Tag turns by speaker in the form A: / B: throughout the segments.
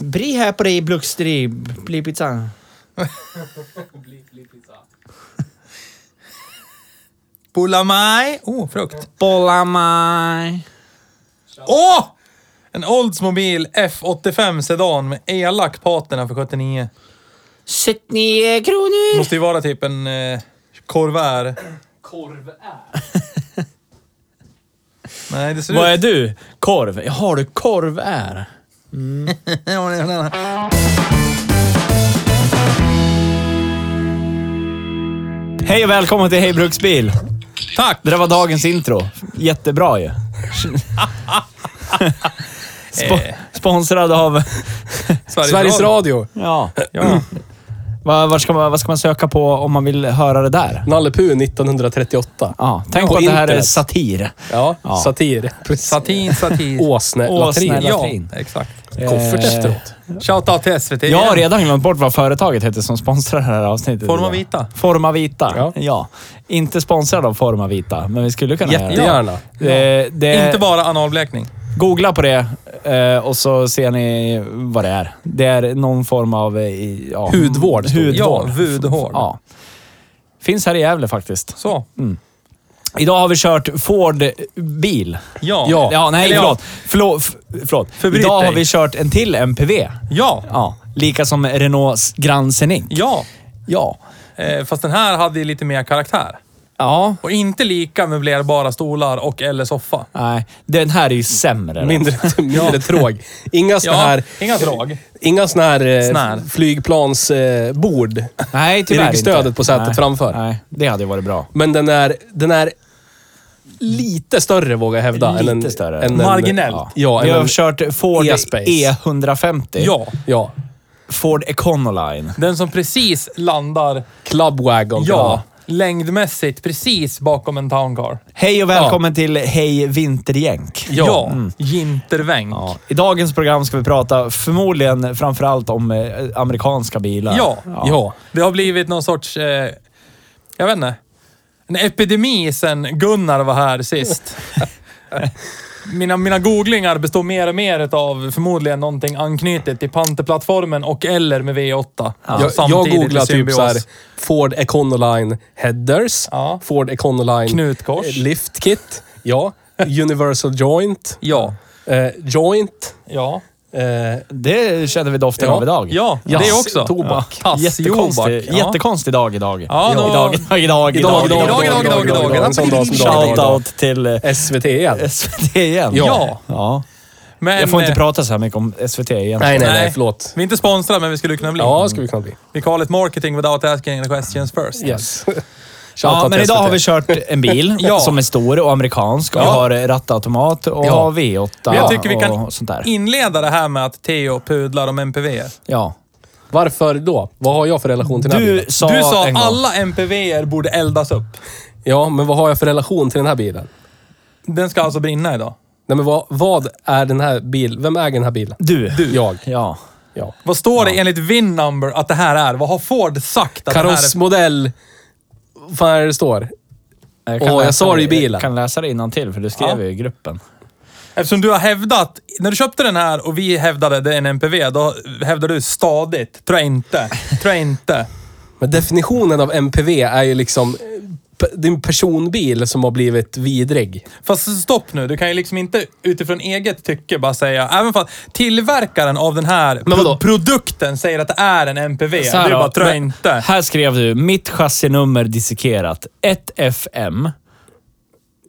A: Bri här på dig i Bluxtri, bli pizza.
B: Bulamai. Oh, frukt.
A: Bolla mig.
B: Åh! En Oldsmobil F85 Sedan med elak patina för 79.
A: 79 kronor.
B: Måste ju vara typ en eh, Corvair.
C: Korv är.
B: Nej, det ser
C: Vad är
B: ut...
C: du? Korv? Jaha, du korv är. Hej och välkommen till Hej Bruksbil.
B: Tack!
C: Det där var dagens intro. Jättebra ju. Sp- sponsrad av
B: Sveriges,
D: Sveriges Radio.
C: Ja. Vad var ska, man- vad ska man söka på om man vill höra det där?
D: Nalle Puh 1938.
C: Ja, tänk på,
D: På
C: att det här är
D: internet.
C: satir.
D: Ja,
C: Ja.
D: satir.
B: Satin, satin.
D: Åsne-latrin.
C: Åsne-
D: Ja,
B: ja,
C: latrin. Eh,
B: exakt.
D: koffert efteråt.
B: Shoutout till SVT.
C: Jag har
B: igen.
C: redan glömt bort vad företaget heter som sponsrar det här avsnittet.
B: Forma
C: idag.
B: Vita.
C: Forma Vita, ja.
D: Ja.
C: Inte sponsrad av Forma Vita, men vi skulle kunna göra
D: Jättegärna.
C: det. Eh, det
B: Inte bara analblekning.
C: Googla på det eh, och så ser ni vad det är. Det är någon form av... eh, i- Ja,
D: Hudvård, stod det.
B: Ja,
C: Hudvård.
B: hudhår.
C: Ja. Finns här i Gävle faktiskt.
B: Så.
C: Idag har vi kört Ford-bil.
B: Ja.
D: Ja.
C: Ja, nej,
B: Eller
C: förlåt. Förlåt. f- förlåt.
B: Förbryt
C: Idag har
B: dig.
C: vi kört en till MPV.
B: Ja.
C: Ja, lika som Renaults Grand Scenic.
B: Ja.
C: Ja.
B: Eh, fast den här hade ju lite mer karaktär.
C: Ja.
B: Och inte lika möblerbara stolar och eller soffa.
C: Nej, den här är ju sämre. Min...
D: Mindre, mindre tråg. Inga såna
B: Ja,
D: här...
B: inga drag.
D: Inga såna här
B: Snär.
D: eh, flygplansbord.
C: Nej, tyvärr
D: I ryggstödet
C: inte.
D: på sätet
C: nej.
D: framför.
C: Nej, det hade ju varit bra.
D: Men den är, den är lite större, vågar jag hävda.
C: Lite
D: än en,
C: större.
D: Än
B: Marginellt.
D: En, ja,
C: vi
D: än
C: har
D: en,
C: kört Ford
D: E-Space.
C: E150.
B: Ja.
D: ja.
C: Ford Econoline.
B: Den som precis landar,
D: Club Wagon.
B: ja, längdmässigt precis bakom en town car.
C: Hej och välkommen till Hej Mm. Vinterjänk.
B: Ja.
D: Mm.
B: Jintervänk.
C: Ja, I dagens program ska vi prata förmodligen framförallt om eh, amerikanska bilar.
B: Ja.
D: Ja.
B: Det har blivit någon sorts, eh, jag vet inte, en epidemi sen Gunnar var här sist. Mina, mina googlingar består mer och mer av förmodligen någonting anknutet till Panterplattformen och eller med V8.
D: Jag, jag
B: Samtidigt i
D: googlar typ
B: symbios.
D: så här, Ford Econoline Headers,
B: Ja.
D: Ford Econoline
B: Knutkors.
D: eh, Lift Kit, ja. Universal Joint,
B: Ja.
D: eh, Joint,
B: Ja.
D: eh,
C: Det kände vi doften
D: Ja.
C: av idag.
B: Ja, det
D: Jazz,
B: också.
D: tobak.
B: Ja. Tass, jobak.
C: Jättekonstig,
B: Ja.
C: jättekonstig dag idag.
B: Ja, då-
C: idag, idag, idag,
D: Idag, idag,
B: idag, idag, idag, idag, idag.
D: En sån dag som dagen är idag.
C: Shoutout till eh,
D: SVT igen.
C: SVT igen.
B: Ja.
C: ja.
B: Men,
C: Jag får inte
B: eh,
C: prata så här mycket om SVT igen.
D: Nej, nej,
B: Nej.
D: nej, förlåt.
B: Vi är inte sponsrade, men vi skulle kunna bli.
D: Ja, ska vi kunna bli.
B: Vi call it marketing without asking the questions first.
D: Yes.
C: Ja,
D: Shoutout
C: men
D: till
C: idag har
D: SVT.
C: vi kört en bil
B: Ja.
C: som är stor och amerikansk och
B: Ja.
C: har eh, rattautomat och
D: Ja.
C: har V8
B: Men jag tycker vi kan
C: och sånt där.
B: inleda det här med att Theo pudlar om MPV.
C: Ja.
D: Varför då? Vad har jag för relation till den här
C: Du
D: bilen?
C: sa,
B: du sa
C: en gång,
B: alla MPVer borde eldas upp.
D: Ja, men vad har jag för relation till den här bilen?
B: Den ska alltså brinna idag.
D: Nej, men vad, vad är den här bilen? Vem äger den här bilen?
C: Du.
D: Jag.
C: Ja.
D: Ja.
B: Vad står det enligt VIN number att det här är? Vad har Ford sagt att det här
D: Karossmodell. Vad fan är det det står?
C: Jag, kan
D: Åh, jag
C: läsa
D: sa det i bilen.
C: Jag kan läsa det innantill för du skrev
B: Ja.
C: ju i gruppen.
B: är? Eftersom du har hävdat, när du köpte den här och vi hävdade det är en MPV, då hävdade du stadigt. Tror jag inte. Tror jag inte.
D: Men definitionen av MPV är ju liksom eh, p- din personbil som har blivit vidrig.
B: Fast stopp nu, du kan ju liksom inte utifrån eget tycke bara säga, även fast tillverkaren av den här
D: Men vadå?
B: pro- produkten säger att det är en MPV.
C: Så här
B: du
C: då,
B: bara, tror jag
C: men-
B: inte.
C: Här skrev du, mitt chassinummer dissekerat. 1FM.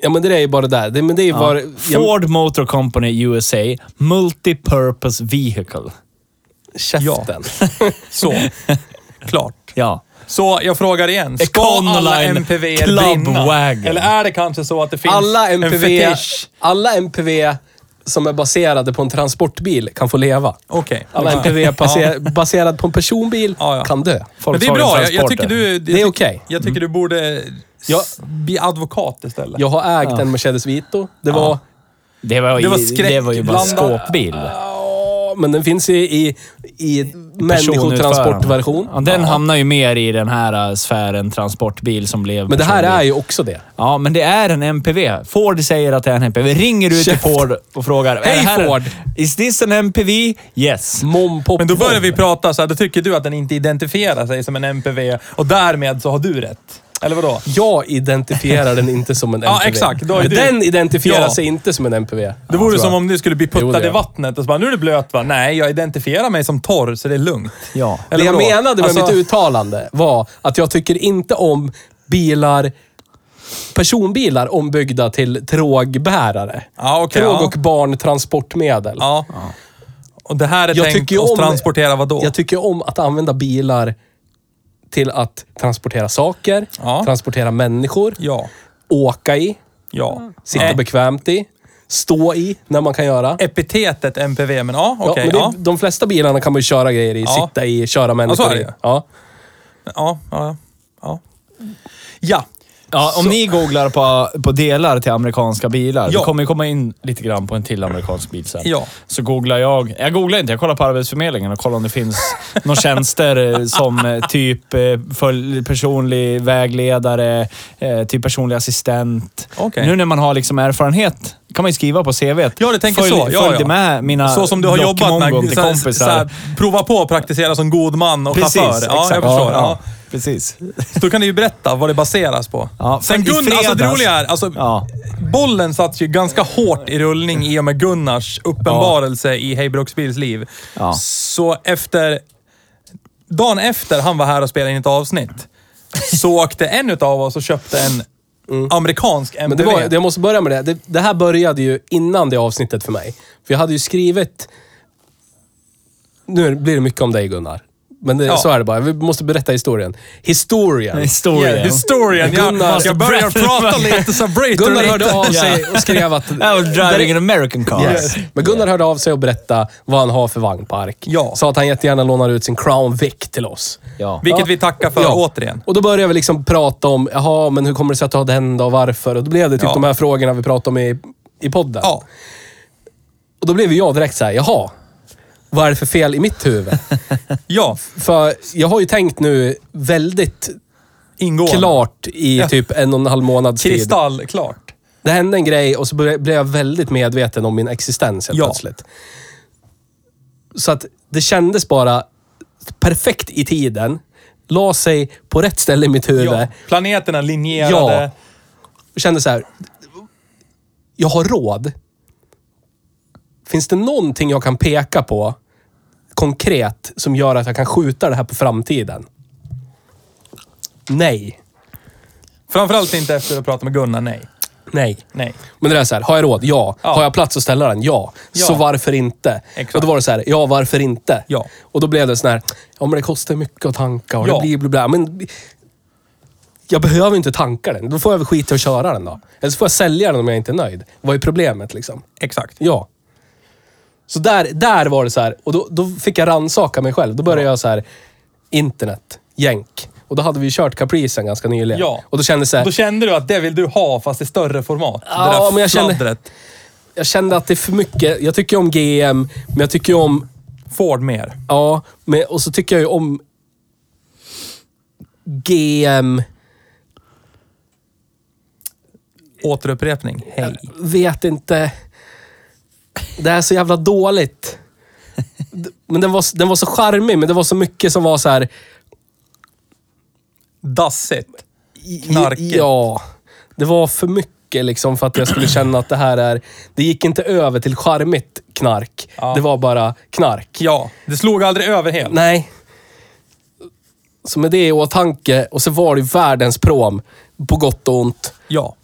D: Ja, men det är ju bara det där. Det, men det är ju bara... Ja,
C: Ford Motor Company USA. Multipurpose Vehicle.
D: käften.
B: Så. Klart.
C: Ja.
B: Så jag frågar igen. Ska
C: Econoline
B: alla MPV
C: Club
B: brinna?
C: Wagon.
B: Eller är det kanske så att det finns
D: Alla
B: en
D: MPV,
B: fetisch?
D: alla MPV som är baserade på en transportbil kan få leva.
B: Okej.
D: Alla MPV
B: Ja.
D: baser, baserad på en personbil
B: Ja, ja.
D: kan dö.
B: Men det är bra. Jag, jag
C: Volkswagen-transporter.
B: tycker du... Jag
D: Det är
B: tyck-
D: okej. Mm.
B: Jag tycker du borde
D: Ja.
B: s- bli advokat istället.
D: Jag har ägt en Mercedes Vito. Det var...
C: Det var, ju-
B: Det var
C: det var ju bara en
B: skräckblandad-
C: skåpbil.
D: Ja, men den finns ju i, i människotransportversion.
C: Ja, den hamnar ju mer i den här äh, sfären transportbil som blev
D: Men det här
C: personbil.
D: är ju också det.
C: Ja, men det är en MPV. Ford säger att det är en MPV. Ringer du till
D: Käft.
C: Ford och frågar är
D: Hej,
C: det här en-
D: Ford.
C: Is this an MPV? Yes.
D: Mom, pop,
B: Men då börjar
D: mom.
B: vi prata så här, då tycker du att den inte identifierar sig som en MPV och därmed så har du rätt. Eller vadå?
D: Jag identifierar den inte som en
B: Ja,
D: MPV.
B: exakt. Då är du-
D: Den identifierar
B: Ja.
D: sig inte som en MPV.
B: Det
D: tror
B: vore
D: jag.
B: som om du skulle bli
D: alltså, Jo, det
B: puttad
D: är
B: i
D: jag.
B: vattnet och så bara, nu är det blöt va? Nej, jag identifierar mig som torr så det är lugnt.
C: Ja.
D: Det jag
B: vadå?
D: menade med
B: Alltså-
D: mitt uttalande var att jag tycker inte om bilar, personbilar ombyggda till trågbärare.
B: Ja, Ah, okej.
D: Tråg
B: ja.
D: och barntransportmedel.
B: Ja. Och det här är
D: Jag
B: tänkt
D: tycker ju
B: att
D: om-
B: transportera vadå?
D: Jag tycker om att använda bilar till att transportera saker,
B: Ja.
D: transportera människor,
B: ja.
D: åka i,
B: Ja.
D: sitta
B: Eh,
D: bekvämt i, stå i när man kan göra.
B: epitetet MPV, men ja,
D: Ja,
B: okej.
D: men det,
B: ja.
D: De flesta bilarna kan man ju köra grejer i,
B: Ja.
D: sitta i, köra människor
B: så är det
D: i.
B: ju.
D: Ja.
B: Ja, ja, ja. Ja,
C: Ja, om ni googlar på, på delar till amerikanska bilar.
B: Ja.
C: Vi kommer ju komma in lite grann på en till amerikansk bil sen.
B: Ja.
C: Så googlar jag. Jag googlar inte. Jag kollar på Arbetsförmedlingen och kollar om det finns några tjänster eh, som eh, typ eh, följ- personlig vägledare, eh, typ personlig assistent.
B: Okej.
C: Nu när man har liksom erfarenhet kan man ju skriva på CVt.
B: ja det tänker
C: följ,
B: så. Ja,
C: följde
B: ja.
C: med mina
B: så som du har jobbat med.
C: blockmongon till
B: så här-
C: kompisar.
B: så här, prova på att praktisera som god man och
C: Precis,
B: chaufför. Ja, jag
C: exakt.
B: förstår. Ja.
C: Precis.
B: Så då kan du ju berätta vad det baseras på.
C: Ja,
B: Sen
C: för i
B: Gunnar, alltså det
C: fredags-
B: roliga är, alltså,
C: Ja.
B: bollen satt ju ganska hårt i rullning i och med Gunnars uppenbarelse i Hej Bruksbils liv.
C: Ja.
B: Så efter... Dagen efter han var här och spelade in ett avsnitt så åkte en utav oss och köpte en amerikansk MPV.
D: Men det var, jag måste börja med det. det. Det här började ju innan det avsnittet för mig. För jag hade ju skrivit... Nu blir det mycket om dig Gunnar. Men det,
B: Ja.
D: så är det bara. Vi måste berätta historien. Historien.
C: Historia.
B: Yeah, historien.
D: Gunnar-
B: jag, jag börjar prata lite så Brator
D: Gunnar
B: lite.
D: hörde av sig
C: Ja.
D: och skrev att...
C: I was driving an American car.
D: Yes. Men Gunnar hörde av sig och berättade vad han har för vagnpark.
B: Ja.
D: Sa att han jättegärna lånar ut sin Crown Vic till oss.
C: Ja.
B: Vilket vi tackar för återigen.
D: Och då började vi liksom prata om, jaha, men hur kommer det sig att du har den då och varför? Och då blev det typ
B: Ja.
D: de här frågorna vi pratade om i, i podden.
B: Ja.
D: Och då blev ju jag direkt så här, jaha, vad är det för fel i mitt huvud?
B: Ja,
D: för jag har ju tänkt nu väldigt
B: ingående.
D: klart i
B: Ja.
D: typ en och en halv månads tid.
B: Kristallklart.
D: Det hände en grej och så ble- blev jag väldigt medveten om min existens helt
B: Ja.
D: plötsligt. Så att det kändes bara perfekt i tiden. La sig på rätt ställe i mitt huvud.
B: Ja. Planeterna linjerade.
D: och kände så här. Jag har råd. Finns det någonting jag kan peka på konkret som gör att jag kan skjuta det här på framtiden? Nej.
B: Framförallt inte efter att prata med Gunnar, nej.
D: Nej.
B: Nej.
D: Men det där är så här, har jag råd? Ja.
B: Ja.
D: Har jag plats att ställa den? Ja.
B: Ja.
D: Så varför inte?
B: Exakt.
D: Och då var det så här, ja varför inte?
B: Ja.
D: Och då blev det sån här, ja men det kostar mycket att tanka och
B: Ja.
D: det blir bla, bla Men jag behöver ju inte tanka den. Då får jag väl skita i att köra den då. Eller så får jag sälja den om jag inte är nöjd. Vad är problemet liksom?
B: Exakt.
D: Ja. Så där, där var det så här. Och då, då fick jag rannsaka mig själv. Då började jag så här, internet, jänk. Och då hade vi ju kört Capricen ganska nyligen.
B: Ja.
D: Och då kände jag så här,
B: Då kände du att det vill du ha, fast i större format. det
D: Ja,
B: där
D: men jag kände-
B: fladdret.
D: jag kände att det är för mycket. Jag tycker om GM, men jag tycker ju om...
B: Ford mer.
D: Ja, men, och så tycker jag ju om GM...
B: Återupprepning. Hej.
D: Vet inte. Det är så jävla dåligt. D- Men den var, den var så charmig, men det var så mycket som var så här...
B: Dassigt. knarkigt.
D: Ja. Det var för mycket liksom för att jag skulle känna att det här är... Det gick inte över till charmigt knark. Det var bara knark.
B: Ja, det slog aldrig över helt.
D: Nej. Så med det i åtanke, och så var det världens prom. På gott och ont.
B: Ja.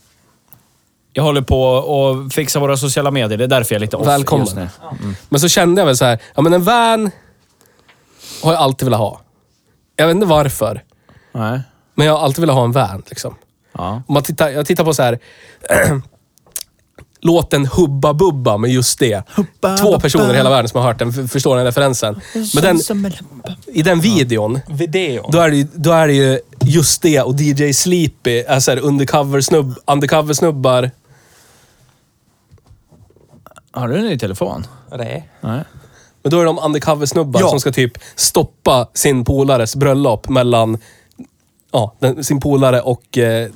C: Jag håller på och fixar våra sociala medier. Det är därför jag är lite off
D: Välkommen.
C: Alltså, just nu.
D: Men så kände jag väl så här, ja men en van har jag alltid velat ha. Jag vet inte varför,
C: Nej.
D: men jag har alltid velat ha en van liksom.
C: Ja.
D: Om man tittar, jag tittar på så här. Låten Hubba Bubba med just det. Två personer i hela världen som har hört den, f- förstår den referensen. Men den, i den videon,
B: Video.
D: då är det ju, då är det ju just det och DJ Sleepy, alltså undercover-snubb, undercover-snubbar.
C: Har du en ny telefon?
B: Nej.
C: Nej.
D: Men då är de undercover-snubbar
B: Ja.
D: som ska typ stoppa sin polares bröllop mellan ja, den, sin polare och eh,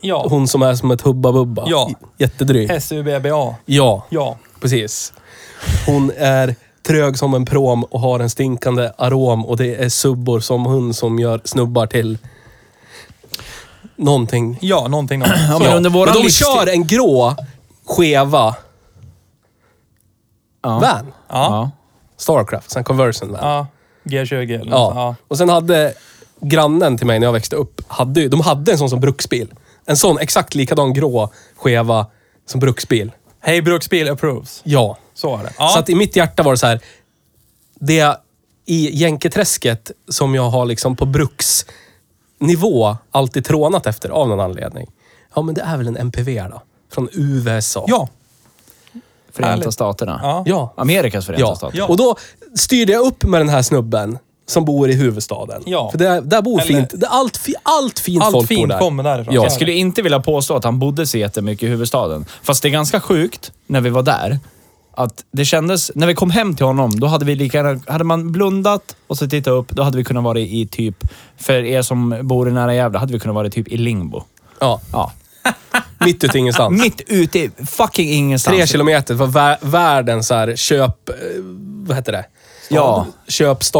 B: Ja.
D: hon som är som ett Hubba Bubba.
B: Ja.
D: J- Jättedryg.
B: S-U-B-B-A.
D: Ja.
B: Ja.
D: Precis. Hon är trög som en prom och har en stinkande arom och det är subbor som hon som gör snubbar till någonting.
B: Ja, någonting. någonting.
C: Ja, men under våran
D: Men de
C: livstid-
D: kör en grå, skeva
C: Ja.
D: van.
C: Ja.
D: Starcraft, sen Conversion van. Ja.
B: Ja. G20 eller något. ja.
D: Och sen hade grannen till mig när jag växte upp, hade, ju- de hade en sån som bruksbil. En sån exakt likadan grå, skeva som bruksbil.
B: Hej Bruksbil approves.
D: Ja.
B: Så är det. Ja.
D: Så att i mitt hjärta var det så här. Det i Jänketräsket som jag har liksom på bruksnivå alltid trånat efter av någon anledning. Ja, men det är väl en MPV då? Från USA.
B: ja.
C: Förenta
B: Härligt.
C: Staterna.
B: Ja.
D: Ja.
C: Amerikas Förenta
D: ja.
C: Stater.
B: Ja.
D: Och då styrde jag upp med den här snubben som bor i huvudstaden.
B: Ja.
D: För där, där bor
B: Eller-
D: fint. Det är allt, fi, allt fint
B: Allt
D: folk bor
B: fint
D: där.
B: kommer därifrån.
D: Ja.
C: Jag skulle inte vilja påstå att han bodde så jättemycket i huvudstaden. Fast det är ganska sjukt när vi var där. Att det kändes, när vi kom hem till honom, då hade vi lika gärna- Hade man blundat och så tittat upp, då hade vi kunnat vara i typ... För er som bor i nära Gävle, hade vi kunnat vara typ i Lingbo.
D: Ja.
C: Ja.
D: Mitt ute i ingenstans.
C: Mitt ute i fucking ingenstans.
D: Tre kilometer var vä- världens så här köp... eh, Vad heter det?
C: Ja.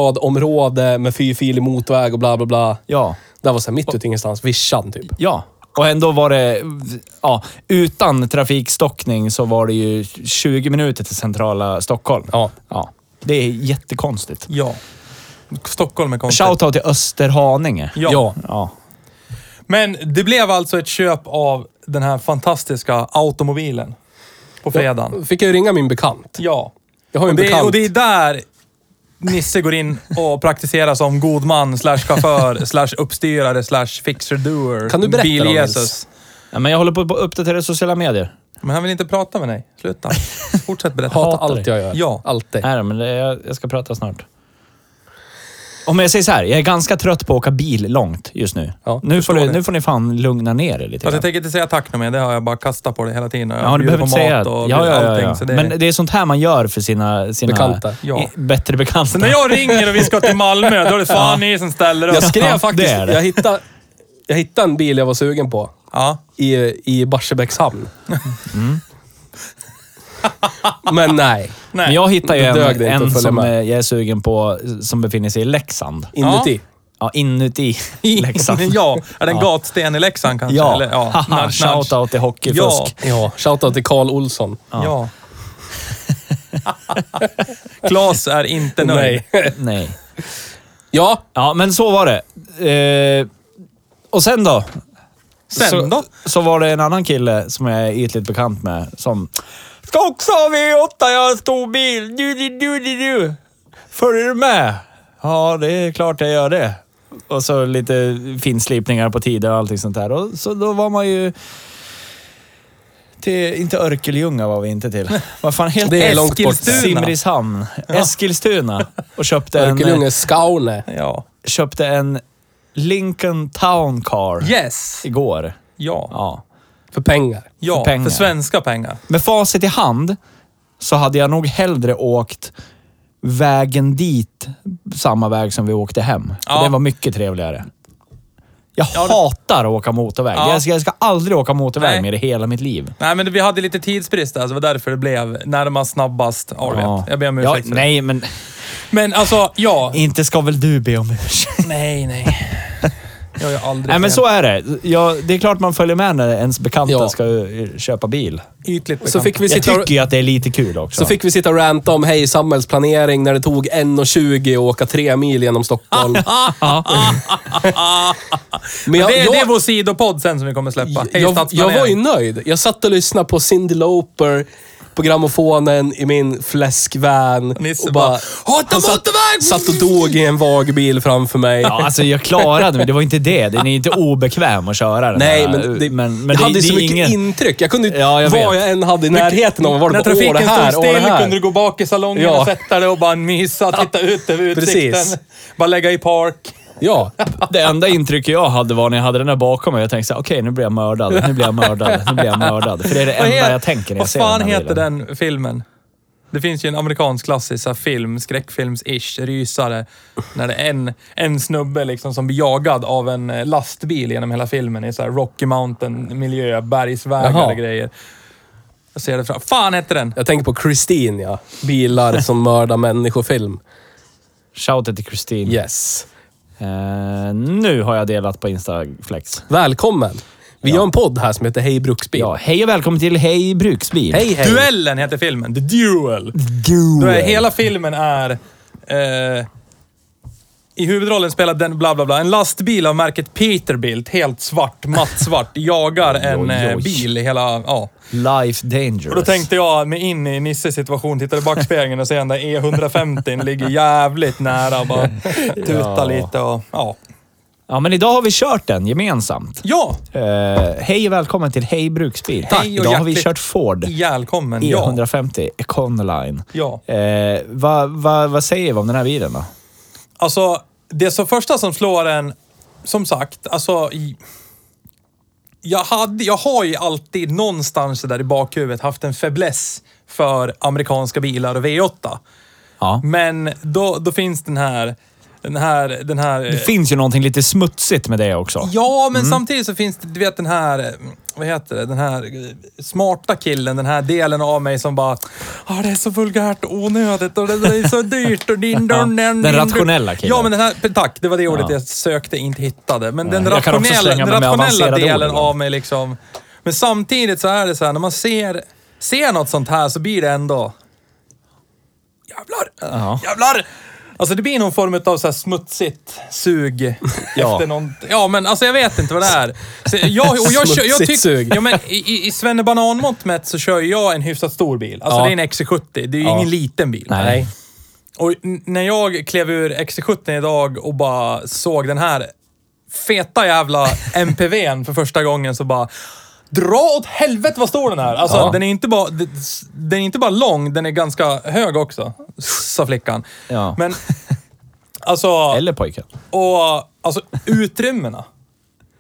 D: Köpstadområde med fyrfilig motorväg och bla bla bla.
C: Ja.
D: Där var så här mitt ute i ingenstans, vischan typ.
C: Ja. Och ändå var det... Ja, utan trafikstockning så var det ju 20 minuter till centrala Stockholm.
D: Ja.
C: ja. Det är jättekonstigt.
B: ja. Stockholm är konstigt.
C: Shoutout till Österhaninge.
B: Ja.
C: ja.
B: Men det blev alltså ett köp av den här fantastiska automobilen på fredagen.
D: Fick jag ju ringa min bekant.
B: Ja.
D: Jag har ju en
B: Och det, är,
D: bekant.
B: och det är där Nisse går in och praktiserar som god man, slash chaufför, slash uppstyrare, slash fixer-doer.
D: Kan du berätta då,
B: Bil-Jesus.
D: Nils?
C: Ja, men jag håller på att uppdatera sociala medier.
B: Men han vill inte prata med dig. Sluta. Fortsätt berätta.
D: Hatar
C: hatar
D: allt jag gör.
B: Ja.
D: Alltid.
C: Nej då, men det, jag, jag ska prata snart. Om jag säger så här, jag är ganska trött på att åka bil långt just nu.
D: Ja,
C: nu, får
B: förstår
C: du,
B: det.
C: nu får ni fan lugna ner er lite
B: Fast
C: grann.
B: jag tänker inte säga tack nu mer. Det har jag bara kastat på det hela tiden. Jag
C: Ja, du
B: bjuder
C: behöver
B: på
C: inte säga...
B: mat
C: Ja,
B: och
C: ja, ja,
B: allting.
C: ja.
B: Så det...
C: Men det är sånt här man gör för sina... sina
D: Bekanta.
B: Ja.
C: i- Bättre bekanta.
B: Så när jag ringer och vi ska till Malmö, då är det fan ni som ställer upp.
D: Jag skrev
C: Ja,
D: faktiskt...
C: det är det.
D: Jag, hittade, jag hittade en bil jag var sugen på
B: Ja.
D: i, i Barsebäcks hamn.
C: Mm.
D: Men nej.
C: Men jag hittar ju
D: Då dög
C: en,
D: det inte att
C: en
D: följa
C: som
D: med.
C: eh, jag är sugen på, som befinner sig i Leksand.
D: Inuti.
C: Ja, inuti Leksand.
B: ja, är det en gatsten i Leksand kanske?
C: Ja,
B: Eller, ja.
C: Haha,
B: nudge, nudge.
C: shoutout till
B: Ja.
C: hockeyfusk.
D: Ja. Shoutout till Karl Olsson.
B: Ja. Klas är inte nöjd.
D: Nej.
C: Nej.
D: Ja.
C: Ja, men så var det. Eh, och sen då?
B: Sen
C: så,
B: då?
C: Så var det en annan kille som jag är ytligt bekant med som... Ska också ha V8, jag har en stor bil. Du, du, du, du, du. Följer du med? Ja, det är klart jag gör det. Och så lite finslipningar på tider och allting sånt där. Och så då var man ju... Till, inte Örkelljunga var vi inte till. Vad fan heter
D: Det är långt bort.
B: Eskilstuna.
C: Simrishamn. Eskilstuna. Och köpte en...
D: Örkelljunga Skaune.
B: Ja.
C: köpte en Lincoln Town Car
B: Yes!
C: igår.
B: Ja.
C: Ja.
D: För pengar.
B: Ja,
C: För
B: för,
C: pengar.
B: svenska pengar.
C: Med facit i hand så hade jag nog hellre åkt vägen dit, samma väg som vi åkte hem.
B: Ja.
C: För Det var mycket trevligare. Jag
B: det-
C: hatar att åka motorväg.
B: Ja.
C: Jag, ska, jag ska aldrig åka motorväg
B: Nej.
C: mer i hela mitt liv.
B: Nej, men vi hade lite tidsbrist där, så det var därför det blev närmast snabbast. Ja, du vet. Jag ber om ursäkt
C: ja,
B: för det.
C: Nej, men
B: Men alltså, ja.
C: inte ska väl du be om ursäkt?
B: Nej, nej. Jag har ju aldrig
C: Nej, men
B: tränat.
C: så är det. Ja, det är klart man följer med när ens bekanta
D: Ja.
C: ska eh, köpa bil.
B: ytligt bekant.
D: Så fick vi
C: Jag
D: sitta och,
C: tycker ju att det är lite kul också.
D: så fick vi sitta och ranta om hej samhällsplanering när det tog 1.20 att åka tre mil genom Stockholm. Men jag,
B: det, det är
D: jag,
B: vår sidopodd sen som vi kommer släppa. Hej,
D: jag, jag
B: stadsplanering.
D: var ju nöjd. Jag satt och lyssnade på Cyndi Lauper på grammofonen i min fläskvän.
B: Nisse
D: och bara...
B: bara, "Hata
D: han satt,
B: motorväg!"
D: satt och dog i en vag bil framför mig.
C: Ja, alltså jag klarade mig. Det var inte det. Den är inte obekväm att köra den
D: Nej,
C: här.
D: men det,
C: men, men
D: jag
C: det,
D: hade
C: det
D: så
C: är
D: mycket
C: ingen...
D: intryck. Jag kunde ju-
C: Ja, jag
D: vad
C: vet.
D: jag än hade i närheten av var det
B: När
D: bara, åh det
B: trafiken
D: här,
B: stod
D: åh det
B: still
D: här.
B: kunde du gå bak i salongen
D: Ja.
B: och sätta dig och bara mysa, titta ut över utsikten.
D: Precis.
B: Bara lägga i park.
D: Ja,
C: Det enda intrycket jag hade var när jag hade den där bakom mig. Jag tänkte såhär, okej nu blir jag mördad. Nu blir jag mördad. Nu blir jag mördad. För det är det
B: Vad
C: enda
B: he-
C: jag tänker när jag
B: Vad
C: ser den
B: fan
C: här
B: heter
C: bilen.
B: den filmen? Det finns ju en amerikansk klassisk så här, film, skräckfilms-ish, rysare. När det är en, en snubbe liksom som blir jagad av en eh, lastbil genom hela filmen i så här Rocky Mountain-miljö, bergsvägar
D: Jaha.
B: och grejer. Jag ser det fram. Fan heter den!
D: jag tänker på Christine, ja. Bilar som mördar människor-film.
C: Shoutout till Kristin.
D: Yes.
C: Eh, nu har jag delat på Instaflex.
D: Välkommen. Vi gör en podd här som heter Hej Bruksbil.
C: Ja, hej och välkommen till Hej Bruksbil.
D: Hej, hej.
B: Duellen heter filmen. The Duel.
C: Duel.
B: Då är, hela filmen är... Eh, I huvudrollen spelar den bla bla bla. En lastbil av märket Peterbilt, helt svart, matt svart, jagar en
C: Oj, oj.
B: eh, bil i hela... Ja.
C: Life Dangerous.
B: Och då tänkte jag mig in i Nisses situation, tittade i backspegeln och ser den där E150 ligger jävligt nära och bara tuta
C: Ja.
B: lite och... Ja.
C: Ja, men idag har vi kört den gemensamt.
B: Ja!
C: Eh, hej och välkommen till Hej Bruksbil.
B: Tack.
C: Idag har vi
B: hjärtligt
C: kört Ford
B: Ihjälkommen.
C: E
B: Ja.
C: E150 Econoline.
B: ja.
C: Eh, vad, vad, vad säger vi om den här bilen då?
B: Alltså, det så första som slår en, som sagt, alltså... i- Jag, hade, jag har ju alltid någonstans där i bakhuvudet haft en fäbless för amerikanska bilar och V8.
C: Ja.
B: Men då, då finns den här... Den här... Den här eh,
C: Det finns ju någonting lite smutsigt med det också. Mm.
B: Ja, men samtidigt så finns det, du vet den här, eh, vad heter det, den här eh, smarta killen, den här delen av mig som bara, ah, det är så vulgärt och onödigt och det är så dyrt och din dun,
C: Den
B: din-
C: rationella killen.
B: Ja, men den här, tack, det var det ordet
C: Ja.
B: jag sökte, inte hittade. Men den
C: Jag kan också
B: rationella, den
C: slänga mig med
B: rationella
C: avancerade
B: delen
C: ord då.
B: av mig liksom. Men samtidigt så är det så här, när man ser, ser något sånt här så blir det ändå, jävlar,
C: Ja.
B: jävlar! Alltså det blir någon form av så här smutsigt sug efter någon... Ja, men alltså jag vet inte vad det är. Så jag, och jag, kör, jag
D: Smutsigt
B: tyck,
D: sug.
B: Ja, men i- i, i Svenne Bananmått mätt så kör ju jag en hyfsat stor bil. Alltså
D: Ja.
B: det är en XC70. Det är ju ingen liten bil.
C: Nej.
B: Och n- när jag klev ur XC70 idag och bara såg den här feta jävla MPVn för första gången så bara... Dra åt helvete vad stor den är! Alltså
C: Ja.
B: den, är inte bara, d- s- den är inte bara lång, den är ganska hög också, sa flickan.
C: Ja.
B: Men alltså,
C: Eller pojken.
B: och, alltså utrymmena.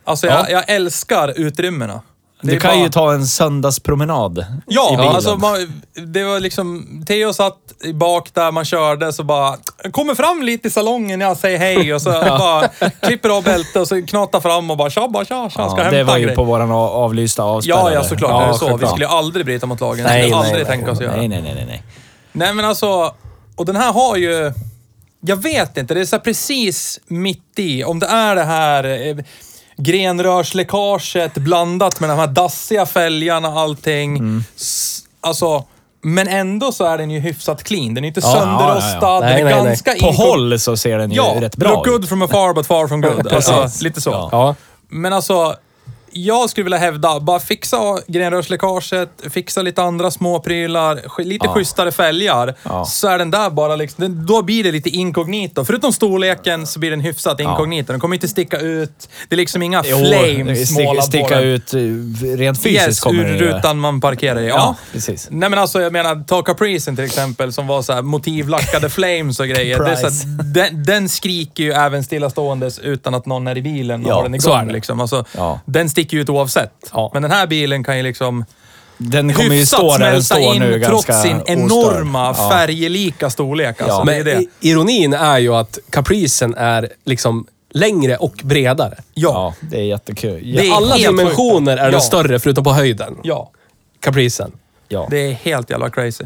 B: Alltså jag, jag älskar utrymmena. Det
C: Du
B: är
C: kan
B: bara-
C: ju ta en söndagspromenad i bilen.
B: Ja, alltså man, det var liksom... Theo satt i bak där man körde, så bara... Kommer fram lite i salongen, jag säger hej och så bara klipper av bältet och så knatar fram och bara tja, bara tja, tja, ska
C: ja,
B: hämta
C: det var
B: en
C: ju
B: grej.
C: på våran a- avlysta
B: Ja,
C: avspärrade.
B: ja, såklart. det är så. Vi
C: självklart.
B: skulle ju aldrig bryta mot lagen. det
C: Nej,
B: skulle vi
C: nej,
B: aldrig
C: nej,
B: tänka oss göra.
C: Nej, nej, nej, nej, nej.
B: Nej men alltså, och den här har ju... Jag vet inte, det är så här precis mitt i. Om det är det här eh, grenrörsläckaget blandat med de här dassiga fälgarna och allting.
C: Mm.
B: S- Alltså, men ändå så är den ju hyfsat clean. Den är inte sönderrostad.
C: ja, ja.
B: Den
D: Nej,
B: är
D: nej, nej.
B: ganska
C: På
B: inkor-
C: håll så ser den ju
B: Ja,
C: rätt bra
B: look
C: ut.
B: good from afar but far from good.
C: Precis.
B: alltså, lite så.
C: Ja.
D: Ja.
B: Men alltså, jag skulle vilja hävda, bara fixa grenrörsläckaget, fixa lite andra små prylar, sk- lite schysstare fälgar.
C: Ja.
B: Så är den där bara liksom, den, då blir det lite inkognito. Förutom storleken så blir den hyfsat inkognito. Den kommer inte sticka ut. Det är liksom inga
C: Jo,
B: flames
C: stick-
B: målade på
C: Sticka
B: den.
C: ut eh, rent fysiskt
B: yes,
C: kommer
B: ur
C: den ju.
B: rutan man parkerar i. Ja.
C: Ja, precis.
B: Nej men alltså jag menar, ta Capricen till exempel som var så här motivlackade flames och grejer. Det är så
C: Caprice.
B: här, den, den skriker ju även stillaståendes utan att någon är i bilen och
C: Ja,
B: har den
D: så är
B: igång.
D: det.
B: Liksom. Alltså,
C: Ja.
B: Den sticker ju ut oavsett.
D: Ja.
B: Men den här bilen kan ju liksom
C: Den kommer ju
B: hyfsat
C: stå där den
B: smälta
C: står
B: in
C: nu
B: trots
C: ganska
B: sin enorma färglika storlek. Alltså,
C: Ja.
B: det är
D: Men
B: det.
D: i- ironin är ju att kapricen är liksom längre och bredare.
C: Ja, det är jättekul. Ja,
B: Det är
D: Alla
B: helt
D: dimensioner
B: sjukt.
D: är den
B: Ja.
D: större förutom på höjden.
B: ja,
D: Capricen.
C: ja.
B: det är helt jävla crazy.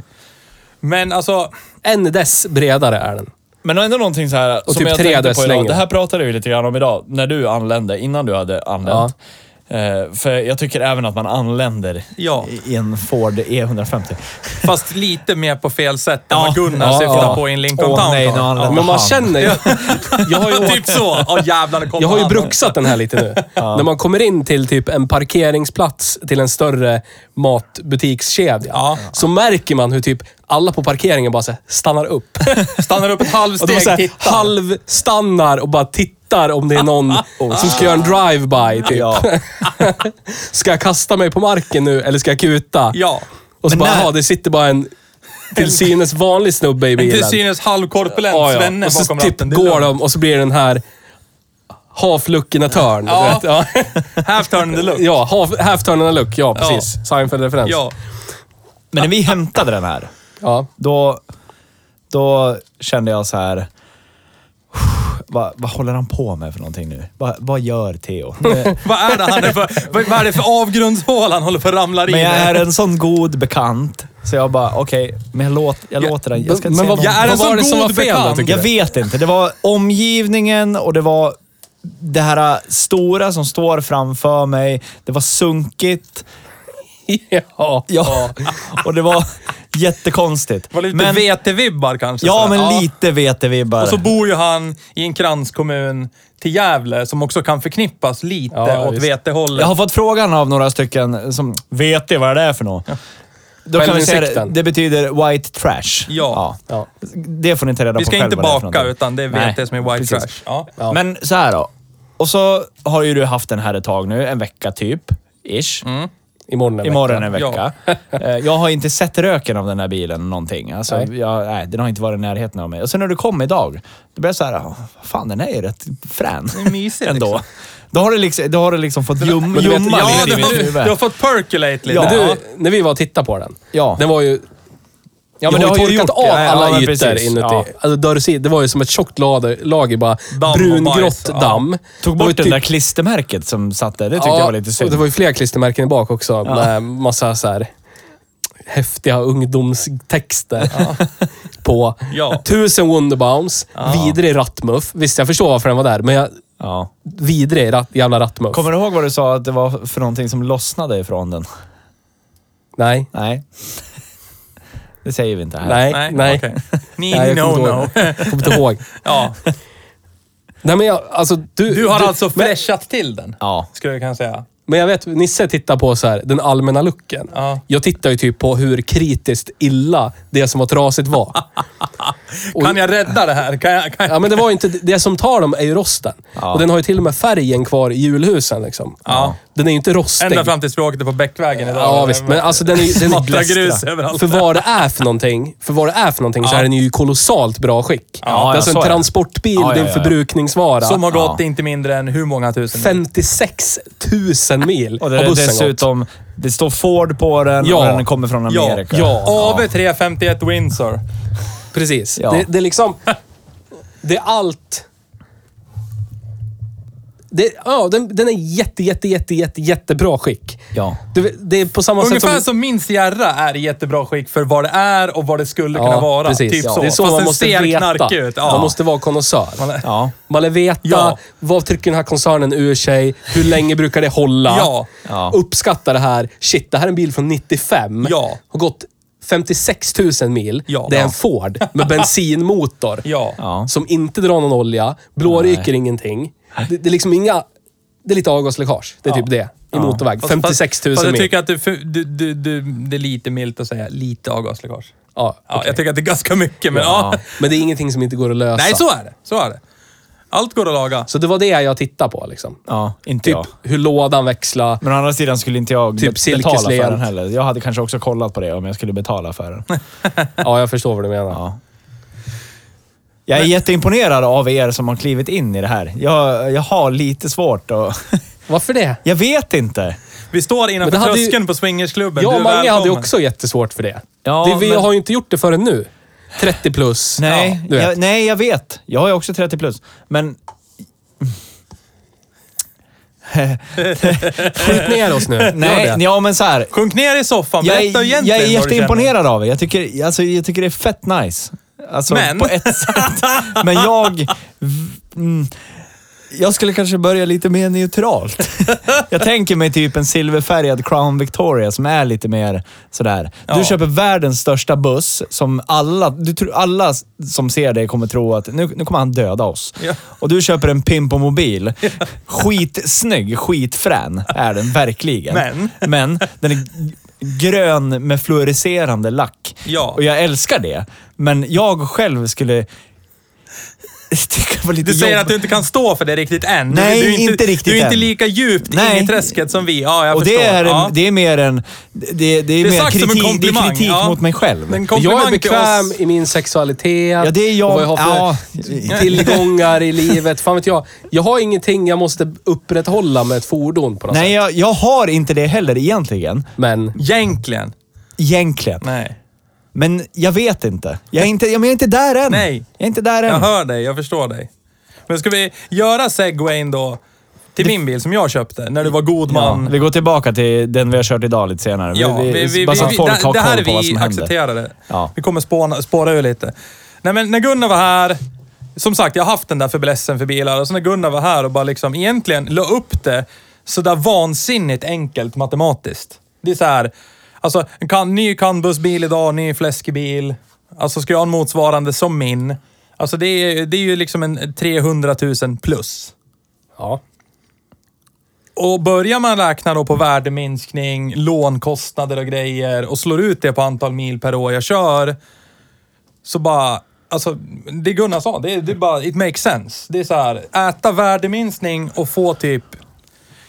B: Men alltså,
D: En dess bredare är den.
C: Men ändå någonting så här som
D: typ
C: jag
D: tre
C: tänkte på idag.
D: deciliter.
C: Det här pratade vi lite grann om idag, när du anlände, innan du hade anlänt. Eh, för jag tycker även att man anländer
B: Ja.
C: i en Ford E150.
B: Fast lite mer på fel sätt än vad Gunnar
C: Ja,
B: syftar
C: ja.
B: på i en Lincoln
C: Åh,
B: Town
C: nej,
B: Car.
C: nu anländer
D: Men man
C: han.
D: känner ju... Jag har ju åkt
B: Typ så. Åh jävlar, det kom
D: Jag har ju
B: han.
D: bruxat den här lite nu. När man kommer in till typ en parkeringsplats till en större matbutikskedja. Så märker man hur typ alla på parkeringen bara så här stannar upp.
B: Stannar upp ett
D: Och de
B: halvsteg,
D: så här
B: tittar.
D: halvstannar och bara tittar om det är någon som ska göra en drive-by typ. Ska jag kasta mig på marken nu eller ska jag kuta?
B: Ja.
D: Och så
E: Men
D: bara,
E: när-
D: jaha, det sitter bara en till synes vanlig snubbe i bilen.
B: Till synes halvkorpulent
D: Ja, ja.
B: svenne
D: Och så
B: bakom
D: typ
B: ratten. Det är
D: går
B: lugnt.
D: de och så blir det den här half-looking a turn.
B: Ja.
D: du vet. Ja,
B: Half turn the look.
D: ja half- half-turn a look. Ja, precis. Seinfeld-referens.
B: Ja.
C: Men när vi hämtade den här,
D: Ja.
C: då, då kände jag så här... Vad, vad håller han på med för någonting nu? Vad, vad gör Theo?
B: Vad är det han är för, vad vad är det för avgrundshål han håller på att ramla in
C: Men jag
B: i?
C: är en sån god bekant, så jag bara okej, men jag, låt, jag låter den. Jag ska inte
D: men
C: säga
D: vad-
B: Jag är
D: Vad
B: en
D: var
B: sån
D: det som var
B: god
D: fel då,
B: bekant.
D: tycker
C: Jag vet inte. Det var omgivningen och det var det här äh, stora som står framför mig. Det var sunkigt
D: ja.
C: ja. och det var jättekonstigt.
B: Var det lite
C: men,
B: VT-vibbar kanske?
C: ja,
B: sådär?
C: men lite VT-vibbar.
B: Och så bor ju han i en kranskommun till Gävle som också kan förknippas lite
D: Ja,
B: åt
D: visst.
B: VT-hållet.
C: Jag har fått frågan av några stycken som vet det vad det är för något. Då kan vi säga det,
D: Självinsikten.
C: det betyder white trash.
B: Ja.
D: Ja.
C: Det får ni inte reda
B: Vi
C: på
B: ska
C: själva
B: inte
C: vad det är för
B: baka,
C: någonting.
B: utan det är
C: Nej,
B: VT som är white
C: precis.
B: trash. Ja.
D: Ja.
C: Men så här då. Och så har ju du haft den här ett tag nu, en vecka typ. Ish.
B: Mm.
D: Imorgon en
C: Imorgon
D: vecka.
C: en vecka. Eh, jag har inte sett röken av den här bilen någonting. Alltså,
D: Nej.
C: Jag, nej, den har inte varit i närheten av mig. Och sen när du kom idag, då blev jag så här, "Åh, fan den här är ju rätt frän.
B: är mysig,
C: ändå.
B: liksom.
C: Då har det liksom, då har det liksom fått ljum,
D: men du vet, typ-
C: ljumma
D: ja,
B: Ja,
C: lite
B: du,
C: i mitt
B: du,
C: huvud.
B: du har fått percolate lite.
C: Ja.
D: Men du, när vi var och tittade på den.
C: Ja.
D: Den var ju...
C: Ja,
D: jag har ju torkat av
C: det. Ja,
D: alla
C: men
D: ytor
C: precis.
D: inuti.
C: Ja.
D: Alltså dörrsid, det var ju som ett tjockt lager, lager bara
B: Damm och bajs,
D: brungrått
B: ja.
D: damm.
C: Tog
D: Det var ju
C: bort det där
D: typ-
C: klistermärket som satt där. Det tyckte
D: Ja,
C: jag var lite synd.
D: och Det var ju flera klistermärken i bak också. Med massa så här häftiga ungdomstexter på.
B: Ja.
D: Tusen Wonderbounds, vidrig rattmuff. Visst, jag förstår varför den var där, men jag,
C: Ja.
D: vidrig ratt, jävla rattmuff.
C: Kommer du ihåg vad du sa att det var för någonting som lossnade ifrån den?
D: Nej,
C: Nej. Det säger vi inte här.
D: nej, nej.
B: Nej, okej. Ni,
D: Nej, jag
B: no,
D: kommer inte
B: no.
D: ihåg. Jag kommer inte ihåg.
B: Ja.
D: Nej, men jag, alltså, du,
B: Du har
D: du,
B: alltså
D: men,
B: fräschat till den,
C: Ja.
B: skulle jag kunna säga.
D: men jag vet, Nisse tittar på så här, den allmänna looken.
B: Ja.
D: Jag tittar ju typ på hur kritiskt illa det som var trasigt var. Och-
B: Kan jag rädda det här? Kan jag, kan jag?
D: Ja, men det var ju inte... Det som tar dem är ju rosten.
C: Ja.
D: Och den har ju till och med färgen kvar i julhusen liksom.
B: Ja.
D: Den är ju inte rostig.
B: Ända fram tills vi åkte på Bäckvägen idag.
D: Ja, visst. Men alltså den är ju... Den
B: Smattra
D: är
B: grus överallt.
D: För vad det är för någonting, för vad det är för någonting så är den ju i kolossalt bra skick. det
C: ja,
D: är alltså
C: så är
D: en
C: det.
D: transportbil,
C: Ja, ja,
D: det är
C: ja,
D: en
C: ja.
D: förbrukningsvara.
B: Som har gått
C: Ja.
B: inte mindre än hur många tusen?
D: 56 000 mil
C: Och
D: har
C: det,
D: bussen gått.
C: dessutom, det står Ford på den
D: Ja.
C: och den kommer från
B: Ja,
C: Amerika.
B: ja. AV351 Windsor.
D: Precis.
C: Ja.
D: Det, det är liksom... Det är allt... Det, ja, den, den är jätte, jätte, jätte, jätte, jättebra skick.
C: Ja.
D: Du, det är på samma sätt
B: Ungefär
D: som...
B: som min Sierra är i jättebra skick för vad det är och vad det skulle kunna vara.
D: Precis.
B: Typ
D: ja.
B: så.
D: Det är så
B: Fast
D: man
B: den
D: måste
B: ser
D: veta.
B: knarkig ut. Ja.
D: Man måste vara konnässör. Man,
C: Ja.
D: vill veta
B: Ja.
D: vad trycker den här koncernen ur sig? Hur länge brukar det hålla?
B: Ja.
C: Ja.
D: Uppskatta det här. Shit, det här är en bil från 95.
B: Ja.
D: Har gått 56 000 mil.
B: Ja.
D: Det är en
B: Ja.
D: Ford med bensinmotor.
B: Ja.
C: Ja.
D: Som inte drar någon olja. Blåryker ingenting. Det, det är liksom inga... Det är lite avgasläckage. Det är typ det. I motorväg.
B: Fast-
D: 56 000
B: fast jag
D: mil.
B: tycker att det, för- du, du, du, det är lite milt att säga lite avgasläckage.
D: Ja,
B: Ja,
D: okej.
B: Jag tycker att det är ganska mycket, men ja.
D: Men det är ingenting som inte går att lösa.
B: Nej,
C: Alltså.
B: så är det. Så är det. Allt går att laga.
D: Så det var det jag tittade på liksom.
C: Ja, inte
D: Typ
C: jag.
D: hur lådan växlar.
C: Men å andra sidan skulle inte jag
D: Typ
C: be- betala för den
D: silkeslent.
C: heller. Jag hade kanske också kollat på det om jag skulle betala för den.
D: Ja, jag förstår vad du menar.
C: Ja. Jag är jätteimponerad av er som har klivit in i det här. Jag, jag har lite svårt att...
D: Varför det?
C: Jag vet inte.
B: Vi står innanför
D: Men det hade ju-
B: tröskeln på swingersklubben.
D: Jag
B: du
D: och
B: är
D: Mange hade ju
B: välkommen.
D: också jättesvårt för det.
C: Ja,
D: det vi
C: men-
D: har ju inte gjort det förrän nu. 30 plus.
C: Nej,
D: Ja, du vet.
C: jag, nej, jag vet. Jag är också 30 plus. Men
D: Skjut ner oss nu.
C: nej,
D: Gör det.
C: ja men så här.
B: Sjunk ner i soffan.
C: Jag
B: Berätta
C: är, jag
B: egentligen vad
C: är
B: du känner.
C: jätteimponerad av er. Jag tycker, alltså, jag tycker det är fett nice. Alltså,
F: Men-
C: på ett sätt. Men jag... v- Mm, jag skulle kanske börja lite mer neutralt. Jag tänker mig typ en silverfärgad Crown Victoria som är lite mer sådär. Du
B: Ja.
C: köper världens största buss som alla, du tror, alla s- som ser dig kommer tro att nu, nu kommer han döda oss.
B: Ja.
C: Och du köper en Pimpomobil. Skitsnygg, skitfrän är den verkligen.
B: Men?
C: Men den är g- grön med fluorescerande lack.
B: Ja.
C: Och jag älskar det. Men jag själv skulle... tycka det var lite
B: Du säger
C: jobb-
B: att du inte kan stå för det riktigt än. Du-
C: Nej,
B: du är
C: inte riktigt
B: Du är
C: än.
B: inte lika djupt in
C: Nej.
B: i träsket som vi. Ja, jag
C: och
B: förstår.
C: det är, en,
B: ja.
C: det är mer en... Det, det är,
B: Det är
C: mer
B: sagt som en
C: kritik, det är
B: komplimang,
C: kritik
B: ja.
C: mot mig själv.
B: Men komplimang
D: Jag är bekväm
B: till oss.
D: i min sexualitet
C: Ja, det är jag-
D: och vad jag har för
C: ja.
D: tillgångar i livet. Fan vet jag. Jag har ingenting jag måste upprätthålla med ett fordon på något
C: Nej,
D: sätt.
C: jag, jag har inte det heller egentligen.
D: Men
B: Egentligen.
C: Egentligen.
B: Nej.
C: Men jag vet inte. Jag är inte, jag, men jag är inte där än.
B: Nej.
C: Jag är inte där
B: Jag
C: än.
B: hör dig, jag förstår dig. Men ska vi göra segwayn då till min bil som jag köpte när du var god
C: Ja,
B: man?
C: vi går tillbaka till den vi har kört idag lite senare.
B: Ja, vi, vi, vi,
C: bara så att folk
B: det,
C: har
B: det här
C: koll på vad
B: är vi
C: som händer.
B: accepterade.
C: Ja.
B: Vi kommer spåna, spåra ur lite. Nej, men när Gunnar var här, som sagt, jag har haft den där fäblessen för bilar. Och så när Gunnar var här och bara liksom egentligen la upp det sådär vansinnigt enkelt matematiskt. Det är så här, alltså en kan, ny Canbusbil idag, ny fläskbil. Alltså ska jag ha en motsvarande som min. Alltså det är, det är ju liksom en 300 000 plus.
D: ja.
B: Och börjar man räkna då på värdeminskning, lånkostnader och grejer och slår ut det på antal mil per år jag kör. Så bara, alltså det Gunnar sa, det, det är bara, it makes sense. Det är så här, äta värdeminskning och få typ,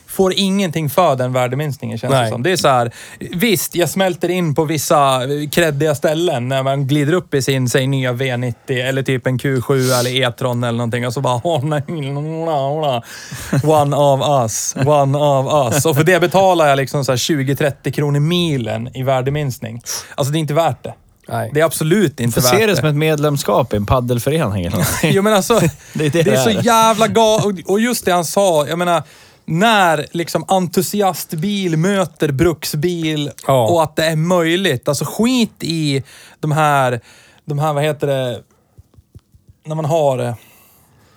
B: får ingenting för den värdeminskningen känns
D: Nej.
B: liksom. det som. Det är så här, visst jag smälter in på vissa kreddiga ställen när man glider upp i sin, säg nya V90 eller typ en Q7 eller E-tron eller någonting och så bara "Åh, nej, la, la. One of us, one of us. Och för det betalar jag liksom så här 20-30 kronor milen i värdeminskning. Alltså det är inte värt det.
D: Nej.
B: Det är absolut inte
C: Får
B: värt
C: se det som ett medlemskap i en paddelförening eller någonting.
B: Jo men alltså,
C: Det
B: det
C: är
B: är,
C: det det
B: så
C: är.
B: jävla galet. Och- Och just det han sa, jag menar, när liksom entusiastbil möter bruksbil
D: Ja.
B: och att det är möjligt. Alltså skit i de här, de här, vad heter det, när man har eh,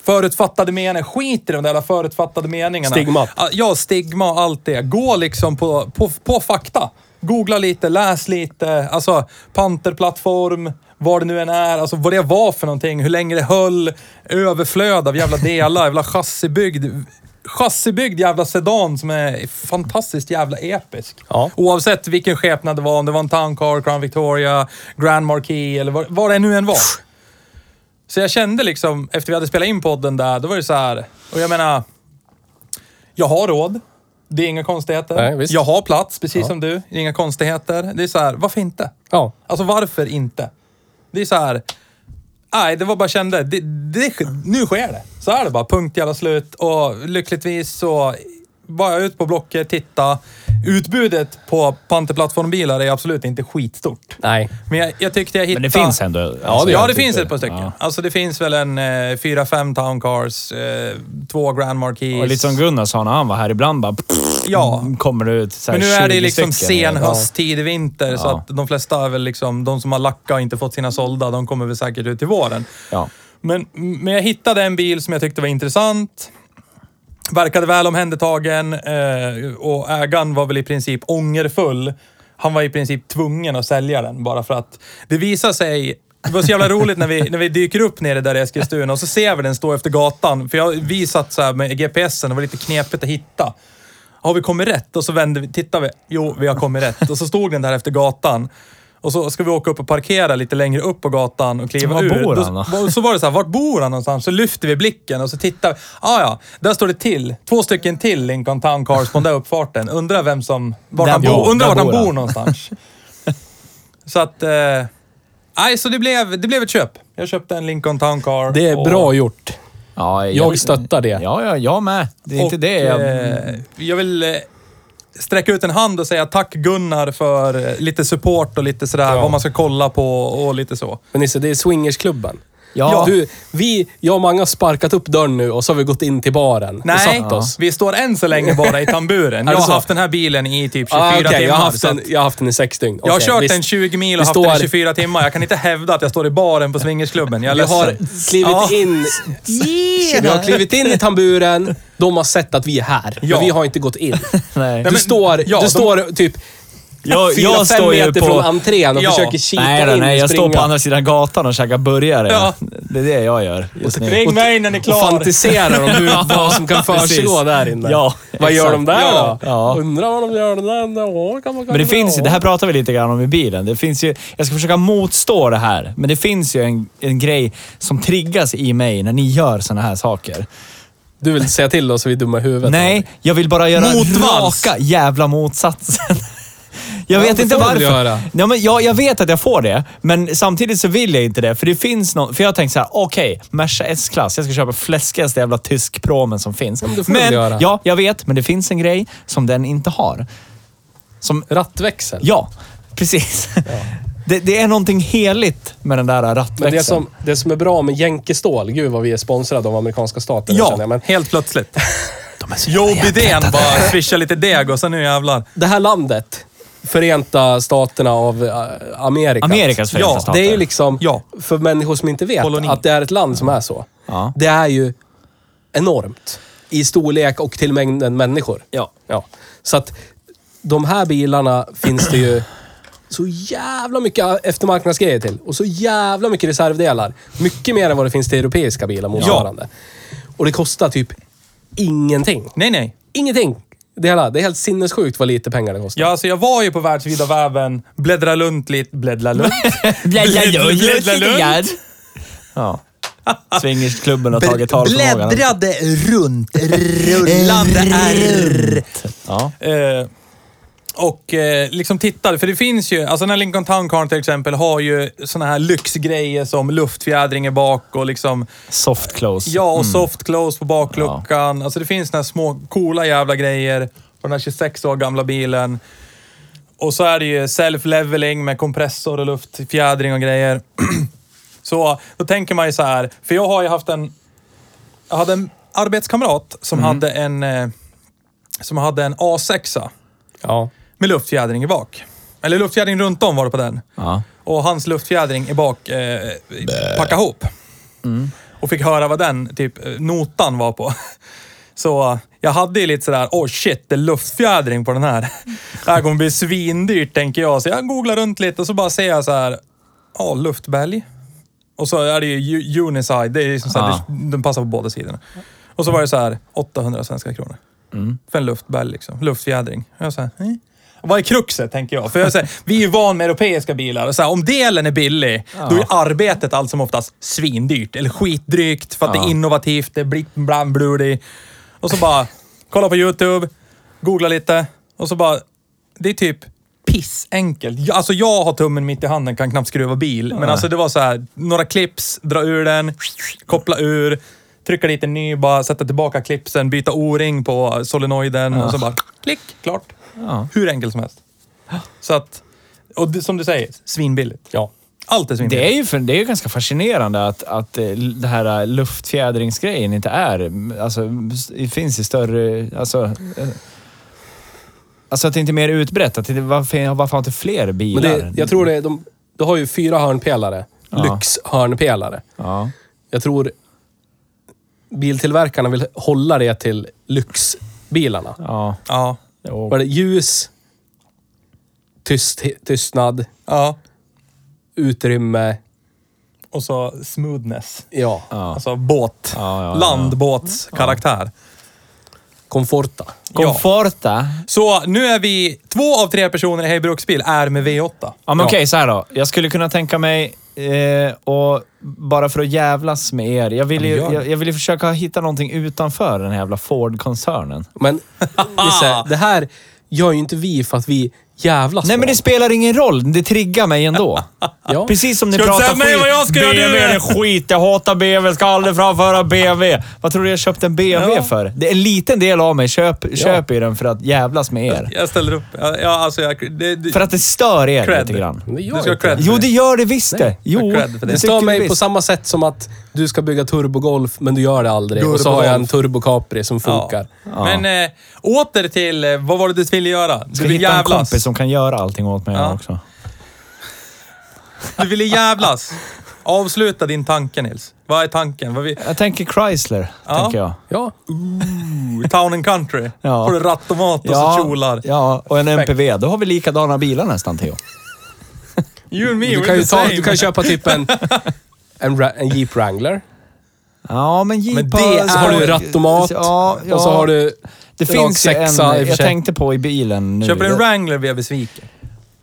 B: förutfattade meningar. Skit i de där jävla förutfattade meningarna.
D: Stigmat.
B: Ja, stigma och allt det. Gå liksom på, på, på fakta. Googla lite, läs lite. Alltså, panterplattform, vad det nu än är. Alltså vad det var för någonting, hur länge det höll. Överflöd av jävla delar, jävla chassibyggd. Chassibyggd jävla sedan som är fantastiskt jävla episk.
D: Ja.
B: Oavsett vilken skepnad det var, om det var en Town Car, Crown Victoria, Grand Marquis eller vad, vad det nu än var. Så jag kände liksom, efter vi hade spelat in podden där, då var det så här. Och jag menar, jag har råd. Det är inga konstigheter.
D: Nej, visst.
B: jag har plats, precis som du. Det är inga konstigheter. Det är så här, varför inte?
D: ja.
B: Alltså varför inte? Det är så här. Nej, det var bara jag kände. Det, det, nu sker det. Så är det bara. Punkt jävla slut. Och lyckligtvis så var jag ute på Blocket, titta. Utbudet på Panterplattformbilar är absolut inte skitstort.
D: Nej.
B: Men jag, jag tyckte jag hittade...
C: Men det finns ändå. alltså,
B: Ja, det,
C: jag
B: finns
C: tycker-
B: ett par stycken.
C: Ja.
B: Alltså det finns väl en eh, fyra, fem Town Cars, eh, två Grand Marquis.
C: Och lite som Gunnar sa när han var här, ibland bara
B: Ja.
C: kommer det ut så här
B: Men nu är det
C: 20
B: liksom
C: stycken.
B: sen höst, tidig vinter, så
C: Ja.
B: att de flesta är väl liksom, de som har lackat och inte fått sina sålda, de kommer väl säkert ut till våren.
C: Ja.
B: Men, men jag hittade en bil som jag tyckte var intressant. Verkade väl omhändertagen eh, och ägaren var väl i princip ångerfull. Han var i princip tvungen att sälja den bara för att det visar sig det var så jävla roligt när vi, när vi dyker upp nere där i Eskilstuna och så ser vi den stå efter gatan. För jag har visat så här med GPSen, det var lite knepigt att hitta. Har vi kommit rätt? Och så vänder vi, tittar vi. Jo, vi har kommit rätt. Och så stod den där efter gatan. Och så ska vi åka upp och parkera lite längre upp på gatan och kliva
C: Var
B: ur.
C: bor
B: Då-
C: han då?
B: och så var det så här, vart bor han någonstans? Så lyfter vi blicken och så tittar vi. Ah, ja, där står det till. Två stycken till Lincoln Town Cars på den där uppfarten. Undrar vem som... Vart
C: Där
B: han
C: bor-
B: bor, undrar
C: där
B: vart han
C: bor
B: bor
C: han.
B: någonstans. så att... eh, Nej, så det blev, det blev ett köp. Jag köpte en Lincoln Town Car.
D: Det är
B: och-
D: bra gjort.
C: Ja,
D: Jag stöttar det.
C: Ja, ja, jag med. Det är inte
B: och,
C: det jag...
B: eh, jag vill eh, sträcka ut en hand och säga tack Gunnar för eh, lite support och lite sådär, vad man ska kolla på och lite så.
D: Men Nisse, det är swingersklubben.
A: Ja.
D: Du, vi, jag och Mange har sparkat upp dörren nu och så har vi gått in till baren
B: Nej,
D: och satt oss.
B: vi står än så länge bara i tamburen.
D: Är
B: Jag
D: det
B: har
D: så?
B: haft den här bilen i typ 24
D: Ah, okej,
B: timmar.
D: jag, har haft
B: så
D: den,
B: att-
D: jag har haft den i sex dygn.
B: jag har
D: Okej,
B: kört
D: visst.
B: den 20 mil och
D: vi
B: haft den i
D: står-
B: 24 timmar. Jag kan inte hävda att jag står i baren på swingersklubben. Jag är
D: Vi har
B: ledsen.
D: klivit
B: Ja.
D: in... Vi har klivit in i tamburen, de har sett att vi är här.
B: Ja.
D: Men vi har inte gått in.
C: Nej.
D: Du
B: men-
D: står,
B: ja,
D: du
B: de-
D: står typ
C: Jag,
D: fyra,
C: jag
D: fem
C: står ju
D: meter från
C: på...
D: entrén och
B: Ja.
D: försöker kika
C: Nej,
D: in
C: då,
D: och
C: nej, jag står på
D: springa.
C: andra sidan gatan och käkar burgare.
B: Ja.
C: Det är det jag gör just nu.
B: Ring mig när ni är
D: och
B: klara.
D: fantiserar om hur, vad som kan försiggå
C: precis.
D: där inne.
C: Ja,
D: vad gör de
C: exakt.
D: där
B: Ja.
D: då?
C: Ja.
D: Undrar vad de gör där då? Kan man, kan
C: Men det
D: man-
C: finns ju, det här pratar vi lite grann om i bilen. Det finns ju, jag ska försöka motstå det här, men det finns ju en, en grej som triggas i mig när ni gör såna här saker.
D: Du vill säga till oss så vi är dumma i huvudet?
C: Nej, jag vill bara göra
B: Motvalls.
C: raka jävla motsatsen. Jag
D: Ja,
C: vet
D: det
C: inte
D: får du väl
C: varför.
D: göra.
C: Ja, men jag, jag vet att jag får det, men samtidigt så vill jag inte det. För det finns någon, För jag har tänkt så här: okej, Merca S-klass. Jag ska köpa fläskigaste jävla tyskpromen som finns.
D: men det får du
C: men,
D: väl göra.
C: Ja, jag vet, men det finns en grej som den inte har. Som
D: Rattväxel?
C: Ja, precis. Det, det är någonting heligt med den där rattväxeln.
D: Men det som, det som är bra med jänkestål, gud vad vi är sponsrade av amerikanska staten.
C: Ja.
D: känner jag. Men
B: Helt plötsligt. Joe Bidén bara swishar lite deg och sen nu jävlar.
D: det här landet, Förenta Staterna av eh, Amerika.
C: Amerikas förenta
D: ja,
C: stater.
D: Det är ju liksom,
B: Ja.
D: för människor som inte vet,
B: Koloni.
D: att det är ett land som är så.
C: Ja.
D: Det är ju enormt i storlek och till mängden människor.
C: Ja.
D: Ja. Så att de här bilarna finns det ju så jävla mycket eftermarknadsgrejer till. Och så jävla mycket reservdelar. Mycket mer än vad det finns till europeiska bilar motsvarande. Och det kostar typ ingenting.
B: Nej, nej.
D: Ingenting! Det, hela, det är helt sinnessjukt vad lite pengar det kostar.
B: Ja, alltså jag var ju på världsvida väven, bläddra runt lite, bläddra runt. Bläddra runt.
C: Ja. Swingersklubben har tagit talförmågan.
A: runt, rullande R.
C: Ja.
B: Eh, och eh, liksom tittade, för det finns ju, alltså när Lincoln Town Car till exempel har ju såna här lyxgrejer som luftfjädring i bak och liksom,
C: Soft close.
B: ja och soft close på bakluckan. Alltså det finns såna här små coola jävla grejer på den här 26 år gamla bilen. Och så är det ju self-leveling med kompressor och luftfjädring och grejer. så då tänker man ju så här, för jag har ju haft en, jag hade en arbetskamrat som hade en, eh, som hade en A6.
D: Ja.
B: med luftfjädring i bak. Eller luftfjädring runt om var det på den.
C: Ja.
B: Och hans luftfjädring i bak eh, packade ihop.
C: Mm.
B: Och fick höra vad den typ eh, notan var på. Så eh, jag hade ju lite sådär, oh shit, det är luftfjädring på den här. Det här kommer bli svindyrt tänker jag. Så jag googlar runt lite och så bara ser jag så här, ja, luftbälg. Och så är det ju u- uniside, det är ju som så här,
C: Ja.
B: det- den passar på båda sidorna. Och så var det så här, 800 svenska kronor. För en luftbälg liksom, luftfjädring. Och jag så här, "Mm." Vad är kruxet, tänker jag? För jag säger, vi är ju van med europeiska bilar. Och så här, om delen är billig, då är arbetet allt som oftast svindyrt. Eller skitdrygt, för att det är innovativt, det är blipp, blam, blurdy. Och så bara, kolla på YouTube, googla lite. Och så bara, det är typ pissenkelt. Jag, alltså jag har tummen mitt i handen, kan knappt skruva bil. Men alltså det var så här, några clips, dra ur den, koppla ur, trycka dit en ny, bara sätta tillbaka clipsen, byta o-ring på solenoiden och så bara klick, klart.
C: Ja.
B: Hur enkelt som helst. Så att, och det, som du säger, svinbilligt.
D: ja.
B: Allt är svinbilligt.
C: Det är ju för, det är ju ganska fascinerande att, att eh, det här eh, luftfjädringsgrejen inte är... Alltså, det finns i större... Alltså, eh, alltså att det inte är mer utbrett. Att det, varför, varför har inte fler bilar?
D: Men det, jag tror det är, de, du har ju fyra hörnpelare.
C: Ja.
D: Lyxhörnpelare.
C: Ja.
D: Jag tror biltillverkarna vill hålla det till lyxbilarna.
C: Ja.
B: Ja.
C: Jo.
D: Var det ljus, tyst, tystnad,
B: Ja.
D: utrymme,
B: Och så smoothness.
D: ja,
C: Ja.
B: Alltså båt.
C: Ja, ja, ja.
B: Landbåtskaraktär.
D: komforta.
C: Conforta.
B: Så nu är vi, två av tre personer i Hej Bruksbil är med V8.
C: Ja, men okej, så här då. Jag skulle kunna tänka mig, eh, och bara för att jävlas med er, jag vill, ju,
B: Ja, men gör det.
C: jag, jag vill ju försöka hitta någonting utanför den här jävla Ford-koncernen.
D: Men Nisse, det här gör ju inte vi för att vi jävla svag.
C: Nej, men det spelar ingen roll. Det triggar mig ändå.
D: Ja.
C: Precis som ni
B: Ska du
C: pratar
B: säga mig vad jag ska göra nu?
C: BMW är skit. Jag hatar BMW. Ska aldrig framföra BMW. Vad tror du jag köpte en BMW
B: Ja.
C: för? Det är en liten del av mig köp, köper ju den för att jävlas med er.
B: Jag ställer upp. Ja, ja, alltså jag... Det, det,
C: För att det stör er
B: Cred.
C: lite grann.
D: Men det gör
B: Du ska
D: inte
B: ha cred.
C: Jo, det gör det visst det. Jo,
B: jag har cred för det.
D: Det
C: tycker
D: stör
C: du
D: mig
C: visst.
D: på samma sätt som att du ska bygga turbogolf, men du gör det aldrig. Och så har jag en turbo Capri som funkar.
B: Ja. Men eh, åter till, eh, vad var det du ville göra? Du
C: Ska
B: ville
C: hitta en
B: jävlas.
C: kompis som kan göra allting åt mig
B: Ja.
C: också.
B: Du ville jävlas. Avsluta din tanke Nils. Vad är tanken? Vad vi...
C: Jag tänker Chrysler,
B: Ja.
C: tänker jag.
D: Ja.
B: Town and country.
C: Ja.
B: Får du rattomat och så kjolar.
C: ja, och en MPV. Då har vi likadana bilar nästan, Theo.
B: You and me,
D: Du
B: we're
D: kan ju
B: the
D: ta,
B: same.
D: du kan köpa typ en, en, ra- en Jeep Wrangler.
C: Ja, men Jeep
D: Men det är- så har du rattomat
C: Alltså, Ja, ja.
D: Och så har du
C: Det
D: rak
C: finns ju en,
D: sexa i och för
C: jag
D: sig.
C: tänkte på i bilen nu.
B: Köper en
C: Jag-
B: Wrangler blir jag besviken.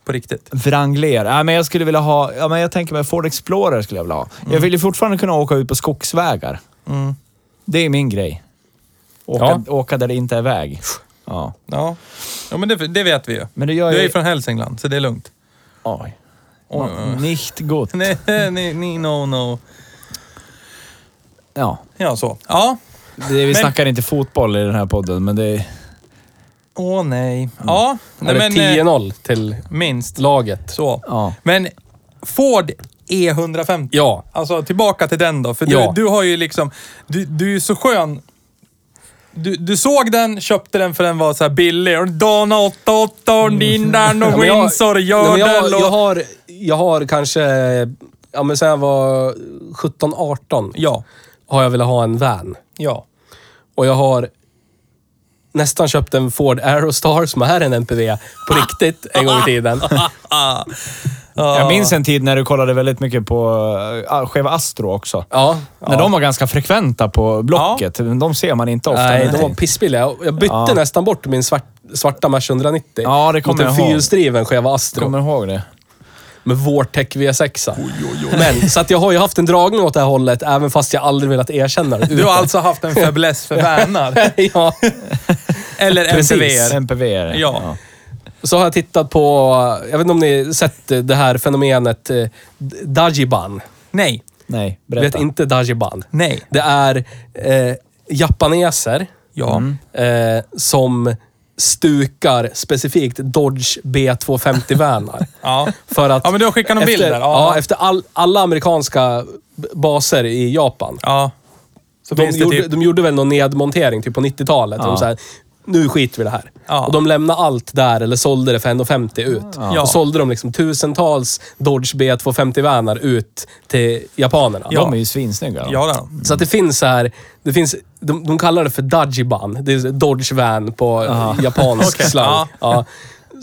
B: På riktigt.
C: Wrangler. Ja, men jag skulle vilja ha... Ja, men jag tänker mig Ford Explorer skulle jag vilja ha. Jag vill ju fortfarande kunna åka ut på skogsvägar. Det är min grej. Åka, åka där det inte är väg. Ja.
B: Ja, ja men det, det vet vi ju.
C: Men det gör
B: du är
C: jag-
B: ju från Hälsingland, så det är lugnt.
C: Oj. Nicht gott.
B: Nej, nej, nej, no, no.
C: Ja.
B: Ja, så. Ja.
C: Det, vi snackar inte fotboll i den här podden, men det är...
B: Åh nej. Ja, nej,
D: Mm. Eller
B: men... eh,
D: 10-0 till
B: Minst.
D: laget.
B: Så.
C: Ja.
B: Men Ford E150.
D: Ja.
B: Alltså tillbaka till den då. För
D: Ja.
B: du, du har ju liksom... Du, du är ju så skön. Du, du såg den, köpte den för den var så här billig. Och Dana 88 och din där
D: Mm. Ja,
B: och
D: men jag-
B: Windsor och
D: Nej, men jag,
B: Gördel
D: jag,
B: och...
D: har, jag har kanske, ja men sen jag var 17-18
B: Ja,
D: har jag velat ha en van.
B: ja.
D: Och jag har nästan köpt en Ford Aerostar som är en MPV på riktigt en gång i tiden.
C: Jag minns en tid när du kollade väldigt mycket på uh, Cheva Astro också.
D: Ja.
C: När de var ganska frekventa på Blocket. men De ser man inte ofta.
D: Nej,
C: nu.
D: de var pissbilliga. Jag bytte
C: Ja.
D: nästan bort min svart, svarta Merca 190
C: Ja, det kommer
D: mot en
C: jag ihåg.
D: fyrhjulsdriven Cheva Astro
C: Kommer du ihåg det?
D: med Vortec V6. Men, så att jag har ju haft en dragning åt det här hållet, även fast jag aldrig velat erkänna det.
B: Du har alltså haft en fäbless för vanar.
D: ja.
B: Eller MPVer.
C: MPV är det.
B: Ja.
D: Så har jag tittat på, jag vet inte om ni sett det här fenomenet, eh, Dajiban.
B: Nej.
C: Nej,
D: Vet
C: berätta.
D: inte Dajiban?
B: Nej.
D: Det är eh, japaneser
B: Ja.
D: eh, som stukar specifikt Dodge B250-vanar.
B: Ja.
D: För att
B: Ja, men du har skickat någon bild
D: efter,
B: där. Ja.
D: Ja, efter all, alla amerikanska b- baser i Japan.
B: Ja. Så
D: De
B: finns det
D: gjorde,
B: typ...
D: de gjorde väl någon nedmontering typ på 90-talet. De så här, nu skiter vi i det här.
B: Ja.
D: Och de lämnade allt där eller sålde det för 1,50 ut.
B: Ja.
D: Och sålde de liksom tusentals Dodge B250-vanar ut till japanerna.
B: Ja.
C: De är ju svinsnygga. de.
B: Ja, det har de.
D: Så att det finns så här, det finns, de, de kallar det för Dajiban. Det är Dodge van på japansk
B: Okej.
D: slang.
B: Ja.
D: Ja.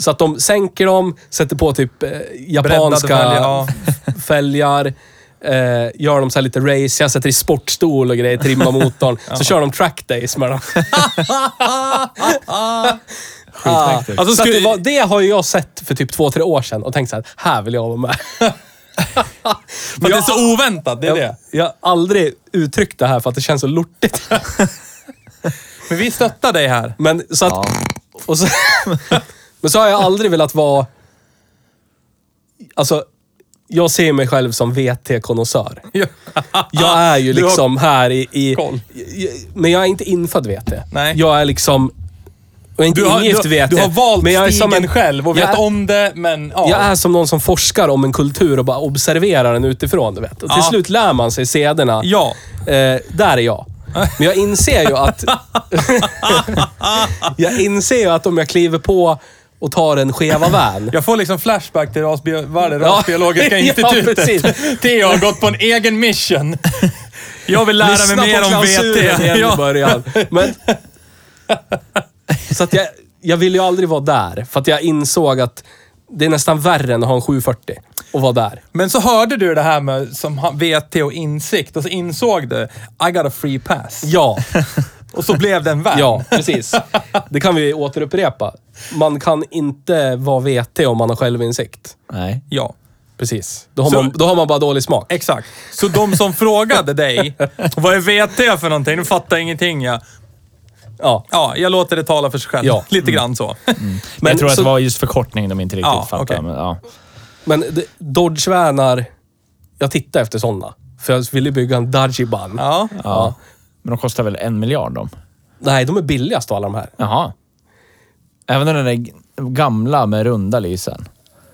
D: Så att de sänker dem, sätter på typ eh, japanska
B: fälgar, ja.
D: fälgar. Eh, gör dem så här lite raciga, sätter i sportstol och grejer, trimmar motorn. Så kör de track days med dem. ah.
B: Alltså,
D: så att
B: skulle-
D: det, var, det har ju jag sett för typ två, tre år sedan och tänkt så här, här vill jag vara med.
B: För att det är så oväntat, det är det.
D: jag, jag har aldrig uttryckt det här för att det känns så lortigt.
B: Men vi stöttar dig här.
D: Men så att... Och så, men så har jag aldrig velat vara... Alltså, jag ser mig själv som VT-konnässör. Jag är
B: Ah, Du har-
D: ju liksom här i... i
B: Koll.
D: Men jag är inte infödd VT.
B: Nej.
D: Jag är liksom... Jag är inte
B: Du har,
D: ingift
B: du,
D: VT.
B: du har valt
D: men jag är
B: stigen
D: som en,
B: själv och
D: jag
B: vet
D: är-
B: om det, men ja.
D: Jag är som någon som forskar om en kultur och bara observerar den utifrån. Du vet. Och till
B: Ja.
D: slut lär man sig sederna.
B: Ja.
D: Eh, där är jag. Men jag inser ju att... jag inser ju att om jag kliver på och tar en skeva van.
B: Jag får liksom flashback till rasbi- vad är det,
D: Ja.
B: Rasbiologiska
D: Ja,
B: institutet.
D: precis.
B: Theo har gått på en egen mission. Jag vill lära mig mer om VT.
D: igen i
B: Ja.
D: början. Men, så att jag, jag ville ju aldrig vara där. För att jag insåg att det är nästan värre än att ha en 740 och vara där.
B: Men så hörde du det här med som han- VT och insikt och så insåg du, I got a free pass.
D: Ja.
B: Och så blev den värd.
D: Ja, precis. Det kan vi återupprepa. Man kan inte vara VT om man har självinsikt.
C: Nej.
B: ja.
D: Precis. Då har,
B: Så-
D: man, då har man bara dålig smak.
B: Exakt. Så de som frågade dig, vad är VT för någonting? Du fattar ingenting ja.
D: Ja.
B: Ja, jag låter det tala för sig själv.
D: Ja. Mm.
B: Lite grann så.
D: Men,
C: jag tror
D: så,
C: att det var just förkortningen de inte riktigt
B: Ja,
C: fattade.
B: okej.
C: Men, ja.
D: men det- Dodge-värnar... Jag tittar efter sådana. För jag ville bygga en Dodge-ban.
B: Ja.
D: Ja.
C: men de kostar väl en miljard de?
D: Nej, de är billigast av alla de här.
C: Jaha. Även den där g- gamla med runda lysen.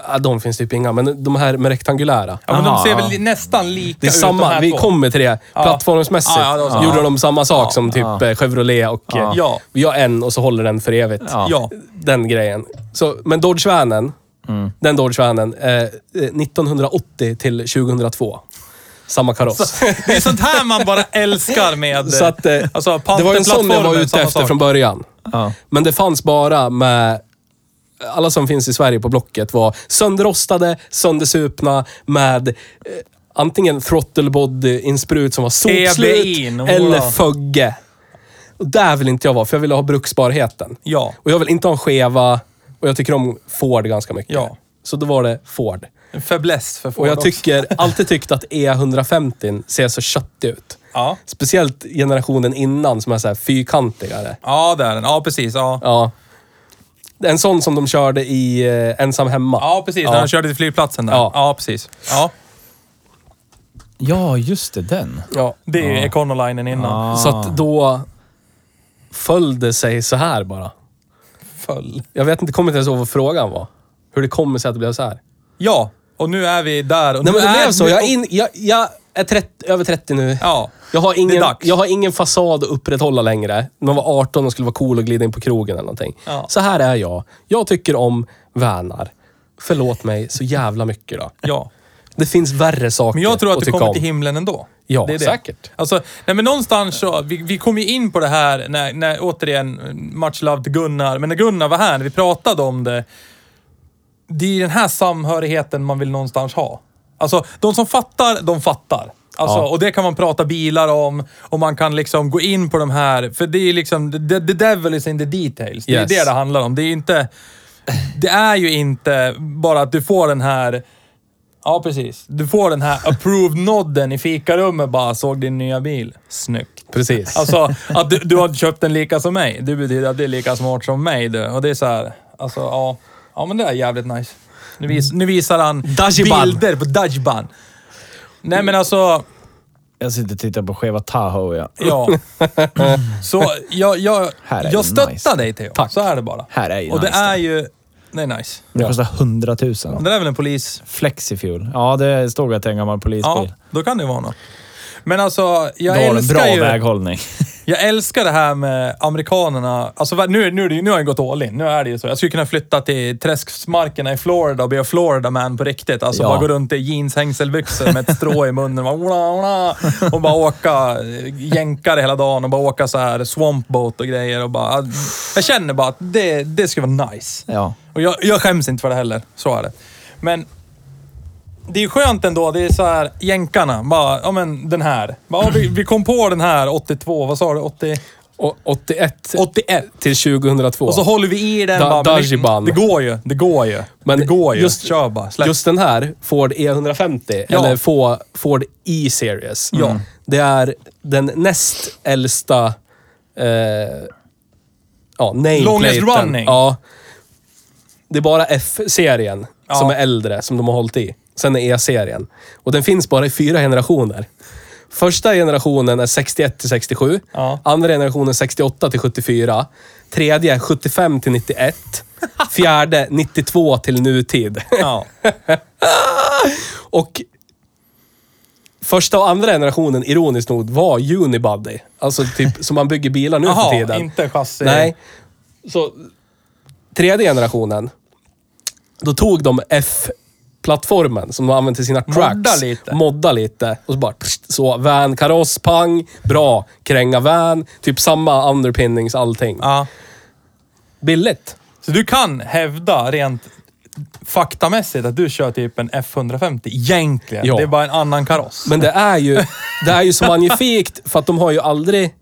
D: Ja, de finns typ inga, men de här med rektangulära.
B: Ja, men
C: Aha,
B: de ser
C: ja.
B: väl nästan lika
D: Det är
B: ut de
D: samma,
B: här
D: vi
B: två.
D: kommer till det. Plattformsmässigt
B: Ja, ja, det var så.
D: gjorde de samma sak som typ eh, Chevrolet och eh,
B: Ja.
D: vi har en och så håller den för evigt.
C: Ja.
B: Ja.
D: Den grejen. Så, men Dodge Vanen,
B: Mm.
D: den Dodge Vanen, eh, eh, 1980 till 2002. Samma kaross.
B: Det är sånt här man bara älskar med...
D: Så att, eh,
B: alltså,
D: det var ju en sån jag var ute
B: samma
D: efter
B: sak.
D: från början.
C: Ja.
D: Men det fanns bara med... Alla som finns i Sverige på Blocket var sönderrostade, söndersupna med eh, antingen throttle body insprut som var sopslut
B: TBI'n,
D: eller
B: hurra.
D: fögge. Och där vill inte jag vara, för jag ville ha bruksbarheten.
B: Ja.
D: Och jag vill inte ha en skeva och jag tycker om Ford ganska mycket.
B: Ja.
D: Så då var det Ford.
B: En fäbless för Ford
D: Och jag
B: också.
D: tycker, alltid tyckt att E150 ser så köttig ut.
B: Ja.
D: Speciellt generationen innan som är så här fyrkantigare.
B: Ja, det är den. Ja, precis. Ja,
D: Ja. En sån som de körde i eh, Ensam Hemma.
B: ja precis. När han körde till flygplatsen där.
D: Ja.
B: Ja, precis. Ja.
C: Ja, just det. Den.
D: Ja.
B: Det är ju Econolinen innan.
D: Så att då föll det sig så här bara.
B: Föll.
D: Jag vet inte, kommer inte ens ihåg vad frågan var. Hur det kommer sig att det blev så här.
B: Ja, och nu är vi där. Och
D: Nej
B: nu
D: men det
B: är
D: blev så.
B: nu-
D: Jag är, in, jag, jag är 30, över 30 nu.
B: Ja.
D: Jag har, ingen,
B: dags.
D: jag har ingen fasad att upprätthålla längre. När man var 18 och skulle vara cool och glida in på krogen eller någonting.
B: Ja.
D: Så här är jag. Jag tycker om Värnar. Förlåt mig så jävla mycket då.
B: Ja.
D: Det finns värre saker
B: Men jag tror att du
D: tycka
B: kommer
D: om.
B: till himlen ändå.
D: Ja, säkert.
B: Alltså, nej men någonstans så, vi, vi kom ju in på det här när, när återigen, much love till Gunnar, men när Gunnar var här, när vi pratade om det. Det är den här samhörigheten man vill någonstans ha. Alltså, de som fattar, de fattar. Alltså, Och det kan man prata bilar om och man kan liksom gå in på de här, för det är liksom, the, the devil is in the details. Det
D: Yes.
B: är det det handlar om. Det är inte... Det är ju inte bara att du får den här... Ja, precis. Du får den här approved-nodden i fikarummet bara, såg din nya bil. Snyggt.
D: Precis.
B: Alltså, att du, du har köpt den lika som mig. Det betyder att du är lika smart som mig du. Och det är så här, alltså ja. Ja, men det är jävligt nice. Nu, vis, nu visar han
D: Dajiban.
B: bilder på Dajiban. Nej, men alltså...
C: Jag sitter och tittar på skeva Tahoe. Ja.
B: Ja. Så jag, jag,
C: Här är ju
B: jag stöttar
C: nice.
B: dig Theo. Så är det bara.
C: Här är ju
B: Och det
C: nice,
B: är ju... Det är nice.
C: Det kostar hundratusen.
B: Det där är väl en polis...
C: Flexifuel. Ja, det stod att det är en gammal polisbil.
B: Ja, då kan det ju vara något. Men alltså, jag
C: Då har den
B: älskar
C: bra
B: ju...
C: väghållning.
B: Jag älskar det här med amerikanerna. Alltså va- nu, nu, är det ju- nu har jag gått all in. Nu är det ju så. Jag skulle kunna flytta till träskmarkerna i Florida och bli en Florida man på riktigt. Alltså
C: Ja.
B: bara gå runt i jeans, hängselbyxor med ett strå i munnen och bara, "Ola, ola", och bara åka eh, jänkare hela dagen och bara åka så här swamp boat och grejer. Och bara, jag känner bara att det, det skulle vara nice.
C: Ja.
B: Och jag, jag skäms inte för det heller. Så är det. Men det är skönt ändå. Det är så här, jänkarna. Bara, ja men den här. Bara, ja, vi, vi kom på den här 82, vad sa du? 80,
D: Och 81
B: 81.
D: till 2002.
B: Och så håller vi i den.
D: Da-
B: bara, men
D: Dajiban.
B: det, det går ju. Det går ju.
D: Men
B: det går ju.
D: just-
B: Just, Kör bara. Släpp.
D: Just den här, Ford E150,
B: Ja.
D: eller Fo- Ford E-series. Mm.
B: Ja.
D: Det är den näst äldsta... Eh, ja, nameplaten.
B: Longest running.
D: Ja. Det är bara F-serien
B: Ja.
D: som är äldre, som de har hållit i. Sen är E-serien. Och den finns bara i fyra generationer. Första generationen är 61 till 67.
B: Ja.
D: Andra generationen 68 till 74. Tredje 75 till 91. Fjärde 92 till nutid.
B: ja.
D: Och första och andra generationen, ironiskt nog, var unibody. Alltså typ som man bygger bilar nu
B: Jaha,
D: för tiden.
B: inte chassi.
D: Nej. Så tredje generationen, då tog de F-plattformen som de använde till sina
B: Modda
D: trucks.
B: lite.
D: Modda lite. Och så bara pst, så, van, kaross, pang, bra, kränga van. Typ samma underpinnings, allting.
B: ja.
D: Billigt.
B: Så du kan hävda rent faktamässigt att du kör typ en F150 egentligen.
D: Ja.
B: Det är bara en annan kaross.
D: Men det är ju, det är ju så magnifikt för att de har ju aldrig... Det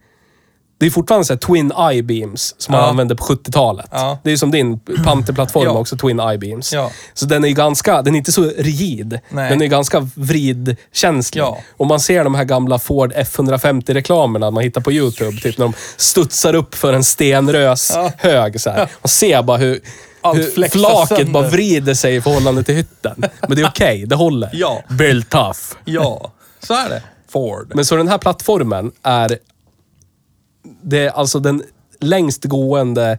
D: Det är fortfarande så här Twin I-beams som man
B: Ja.
D: använde på 70-talet.
B: Ja.
D: Det är ju som din Panther-plattform
B: Ja.
D: också, Twin I-beams.
B: Ja.
D: Så den är ju ganska, den är inte så rigid.
B: Nej.
D: Den är ju ganska vridkänslig.
B: Ja.
D: Och man ser de här gamla Ford F150-reklamerna man hittar på YouTube. Typ när de studsar upp för en stenrös
B: Ja.
D: hög så här. Och ser bara hur,
B: Allt
D: hur
B: flexar
D: flaket
B: sönder.
D: bara vrider sig i förhållande till hytten. Men det är okej, det håller.
B: Ja.
D: Built tough.
B: Ja, så är det. Ford.
D: Men så den här plattformen är... Det är alltså den längst gående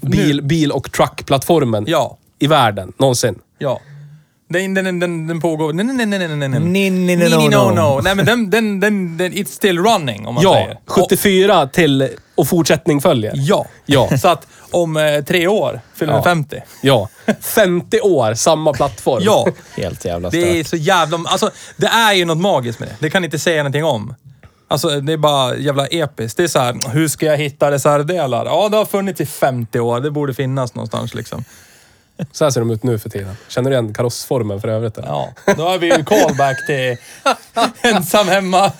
D: bil, bil och truck-plattformen
B: Ja.
D: i världen någonsin.
B: Ja. Den, den, den, den pågår... Nej, nej, nej, nej, nej, nej, nej.
A: Ni- ni- ni-
B: Ni- ni-
A: no,
B: no,
A: no.
B: no. Nej, men den, den, den, den, it's still running, om man
D: Ja,
B: säger.
D: 74 till och fortsättning följer.
B: Och, ja.
D: Ja.
B: Så att om eh, tre år fyller den
D: Ja.
B: 50.
D: Ja. 50 år, samma plattform.
B: Ja.
C: Helt jävla stört.
B: Det är så jävla... Alltså, det är ju något magiskt med det. Det kan inte säga någonting om. Alltså, det är bara jävla episkt. Det är så här, hur ska jag hitta reservdelar? Ja, det har funnits i 50 år. Det borde finnas någonstans liksom.
D: Så här ser de ut nu för tiden. Känner du igen karossformen för övrigt? eller?
B: Ja, då har vi ju callback till ensam hemma.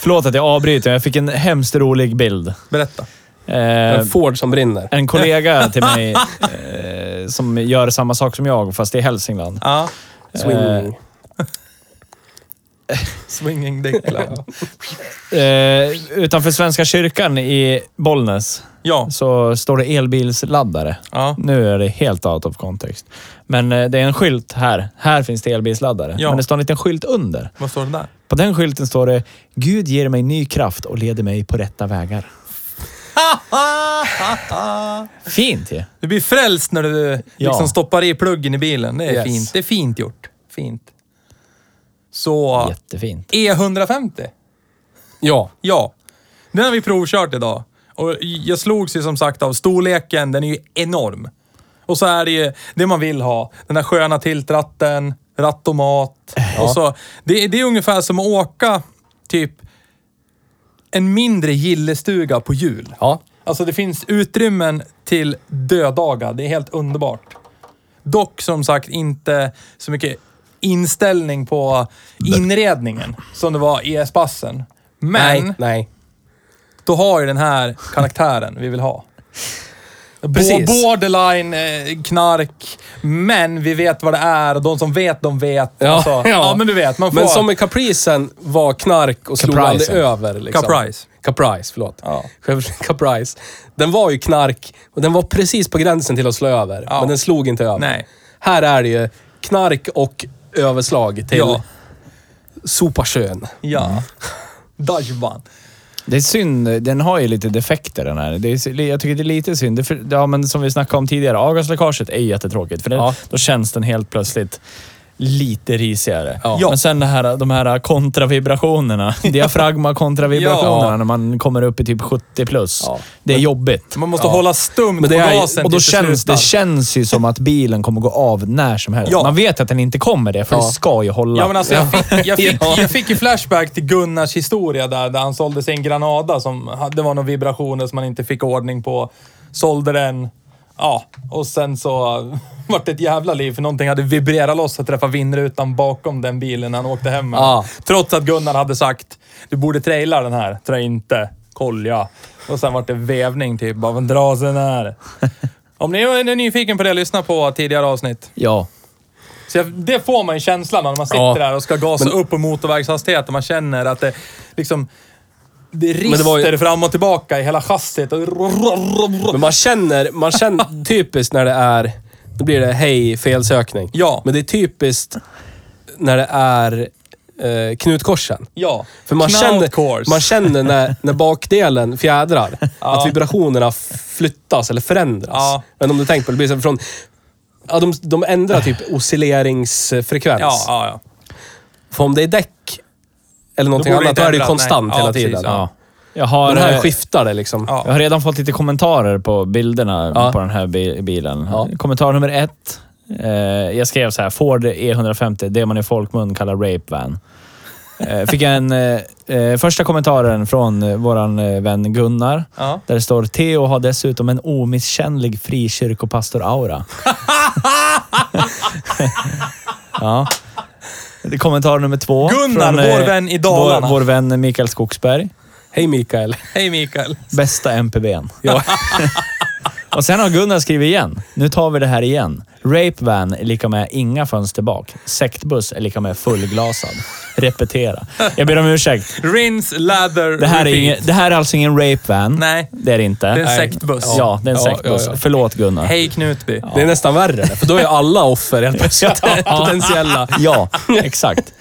C: Förlåt att jag avbryter, jag fick en hemskt rolig bild.
B: Berätta.
C: Eh,
D: En Ford som brinner.
C: en kollega till mig eh, som gör samma sak som jag, fast i Hälsingland.
B: Ja.
C: Eh,
D: Swing.
B: Swinging dick club.
C: Eh, utanför Svenska kyrkan i Bollnäs
B: Ja.
C: så står det elbilsladdare.
B: Ja.
C: Nu är det helt out of context. Men eh, det är en skylt här. Här finns det elbilsladdare.
B: Ja.
C: Men det står en liten skylt under.
B: Vad står det där?
C: På den skylten står det “Gud ger mig ny kraft och leder mig på rätta vägar”. Fint ju.
B: Du blir frälst när du
C: Ja.
B: liksom stoppar i pluggen i bilen. Det är
D: Yes.
B: fint. Det är fint gjort. Fint. Så...
C: Jättefint.
B: E150.
D: Ja.
B: Ja. Den har vi provkört idag. Och jag slogs ju som sagt av storleken. Den är ju enorm. Och så är det ju det man vill ha. Den där sköna tiltratten, rattomat. Och så, det, det är ungefär som att åka typ en mindre gillestuga på hjul.
D: Ja.
B: Alltså det finns utrymmen till dödagar. Det är helt underbart. Dock som sagt inte så mycket inställning på inredningen som det var i S-passen. Men
D: Nej. Nej.
B: då har ju den här karaktären vi vill ha. Bo-
D: Precis.
B: borderline, eh, knark, men vi vet vad det är och de som vet, de vet.
D: Ja,
B: alltså,
D: ja.
B: ja men du vet. Man får...
D: Men som i Capricen var knark och slog
C: Capricen.
D: aldrig över. Liksom.
B: Caprice.
D: Caprice, förlåt.
B: Ja.
D: Chevrolet Caprice. Den var ju knark och den var precis på gränsen till att slå över.
B: Ja.
D: Men den slog inte över.
B: Nej.
D: Här är det ju knark och överslag till
B: Ja.
D: sopa sjön.
B: Ja. Dajban.
C: Det är synd, den har ju lite defekter den här. Det är, sy- jag tycker det är lite synd. Det är för, ja, men som vi snackade om tidigare, avgasläckaget är ju jättetråkigt. För det,
D: Ja.
C: då känns den helt plötsligt lite risigare.
D: Ja.
C: Men sen det här, de här kontravibrationerna. Diafragma-kontravibrationerna
B: Ja.
C: när man kommer upp i typ 70 plus.
D: Ja.
C: Det är jobbigt.
B: Man måste
D: Ja.
B: hålla stumt
D: Men det
B: på
D: är ju-
B: gasen
C: Och då
B: tills det
C: känns, det
B: slutar.
C: känns ju som att bilen kommer gå av när som helst.
B: Ja.
C: Man vet att den inte kommer det, för
D: Ja.
C: det ska ju hålla.
B: Ja, men alltså, jag, fick, jag, fick, jag fick ju flashback till Gunnars historia där, där han sålde sin Granada som hade- det var några vibrationer som han inte fick ordning på. Sålde den. Ja, och sen så vart det ett jävla liv för någonting hade vibrerat loss och träffat vindrutan bakom den bilen när han åkte hem. med den.
D: Ja.
B: Trots att Gunnar hade sagt du borde traila den här. Trä inte. Kolja. Och sen vart det vävning typ. Bara dra sen här. Om ni är nyfiken på det, lyssna på tidigare avsnitt.
C: Ja.
B: Så jag, det får man ju känslan av när man sitter
D: Ja.
B: där och ska gasa upp på motorvägshastighet och man känner att det liksom... Det
D: det var ju-
B: rister fram och tillbaka i hela chassit. Och...
D: Men man känner, man känner typiskt när det är, då blir det hej felsökning.
B: Ja.
D: Men det är typiskt när det är eh, knutkorsen.
B: Ja.
D: För man
B: Knoutcourse.
D: känner, man känner när, när bakdelen fjädrar, att vibrationerna flyttas eller förändras.
B: Ja.
D: Men om du tänker på det, blir så här från... Ja, de, de ändrar typ oscilleringsfrekvens.
B: Ja, ja, ja.
D: För om det är däck eller någonting
B: borde det
D: annat, då
B: inte
D: är det ju
B: ändra,
D: konstant
B: nej. Ja,
D: hela
B: precis,
D: tiden.
C: ja. Jag har,
D: Den här
C: eh,
D: skiftar det liksom.
B: Ja.
C: Jag har redan fått lite kommentarer på bilderna
D: Ja.
C: på den här bi- bilen.
D: Ja.
C: Kommentar nummer ett. Eh, jag skrev så här, Ford E150, det man i folkmun kallar rape van. Eh, fick jag en eh, eh, första kommentaren från eh, våran eh, vän Gunnar.
B: Ja.
C: Där det står Theo har dessutom en omisskännlig frikyrkopastor-aura. ja. Det är Kommentar nummer två.
B: Gunnar,
C: eh,
B: vår vän i Dalarna.
C: Vår, vår vän Mikael Skogsberg.
D: Hej Mikael.
B: Hej Mikael.
C: Bästa MPVn. och sen har Gunnar skrivit igen. Nu tar vi det här igen. Rape van är lika med inga fönster bak. Sektbuss är lika med fullglasad. Repetera. Jag ber om ursäkt.
B: Rinse, lather,
C: Det här är,
B: repeat.
C: ingen, det här är alltså ingen rape van.
B: Nej.
C: Det är det inte.
B: är en sektbuss.
C: Ja, det är en
D: Ja,
C: sektbuss.
D: ja, ja.
C: Förlåt Gunnar.
B: Hej Knutby.
D: Det är nästan värre, för då är alla offer helt plötsligt potentiella.
C: Ja, exakt.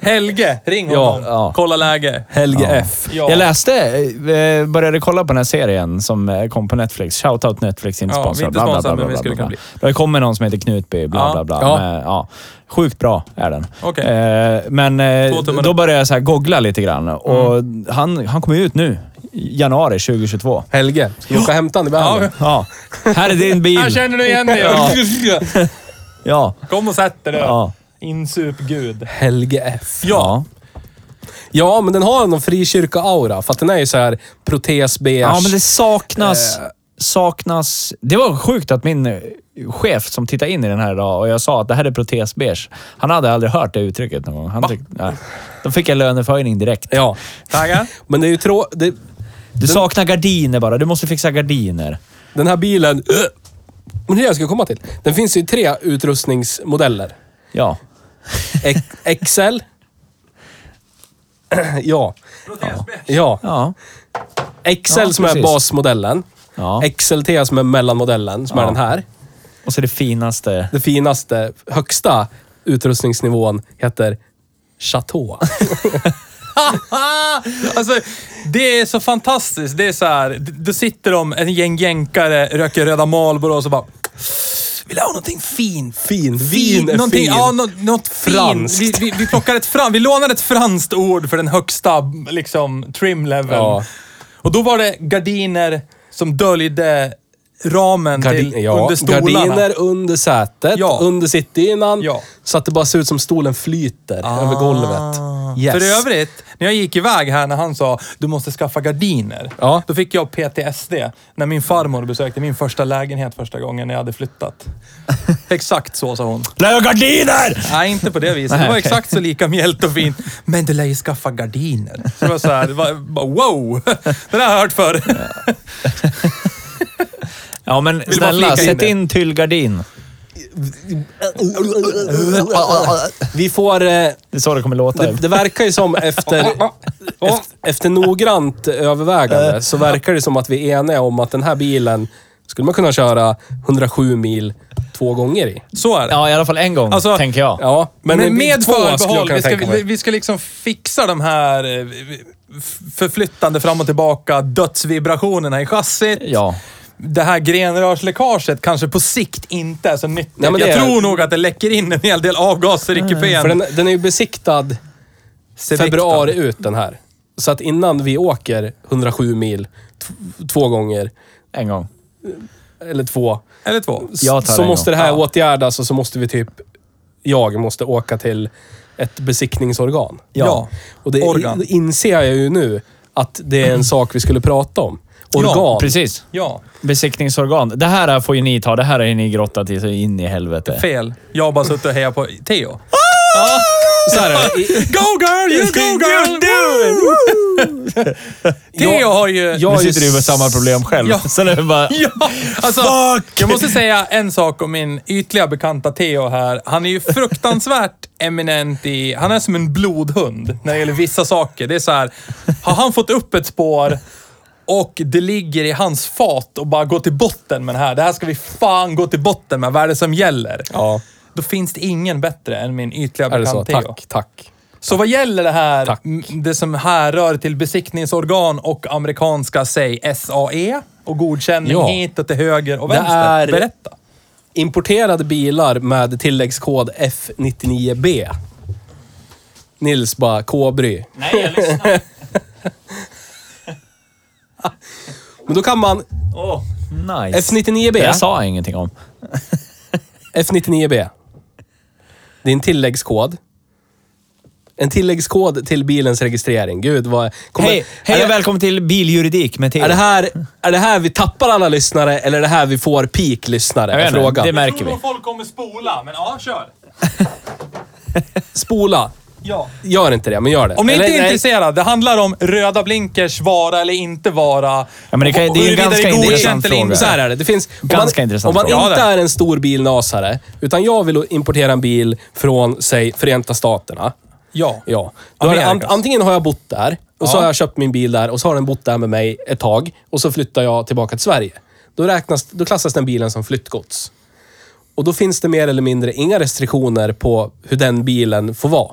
B: Helge, ring
D: Ja,
B: honom.
C: ja.
B: Kolla läge.
D: Helge
C: Ja.
D: F.
B: Ja.
C: Jag läste, eh, började kolla på den här serien som eh, kom på Netflix. Shoutout Netflix, inte
B: Ja, vi är
C: sponsrad.
B: inte
C: bla, bla,
B: sponsrade,
C: bla,
B: men vi
C: bla,
B: skulle
C: bla,
B: kunna
C: bla. Det har ju kommit någon som heter Knutby, bla
B: Ja.
C: bla bla.
D: Ja.
C: Men, ja. Sjukt bra är den.
B: Okej.
C: Eh, men
B: Två
C: eh,
B: tummar
C: då
B: upp. Mm.
C: började jag så här googla lite grann och han, han kommer ju ut nu, i januari 2022.
D: Helge. Ska vi åka och hämta honom i behandling?
C: Ja, här är din
B: Här
C: bil.
B: känner du igen dig.
C: Ja,
B: Kom och sätt dig. Ja.
C: ja.
B: Insup Gud.
D: Helge F.
C: Ja.
D: Ja, men den har någon frikyrka-aura. För att den är ju så här protesbeige.
C: ja, men det saknas...
B: Eh.
C: Saknas... Det var sjukt att min eh, chef som tittade in i den här idag och jag sa att det här är protesbeige. Han hade aldrig hört det uttrycket någon gång. Han tyckte, nej. Då fick jag löneförhöjning direkt.
B: Eh,
D: Ja,
B: Taggar?
D: men det är ju trå... Det,
C: Du saknar gardiner bara. Du måste fixa gardiner.
D: den här bilen... eh, Men det är det jag ska komma till. Den finns ju i tre utrustningsmodeller.
C: Ja.
D: E- XL. ja. Ja.
C: Ja.
D: XL
C: Ja,
D: som är
C: precis.
D: basmodellen.
C: ja.
D: XLT som är mellanmodellen, som är
C: Ja.
D: den här.
C: Och så det finaste.
D: Det finaste, högsta utrustningsnivån heter Chateau.
B: alltså, det är så fantastiskt. Det är så här, d- då sitter de, en gäng jänkare, röker röda Marlboro och så bara... Vill jag ha någonting fint?
D: Fin. Vin
B: Fin,
D: är
B: någonting,
D: fin.
B: Ja, något, något
D: Franskt.
B: Fin. Vi, vi, vi plockar ett fram, vi lånade ett franskt ord för den högsta liksom, trim leveln.
D: Ja.
B: Och då var det gardiner som döljde ramen
D: Gardi-
B: till,
D: ja,
B: under stolarna.
D: Gardiner under sätet,
B: Ja.
D: under sittdynan.
B: Ja. Ah.
D: Så att det bara ser ut som stolen flyter över golvet. Yes.
B: För övrigt, när jag gick iväg här när han sa du måste skaffa gardiner.
D: Ja.
B: Då fick jag PTSD när min farmor besökte min första lägenhet första gången när jag hade flyttat. exakt så sa hon.
C: Lägg gardiner!
B: Nej, inte på det viset. Det var exakt så lika mjält och fint. Men du lär ju skaffa gardiner. Så det var så här, det var, bara, wow! Det där har jag hört förr.
C: Ja, men
B: bara flika
C: snälla,
B: in
C: sätt
B: det.
C: in tyllgardin.
D: Vi får... Eh,
C: Det är så det kommer låta.
D: det, det verkar ju som efter, efter, efter noggrant övervägande så verkar det som att vi är eniga om att den här bilen skulle man kunna köra 107 mil två gånger i.
B: Så är det.
C: Ja, i alla fall en gång,
B: Alltså,
C: tänker jag.
D: Ja, men,
B: Men, med
D: två skulle jag
B: förbehåll.
D: kunna
B: Vi ska,
D: tänka
B: vi,
D: mig.
B: vi ska liksom fixa de här eh, f- förflyttande fram och tillbaka dödsvibrationerna i chassit.
C: Ja.
B: det här grenrörsläckaget kanske på sikt inte är så nyttigt.
D: Nej, men det
B: jag
D: är- Mm.
B: tror nog att det läcker in en hel del avgaser i kupén.
D: För den, den är ju besiktad
B: Seviktan.
D: februari ut den här. Så att innan vi åker 107 mil t- två gånger,
C: En gång.
D: eller två,
B: Eller två.
D: s-
C: Jag tar
D: så
C: en
D: måste
C: gång.
D: det här åtgärdas och så måste vi typ... Jag måste åka till ett besiktningsorgan.
B: Ja.
D: Och det
B: Organ.
D: i- inser jag ju nu att det är en sak vi skulle prata om. Organ.
C: Precis.
B: Ja,
C: Besiktningsorgan. Det här får ju ni ta. Det här är ni grottat i så in i helvete.
B: fel. Jag har bara suttit och hejat på Theo.
D: Ah! Så här är det. I-
B: Go girl, you go girl! Theo har ju...
D: jag
C: Nu
D: är ju
C: sitter du med samma problem själv.
B: Ja.
C: Så det är bara...
B: Ja, alltså,
C: Fuck!
B: jag måste säga en sak om min ytliga bekanta Theo här. Han är ju fruktansvärt eminent i... Han är som en blodhund när det gäller vissa saker. Det är så här, har han fått upp ett spår och det ligger i hans fat och bara gå till botten med det här. Det här ska vi fan gå till botten med. Vad är det som gäller?
D: Ja,
B: Då finns det ingen bättre än min ytliga
D: är det
B: bekant
D: så?
B: Theo.
D: Tack, tack.
B: Så vad gäller det här,
D: Tack.
B: m- det som härrör till besiktningsorgan och amerikanska, säg SAE och godkänning
D: Ja.
B: hit och till höger och
D: Det
B: vänster.
D: är-
B: Berätta.
D: Importerade bilar med tilläggskod F99B. Nils bara, K-bry. Nej, jag lyssnar. Men då kan man
C: Nice. Det
D: F99B.
C: jag sa jag ingenting om.
D: F99B. Det är en tilläggskod. En tilläggskod till bilens registrering. Gud vad... kommer-
C: Hej, hej
D: är,
C: och
D: det,
C: välkommen till Biljuridik med Theo.
D: är, det här, är det här vi tappar alla lyssnare eller är det här vi får peak-lyssnare?
C: Jag vet
D: Är
C: inte,
D: Frågan.
C: Det märker vi.
B: folk kommer spola, men ja, kör.
D: Spola.
B: Ja.
D: Gör inte det, men gör det.
B: Om ni
D: Eller,
B: inte är
D: nej.
B: intresserade, det handlar om röda blinkers vara eller inte vara.
C: Ja, men det kan- det är en
B: Huruvida
C: ganska
B: godkänt
C: intressant
B: eller inte.
C: fråga.
D: Så här är det. det finns,
C: Ganska
D: om man,
C: intressant
D: Om man
C: fråga.
D: inte
B: Ja,
D: är en stor bilnasare, utan jag vill importera en bil från, säg, Förenta Staterna.
B: Ja.
D: Ja. Då har jag, an-
B: Amerikas.
D: antingen har jag bott där och så
B: Ja.
D: har jag köpt min bil där och så har den bott där med mig ett tag och så flyttar jag tillbaka till Sverige. Då, räknas, då klassas den bilen som flyttgods. Och då finns det mer eller mindre inga restriktioner på hur den bilen får vara.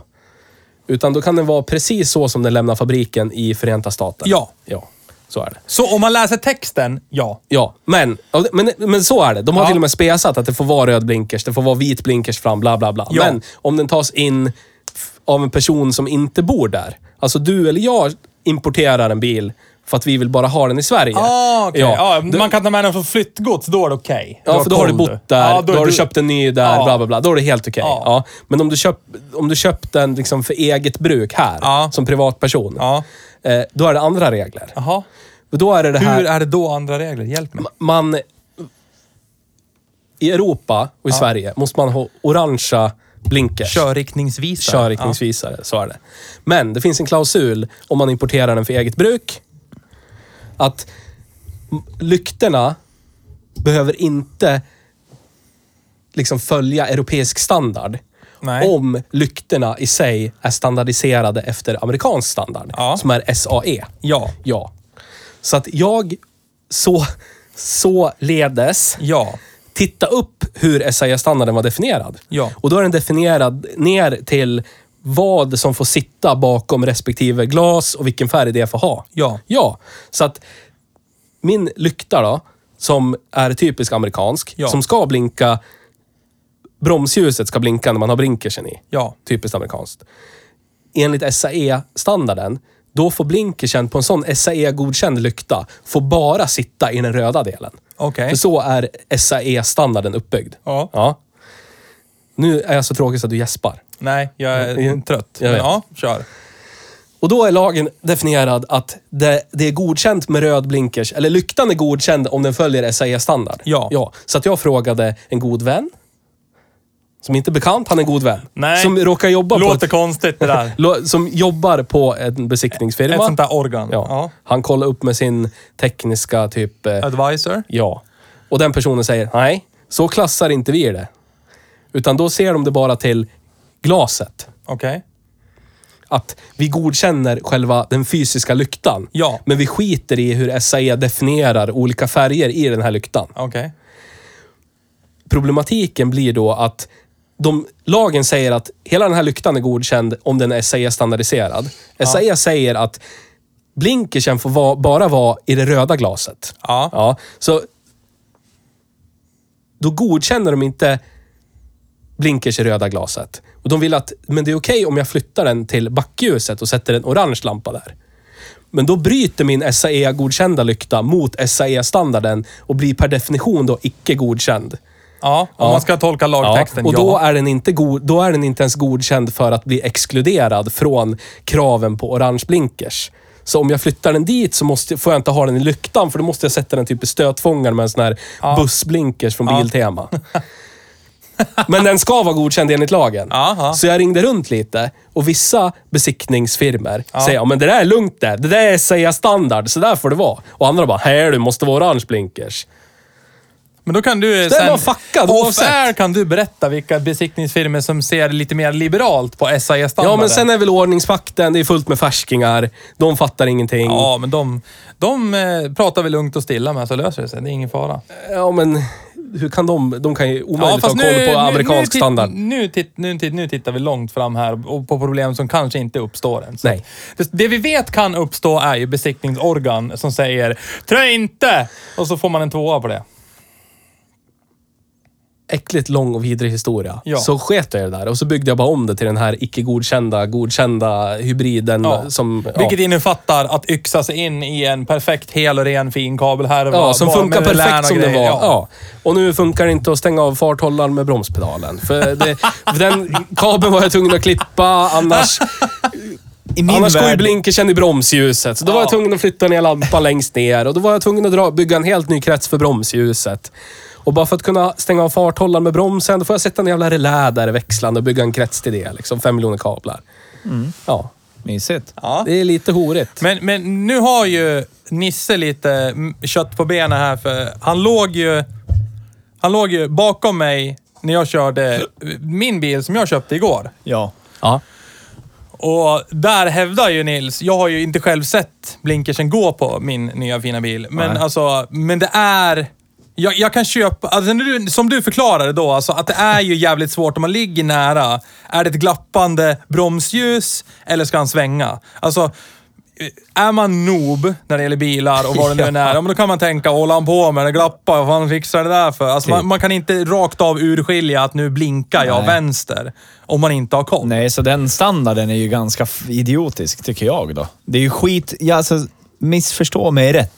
D: Utan då kan den vara precis så som den lämnar fabriken i Förenta Staterna.
B: Ja.
D: Ja, så är det.
B: Så om man läser texten, ja.
D: Ja, men, ja, men, men så är det. De har
B: Ja.
D: till och med spesat att det får vara röd blinkers, det får vara vit blinkers fram, bla bla bla.
B: Ja.
D: Men om den tas in f- av en person som inte bor där. Alltså du eller jag importerar en bil för att vi vill bara ha den i Sverige.
B: Ah, okej.
D: ja.
B: ja. man kan ta med den som flyttgods, då är det okej.
D: Ja,
B: Då
D: för då har du
B: koll
D: bott där,
B: Ja,
D: då,
B: är
D: har du köpt en ny där,
B: Ja.
D: bla bla bla. Då är det helt okej.
B: Ja.
D: Ja. Men om du, köp, om du köpt den liksom för eget bruk här,
B: Ja.
D: som privatperson,
B: Ja.
D: eh, då är det andra regler.
B: Jaha.
D: Då är det det här...
B: Hur är det då andra regler? Hjälp mig.
D: man... I Europa och i Sverige måste man ha orangea blinkers.
B: Körriktningsvisare.
D: Körriktningsvisare, så är det. Men det finns en klausul om man importerar den för eget bruk. Att m- lyktorna behöver inte liksom följa europeisk standard.
B: Nej.
D: Om lyktorna i sig är standardiserade efter amerikansk standard,
B: Ja.
D: som är E. SAE.
B: Ja.
D: Ja. Så att jag så, så ledes
B: Ja.
D: titta upp hur SAE-standarden var definierad.
B: Ja.
D: Och då är den definierad ner till vad som får sitta bakom respektive glas och vilken färg det får ha.
B: Ja.
D: Ja. Så att min lykta då, som är typisk amerikansk,
B: Ja.
D: som ska blinka... Bromsljuset ska blinka när man har blinkersen i.
B: Ja.
D: Typiskt amerikanskt. Enligt SAE-standarden, då får blinkersen på en sån SAE-godkänd lykta får bara sitta i den röda delen.
B: Okej.
D: För så är SAE-standarden uppbyggd.
B: Ja.
D: Nu är jag så tråkig så att du gäspar.
B: Nej, jag är
D: Jag-
B: trött.
D: jag
B: Men
D: vet.
B: ja, kör.
D: Och då är lagen definierad att det, det är godkänt med röd blinkers, eller lyktan är godkänd om den följer SAE-standard.
B: Ja.
D: ja. Så att jag frågade en god vän, som inte är bekant, han är en god vän.
B: Nej.
D: Som råkar jobba
B: Låter
D: på...
B: konstigt det där.
D: Ett, lo- som jobbar på en besiktningsfirma.
B: Ett sånt där organ.
D: Ja. Han kollar upp med sin tekniska typ... eh,
B: Advisor.
D: Ja. Och den personen säger, nej, så klassar inte vi det. Utan då ser de det bara till glaset.
B: Okej.
D: Att vi godkänner själva den fysiska lyktan.
B: Ja.
D: Men vi skiter i hur SAE definierar olika färger i den här lyktan.
B: Okej.
D: Problematiken blir då att de, lagen säger att hela den här lyktan är godkänd om den är SAE-standardiserad. SAE säger att blinkersen får vara, bara vara i det röda glaset.
B: Ja.
D: Ja, så då godkänner de inte blinkers i röda glaset. Och de vill att, men det är okej om jag flyttar den till backljuset och sätter en orange lampa där. Men då bryter min SAE-godkända lykta mot SAE-standarden och blir per definition då icke godkänd.
B: Ja, om
D: Ja.
B: man ska tolka lagtexten.
D: och då
B: ja.
D: är, den inte go- då är den inte ens godkänd för att bli exkluderad från kraven på orange blinkers. Så om jag flyttar den dit så måste, får jag inte ha den i lyktan för då måste jag sätta den typ i stötfångaren med en sån här bussblinkers från Biltema. Men den ska vara godkänd enligt lagen.
B: Aha.
D: Så jag ringde runt lite och vissa besiktningsfirmor säger ja men det där är lugnt det. Det där är SAE standard, så där får det vara. Och andra bara, här du måste vara orange blinkers.
B: Men då kan du
D: Så är man fuckad
B: off
D: oavsett.
B: air kan du berätta vilka besiktningsfirmor som ser lite mer liberalt på E SAE-standarden.
D: Ja, men sen är väl ordningsvakten, det är fullt med färskingar. De fattar ingenting. Ja,
B: Ja, men de, de eh, pratar vi lugnt och stilla med så löser det sig. Det är ingen fara.
D: men hur kan de? De kan ju omöjligt ha koll på amerikansk
B: nu,
D: standard.
B: Nu, titt, nu, titt, nu tittar vi långt fram här och på problem som kanske inte uppstår än. Så
D: Nej.
B: Det, det vi vet kan uppstå är ju besiktningsorgan som säger “Trö inte!” och så får man en tvåa på det.
D: Äckligt lång och vidrig historia.
B: Ja.
D: Så sket jag i det där och så byggde jag bara om det till den här icke godkända, godkända hybriden
B: Ja.
D: som... ja.
B: Vilket innefattar att yxa sig in i en perfekt, hel och ren fin kabelhärva.
D: Ja, som
B: bara med
D: funkar
B: relän och
D: perfekt som det
B: grejer.
D: var.
B: Ja.
D: Ja. Och nu funkar det inte att stänga av farthållaren med bromspedalen. För, det, för den kabeln var jag tvungen att klippa, annars
A: I min
D: Annars går ju
A: värld,
D: blinkersen i bromsljuset. Så då var jag
B: Ja.
D: tvungen att flytta ner lampan längst ner och då var jag tvungen att dra, bygga en helt ny krets för bromsljuset. Och bara för att kunna stänga av farthållaren med bromsen, då får jag sätta en jävla relä där i växlande och bygga en krets till det. Liksom fem miljoner kablar. Ja.
C: Mysigt.
B: Ja.
D: Det är lite horigt.
B: Men, men nu har ju Nisse lite mm, kött på benen här för han låg ju... Han låg ju bakom mig när jag körde min bil som jag köpte igår.
C: Ja.
D: Ja.
B: Och där hävdar ju Nils, jag har ju inte själv sett blinkersen gå på min nya fina bil. Men
C: Nej.
B: alltså, men det är... Jag, jag kan köpa, alltså när du, som du förklarade då, alltså att det är ju jävligt svårt om man ligger nära. Är det ett glappande bromsljus eller ska han svänga? Alltså, är man noob när det gäller bilar och vad det nu än är, ja, men då kan man tänka, håller han på med det glappar, vad fan fixar det där för? Alltså, man, man kan inte rakt av urskilja att nu blinkar jag
C: Nej.
B: vänster om man inte har koll.
C: Nej, så den standarden är ju ganska f- idiotisk, tycker jag då. Det är ju skit... Ja, alltså, missförstå mig rätt.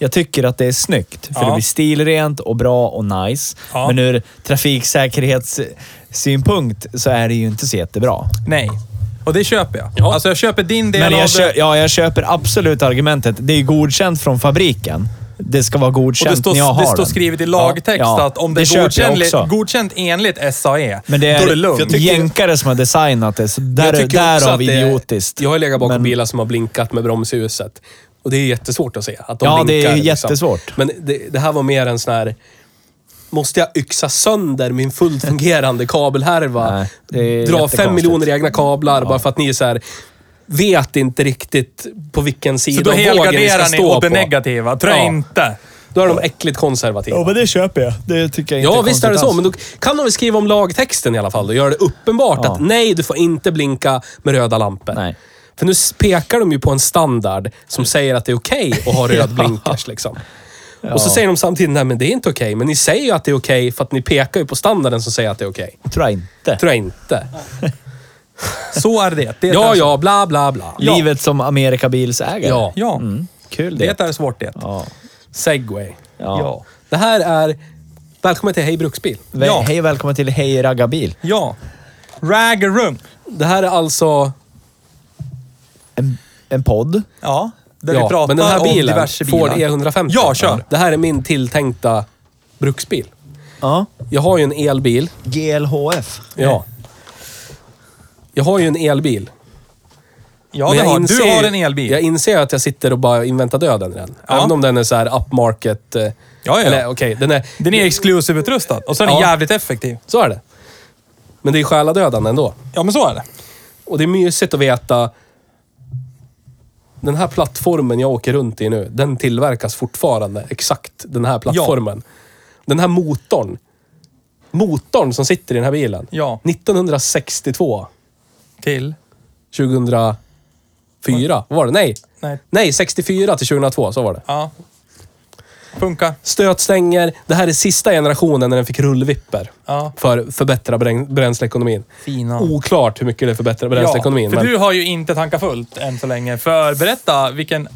C: Jag tycker att det är snyggt, för
B: Ja.
C: det blir stilrent och bra och nice.
B: Ja.
C: Men ur trafiksäkerhetssynpunkt så är det ju inte så jättebra.
B: Nej. Och det köper jag.
D: Ja.
B: Alltså jag köper din del
C: Men
B: av
C: jag,
B: det.
C: kö- ja, jag köper absolut argumentet. Det är godkänt från fabriken. Det ska vara
B: och
C: godkänt
B: det står,
C: när jag har
B: det står
C: den.
B: skrivet i lagtext
C: Ja, ja.
B: att om det,
C: köper
B: är
C: jag
B: godkänt,
C: också.
B: godkänt enligt SAE,
C: Men det
B: då
C: är,
B: är det lugnt.
G: tycker-
C: jänkare som har designat det, så där,
D: Jag tycker också
C: därav
D: att det-
C: idiotiskt.
D: Jag har ju legat bakom
C: Men-
D: bilar som har blinkat med bromsljuset. Och det är jättesvårt att se att de
C: Ja, det
D: blinkar. liksom.
C: är jättesvårt.
D: Men det, det här var mer en sån här... Måste jag yxa sönder min fullt fungerande kabelhärva?
C: Nej, det är
D: dra
C: jättekonstigt.
D: fem miljoner egna kablar bara för att ni är så här... Vet inte riktigt på vilken
B: Så
D: sida
B: då
D: av vågen ni ska
B: helgarderar ni
D: stå
B: åt det
D: på.
B: negativa. Trä
D: Ja.
B: inte.
D: Då är de äckligt konservativa.
C: men det köper jag. Det tycker jag
D: Ja, visst är det så.
C: konstigt
D: Men då kan de väl skriva om lagtexten i alla fall och göra det uppenbart
C: Ja.
D: att nej, du får inte blinka med röda lampor.
C: Nej.
D: För nu s- pekar de ju på en standard
B: Mm.
D: som säger att det är okej att ha röd blinkers. Liksom. Och så säger de samtidigt, nej men det är inte okej. Men ni säger ju att det är okej för att ni pekar ju på standarden som säger att det är okej.
C: alls. Tror jag inte.
D: Tror jag inte.
B: Så är det. det är
D: Ja,
B: där-
D: ja, bla, bla, bla.
C: Livet som Amerikabilsägare. Mm.
D: Ja.
B: ja.
C: Kul det.
B: Det är svårt det.
C: Ja.
D: Segway.
C: Ja.
B: Ja.
D: Det här är... Välkommen till Hej Bruksbil.
C: Vä-
B: Ja.
C: Hej och välkommen till Hej Raggarbil.
B: ja. Raggarum.
D: Det här är alltså...
C: En, en podd.
B: Ja. Där
D: ja,
B: vi pratar
D: men den här bilen,
B: om diverse
D: Ford
B: bilar.
D: E150.
B: Ja, kör.
D: Det här är min tilltänkta bruksbil.
C: Ja.
D: Jag har ju en elbil.
C: GLHF.
D: Ja. Jag har ju en elbil.
B: Ja,
D: Men
B: det
D: jag
B: har.
D: inser
B: Du
D: ju-
B: har en elbil.
D: Jag inser att jag sitter och bara inväntar döden i den. Även om den är så här upmarket. eh,
B: ja.
D: Eller okej, den är...
B: Den är exclusive-utrustad och så är den
D: Ja.
B: jävligt effektiv.
D: Så är det. Men det är själadödande ändå.
B: Ja, men så är det.
D: Och det är mysigt att veta... Den här plattformen jag åker runt i nu, den tillverkas fortfarande. Exakt den här plattformen. Den här motorn. Motorn som sitter i den här bilen.
B: Ja.
D: 1962.
B: Till?
D: 2004 Vad var det? Nej.
B: Nej.
D: Nej, 64 till 2002. Så var det.
B: Ja. Funka.
D: Stötstänger. Det här är sista generationen när den fick rullvipper.
B: Ja.
D: För att förbättra brän- bränsleekonomin.
B: Fina.
D: Oklart hur mycket det förbättrar bränsleekonomin.
B: för
D: men
B: du har ju inte tankat fullt än så länge. För berätta vilken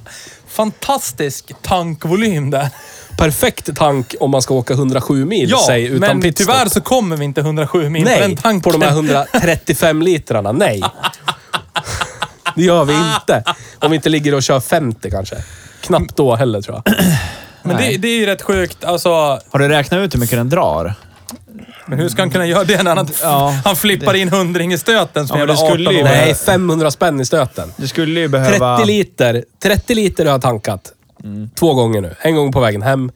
B: fantastisk tankvolym det är.
D: Perfekt tank om man ska åka 107 mil, säg, utan
B: men
D: pitstop.
B: tyvärr så kommer vi inte 107 mil på den
D: Nej,
B: tanken.
D: på de här 135 litrarna. Nej. Det gör vi inte. Om vi inte ligger och kör 50 kanske. Knappt då heller tror jag.
B: Men det, det är ju rätt sjukt. Alltså,
C: Har du räknat ut hur mycket den drar?
B: men hur ska han kunna göra det när han,
C: Ja,
B: han flippar in hundring i stöten som
C: Ja, men
B: jävla
C: det skulle
B: 18
C: ju-
B: år?
D: Nej, 500 spänn i stöten.
C: Du skulle ju behöva...
D: 30 liter. 30 liter har jag tankat. Två gånger nu. En gång på vägen hem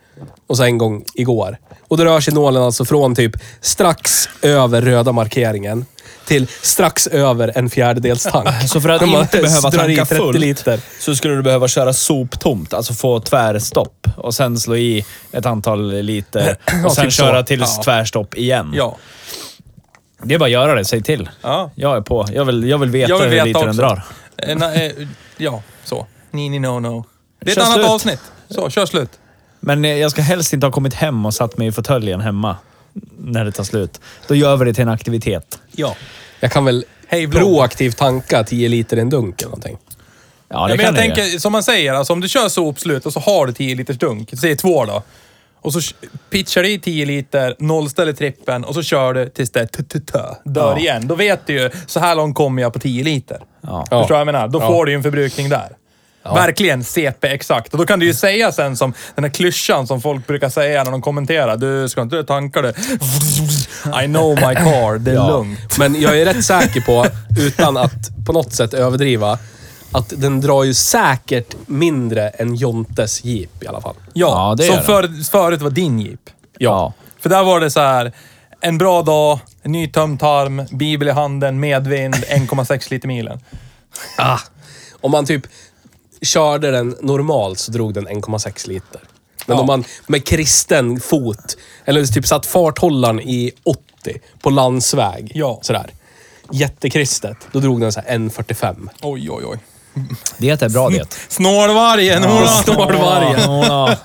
D: och så en gång igår. Och då rör sig nålen alltså från typ strax över röda markeringen till strax över en fjärdedels tank.
C: Så för att
D: Om man
C: inte behöva
D: drar i
C: tanka
D: 30
C: fullt
D: liter.
C: så skulle du behöva köra soptomt, alltså få tvärstopp och sen slå i ett antal liter och sen
D: typ så.
C: köra tills tvärstopp igen.
B: Ja.
C: Det är bara att göra det, säg till.
B: Ja.
C: Jag är på. Jag vill, jag vill veta
B: Jag vill
C: hur
B: veta
C: lite den
B: också.
C: drar.
B: Eh, na- eh, ja, så. Nini no no. Det är
C: Kör
B: ett annat
C: slut.
B: avsnitt. Så, kör slut.
C: Men eh, jag ska helst inte ha kommit hem och satt mig i fåtöljen hemma när det tar slut. Då gör vi det till en aktivitet.
B: Ja.
D: Jag kan väl
B: Hej, vlogg.
D: proaktivt tanka 10 liter i en dunk eller någonting.
C: Ja, det
B: Ja, men
C: kan
B: jag
C: ni
B: tänker,
C: ju.
B: som man säger, alltså, om du kör sopslut och så har du 10 liters dunk, säg två då. Och så pitchar du i 10 liter, nollställer trippen och så kör du tills det t- t- tö, dör
C: Ja.
B: igen. Då vet du ju, så här långt kommer jag på 10 liter.
C: Ja.
B: Förstår du vad jag menar? Då får du ju en förbrukning där. Verkligen CP exakt. Och då kan du ju säga sen som den här klyschan som folk brukar säga när de kommenterar. Du ska inte tanka det. I know my car, det är
D: Ja.
B: lugnt.
D: Men jag är rätt säker på, utan att på något sätt överdriva, att den drar ju säkert mindre än Jontes Jeep i alla fall.
B: Ja,
C: Ja, det
B: som
C: gör den.
B: för, förut var din Jeep.
C: Ja.
B: För där var det så här, en bra dag, en nytömd tarm, bibel i handen, medvind, 1,6 liter milen.
D: Ah. Om man typ körde den normalt så drog den 1,6 liter. Men
B: Ja.
D: om man med kristen fot, eller typ satt farthållaren i 80 på landsväg.
B: Ja.
D: Sådär. Jättekristet. Då drog den så här 1,45.
B: Oj, oj, oj.
C: Det är bra det.
B: Snålvargen! hurra!
D: Stålvargen.
C: Ja,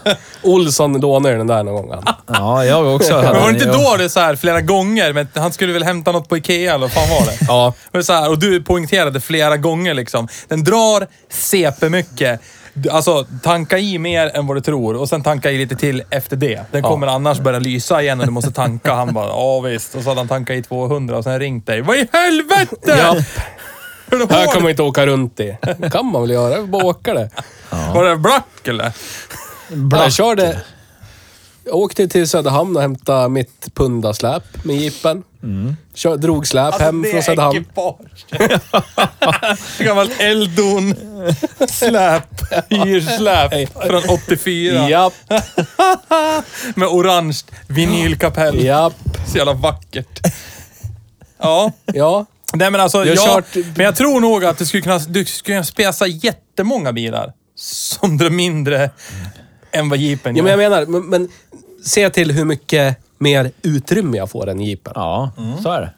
D: Olsson lånade ju den där någon
B: Ah,
D: gång. han.
C: ja jag också. hade
B: Men var det
C: den,
B: inte
C: ja.
B: då det så här flera gånger, men han skulle väl hämta något på Ikea eller vad fan var det?
D: Ja.
B: Och, så här, och du poängterade flera gånger liksom. Den drar CP mycket. Du- Alltså, tanka i mer än vad du tror och sen tanka i lite till efter det. Den kommer annars börja lysa igen och du måste tanka. Han bara, ja visst. Och så hade han tankat i 200 och sen ringt dig. Vad i helvete!
D: Ja.
B: Hur då
D: Här
B: var
D: kan man inte åka runt i. kan man väl göra. Jag bara åka det.
B: det? Var det black eller?
D: Jag körde... Jag åkte till Söderhamn och hämtade mitt pundasläp med jeepen.
B: Mm.
D: Kör, drog släp
B: Alltså,
D: hem från Söderhamn.
B: ekipage. Gammalt elddon. Släp. Hyrsläp från 84.
D: Japp,
B: Med orange vinylkapell.
D: japp,
B: Så jävla vackert. Ja.
D: ja.
B: Nej men alltså,
D: Jag
B: jag,
D: har kört-
B: men jag tror nog att du skulle kunna, du skulle kunna spesa jättemånga bilar. Som drar mindre än vad jeepen
D: ja
B: gör.
D: men jag menar, men, men se till hur mycket mer utrymme jag får än jeepen.
C: Ja, så är det.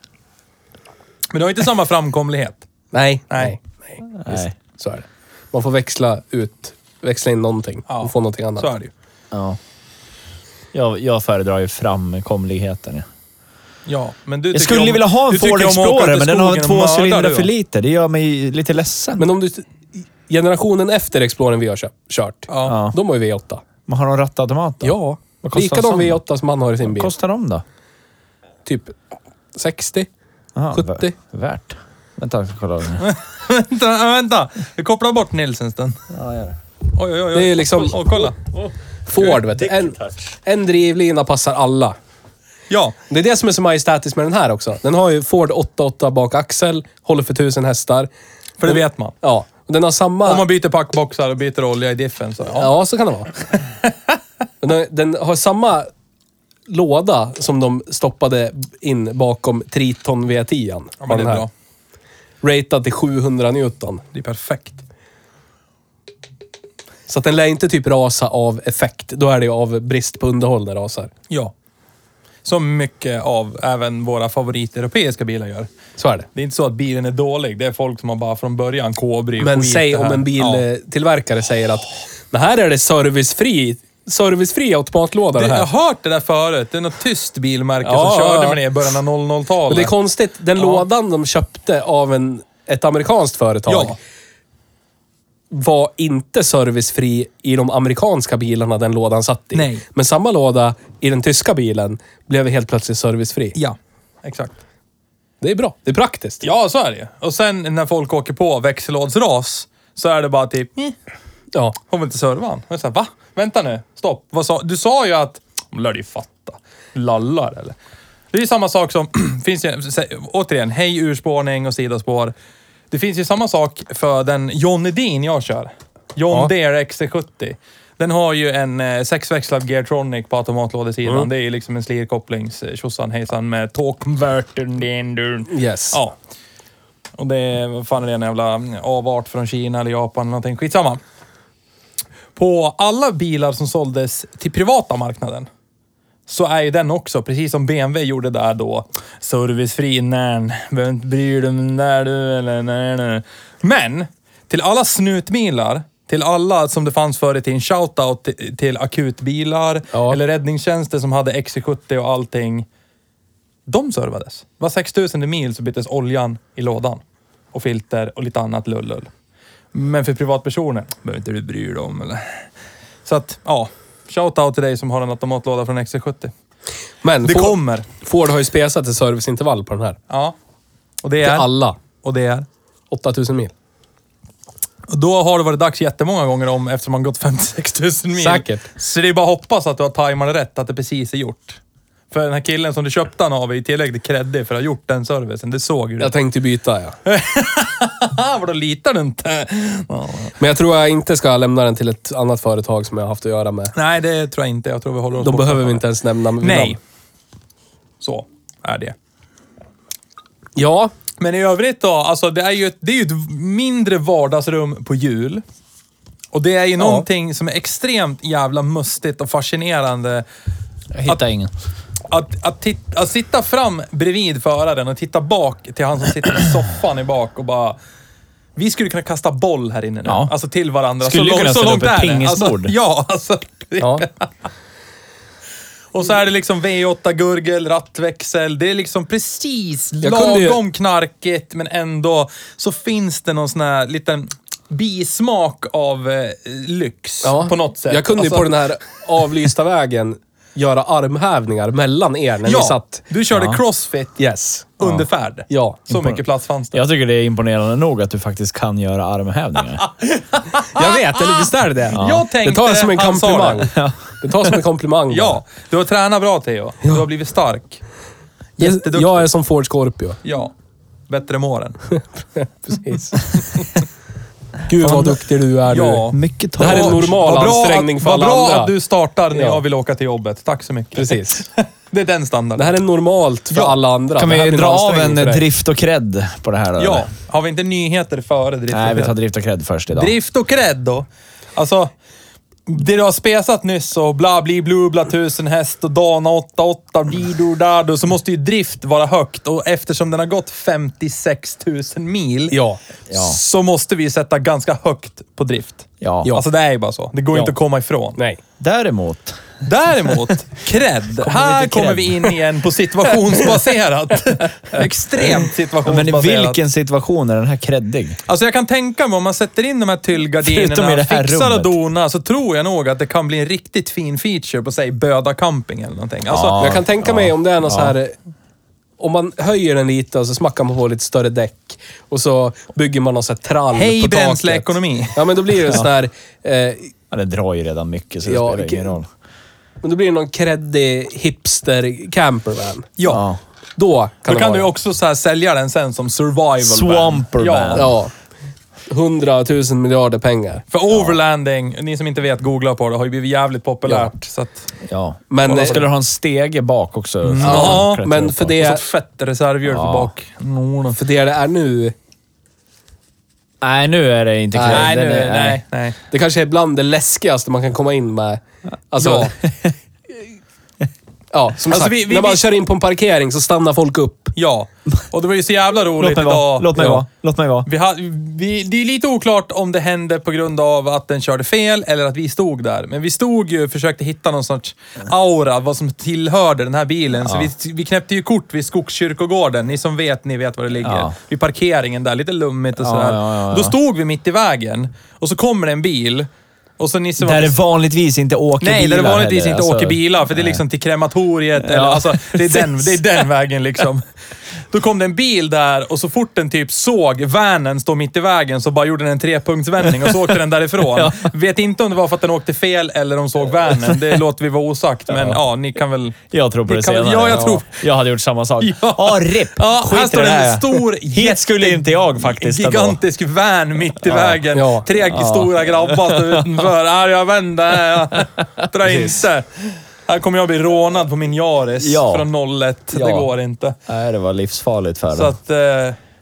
B: men du har inte samma framkomlighet.
D: Nej,
B: Nej.
D: nej, nej.
B: Mm.
D: Visst, så är det. Man får växla ut, växla in någonting
B: Ja,
D: och få någonting annat.
B: Så är det ju.
C: Ja. Jag, jag föredrar ju framkomligheten. Ja.
B: Ja, men du
C: Jag
B: tycker
C: skulle
B: om-
C: vilja ha
B: du
C: en
B: tycker
C: Ford
B: om att åka ut
C: Explorer,
B: i
C: men den har
B: skogen och
C: två
B: mörda,
C: cylindrar
B: du.
C: för lite. Det gör mig lite ledsen.
D: Men om du... Generationen efter Exploren vi har kö- kört,
B: Ja.
D: de har ju V8.
C: Man har de rattautomat då?
D: Ja.
C: Vad kostar en
D: Likadan
C: sån?
D: V8 som han har i sin
C: Vad
D: bil.
C: kostar de då?
D: Typ 60.
C: Aha,
D: 70.
C: vä- Värt. Vänta, jag ska kolla.
B: Vänta, äh, vänta. Vi kopplar bort Nils en stund.
C: ja, gör det.
B: Oj, oj, oj.
D: Det är liksom-
B: Åh, kolla.
D: Ford vet du. En, en drivlina passar alla.
B: Ja,
D: Det är det som är så majestätiskt med den här också. Den har ju Ford 88 bakaxel, håller för 1000 hästar.
B: för det vet man.
D: Ja. Och den har samma...
B: Om man byter packboxar och byter olja i diffen så... Ja.
D: Ja, så kan det vara. Men den, den har samma låda som de stoppade in bakom Triton V10.
B: ja men det är bra.
D: Ratad till 700 Newton.
B: Det är perfekt.
D: Så att den lär inte typ rasa av effekt. Då är det ju av brist på underhåll den rasar.
B: Ja. Som mycket av även våra favoriteuropeiska bilar gör.
D: Så är det.
B: Det är inte så att bilen är dålig. Det är folk som har bara från början kobri
D: Men
B: skit
D: säg
B: det här.
D: om en
B: Ja.
D: biltillverkare säger att det här är det servicefri, servicefri automatlåda
B: Det,
D: det,
B: jag
D: här.
B: har hört det där förut. Det är något tyst bilmärke
D: Ja,
B: som körde
D: ja.
B: med det i början av
D: Och
B: 00-talet.
D: det är konstigt, den lådan de köpte av en, ett amerikanskt företag
B: Ja.
D: var inte servicefri i de amerikanska bilarna den lådan satt i.
B: Nej.
D: Men samma låda i den tyska bilen blev helt plötsligt servicefri.
B: Ja, exakt.
D: Det är bra. Det är praktiskt.
B: Ja, så är det ju. Och sen när folk åker på växellådsras så är det bara typ... "Meh."
D: Ja.
B: Hon vill inte serva han. Jag säger, va? Vänta nu. Stopp. Vad sa? Du sa ju att... Hon lär ju fatta. Lallar eller? Det är ju samma sak som... finns ju, sä- återigen, hej urspårning och sidospår. Det finns ju samma sak för den Johnny Dean jag kör. John Deere XC70. Den har ju en eh, sexväxlad Geartronic på automatlådesidan. Det är ju liksom en slirkopplings eh, tjosan hejsan med talkconvertern. din, dun.
D: Yes.
B: Ja. Och det är, vad fan är det, en jävla eh, avart från Kina eller Japan eller någonting. Skitsamma. På alla bilar som såldes till privata marknaden så är ju den också, precis som BMW gjorde där då, servicefri. Närn. Behöver inte bry dig om när du eller när du. Men, till alla snutbilar, till alla som det fanns förr i tiden, shoutout till, till akutbilar
D: Ja.
B: eller räddningstjänster som hade XC70 och allting. De servades. Var 6000 mil så byttes oljan i lådan. Och filter och lite annat lullull. Men för privatpersoner behöver inte du bry dig om eller? Så att, ja. Shoutout till dig som har en automatlåda från XC70.
D: Men
B: Det
D: Ford,
B: kommer.
D: Ford har ju spesat ett serviceintervall på den här.
B: Ja. Och det
D: Till
B: är...
D: alla.
B: Och det är...
D: 8000 mil.
B: Och då har det varit dags jättemånga gånger om eftersom man gått 56 000 mil.
D: Säkert.
B: Så det är bara att hoppas att du har tajmat rätt, att det precis är gjort. För den här killen som du köpte han av är ju tillräckligt creddig för att ha gjort den servicen. Det såg ju du.
D: Jag tänkte byta, ja.
B: Ah, vadå litar du inte? Ja.
D: Men jag tror jag inte ska lämna den till ett annat företag som jag har haft att göra med.
B: Nej, det tror jag inte. Jag tror vi håller oss
D: De
B: borta
D: behöver
B: från
D: vi
B: det.
D: inte ens nämna vid
B: Nej.
D: namn.
B: Så är det.
D: Ja,
B: Men i övrigt då, alltså det är ju ett, det är ju ett mindre vardagsrum på jul. Och det är ju någonting som är extremt jävla mustigt och fascinerande.
C: Jag hittar ingen.
B: Att, att, tit- att sitta fram bredvid föraren och titta bak till han som sitter i soffan i bak och bara... Vi skulle kunna kasta boll här inne nu.
C: Ja.
B: Alltså till varandra.
C: Skulle ju
B: så långt,
C: kunna
B: så
C: ställa
B: långt
C: upp ett
B: är det.
C: pingisbord.
B: Alltså, ja, alltså.
D: ja.
B: Och så är det liksom V8-gurgel, rattväxel. Det är liksom precis
D: Jag kunde ju-
B: lagom knarkigt, men ändå så finns det någon sån här liten bismak av eh, lyx
D: ja.
B: på något sätt.
D: Jag kunde ju
B: Alltså-
D: på den här avlysta vägen göra armhävningar mellan er när
B: Ja,
D: ni satt.
B: du körde crossfit
D: Yes.
B: under färd.
D: Ja.
B: Så mycket plats fanns det.
C: Jag tycker det är imponerande nog att du faktiskt kan göra armhävningar.
D: Jag vet, eller visst är det det?
B: Ja. Ah, Jag tänkte
D: det tar jag som en
B: han sa
D: komplimang. Det tar jag som en komplimang.
B: Ja, du har tränat bra Theo. Du har blivit stark.
D: Jätteduktig. Jag är som Ford Scorpio.
B: Ja. Bättre än åren.
D: Precis. Gud vad duktig du är
B: Ja.
D: du.
C: Mycket
D: Det här är en
C: tal.
D: normal
B: Vad bra
D: ansträngning
B: att,
D: för
B: vad
D: alla
B: bra
D: andra.
B: att du startar när
D: Ja.
B: jag vill åka till jobbet. Tack så mycket.
D: Precis.
B: Det är den
D: Det
B: standarden.
D: här är normalt för alla andra.
C: Kan
D: Det här
C: vi
D: blir
C: dra av
D: ansträngning
C: en
D: för dig.
C: drift och cred på det här då?
B: Ja,
C: eller?
B: har vi inte nyheter före drift?
C: Nej, vi tar drift och cred först idag.
B: Drift och cred då. Alltså, det du har spesat nyss och bla bli blu bla tusen häst och Dana 88 dido dado så måste ju drift vara högt och eftersom den har gått 56 000 mil
D: Ja.
B: så måste vi sätta ganska högt på drift.
C: Ja.
B: Alltså det är ju bara så. Det går
D: Ja.
B: inte att komma ifrån.
D: Nej.
C: Däremot,
B: Däremot, cred. här
C: lite
B: kommer
C: cred.
B: vi in igen på situationsbaserat. Extremt
C: men
B: situationsbaserat.
C: i vilken situation är den här creddig?
B: Alltså jag kan tänka mig om man sätter in de här
C: Förutom
B: tyllgardinerna,
C: i det här
B: fixar och
C: rummet.
B: donar, så tror jag nog att det kan bli en riktigt fin feature på säg Böda camping eller någonting. Alltså,
C: Ja.
D: jag kan tänka mig om det är någon
C: ja.
D: så här... eh, Om man höjer den lite och så smackar man på lite större däck och så bygger man någon sån här trall
B: Hej,
D: på taket.
B: bränsleekonomi.
D: Ja, men då blir det en sån här... Eh,
C: Ja, det drar ju redan mycket så det
D: Ja,
C: spelar ingen
D: okej.
C: roll.
D: men då blir det någon creddig hipster campervan.
B: ja.
D: Då kan
B: Då kan
D: det vara
B: du ju
D: det.
B: också så här sälja den sen som survival
C: Swamper van.
B: Ja.
D: Ja. Hundratusen miljarder pengar.
B: För overlanding, ni som inte vet, googla på det, har ju blivit jävligt populärt. Så att,
C: Ja.
D: Men-
C: Men,
B: eh,
C: och då skulle du ha en stege bak också.
B: Mm.
D: Ja,
C: Klättra
D: men för
C: upp på.
B: och så
D: det,
B: ett fett reservhjul för
C: Ja.
B: bak.
D: för det det är nu...
C: Nej, nu är det inte cred.
B: Nej,
C: Den
B: nu,
C: är-
B: nej, nej.
D: Det kanske är bland det läskigaste man kan komma in med. Alltså, ja. som
B: Alltså,
D: sagt.
B: vi- vi-
D: när man
B: vi-
D: kör in på en parkering så stannar folk upp.
B: Ja, och det var ju så jävla roligt
C: Låt mig vara.
B: idag.
C: Låt mig
B: Ja.
C: vara. Låt mig vara.
B: Vi ha, vi, det är lite oklart om det hände på grund av att den körde fel eller att vi stod där. Men vi stod ju och försökte hitta någon sorts aura, vad som tillhörde den här bilen. Så vi, vi knäppte ju kort vid Skogskyrkogården. Ni som vet, ni vet var det ligger.
C: Ja.
B: Vid parkeringen där, lite lummigt och
C: Ja,
B: sådär.
C: ja, ja, ja.
B: Då stod vi mitt i vägen och så kommer det en bil. Och så Nisse var
C: Där det vanligtvis inte åker
B: Nej,
C: bilar
B: där det vanligtvis
C: heller,
B: inte
C: alltså.
B: åker bilar, för det är liksom till krematoriet. Eller, alltså, det, är den, det är den vägen liksom. Då kom det en bil där och så fort den typ såg vanen stå mitt i vägen så bara gjorde den en trepunktsvändning och så åkte den därifrån. Vet inte om det var för att den åkte fel eller de såg vanen. Det låter vi vara osagt, men ja, ni kan väl...
C: Jag tror på
B: ni
C: det
B: kan väl-
C: senare.
B: Ja, jag tror...
C: Jag hade gjort samma sak.
B: Ja.
C: Ja, RIP!
B: Ja, här
C: Skit i
B: står
C: det
B: en
C: här.
B: stor,
C: Hit skulle inte jag faktiskt ändå.
B: gigantisk van mitt i vägen.
D: Ja.
B: Tre stora grabbar står utanför. Här, jag vänder. Jag drar inte. Här kommer jag bli rånad på min Yaris
C: Ja.
B: från 01. Det
C: Ja.
B: går inte.
C: Nej, det var livsfarligt för
B: Så
C: dem.
B: att... Eh,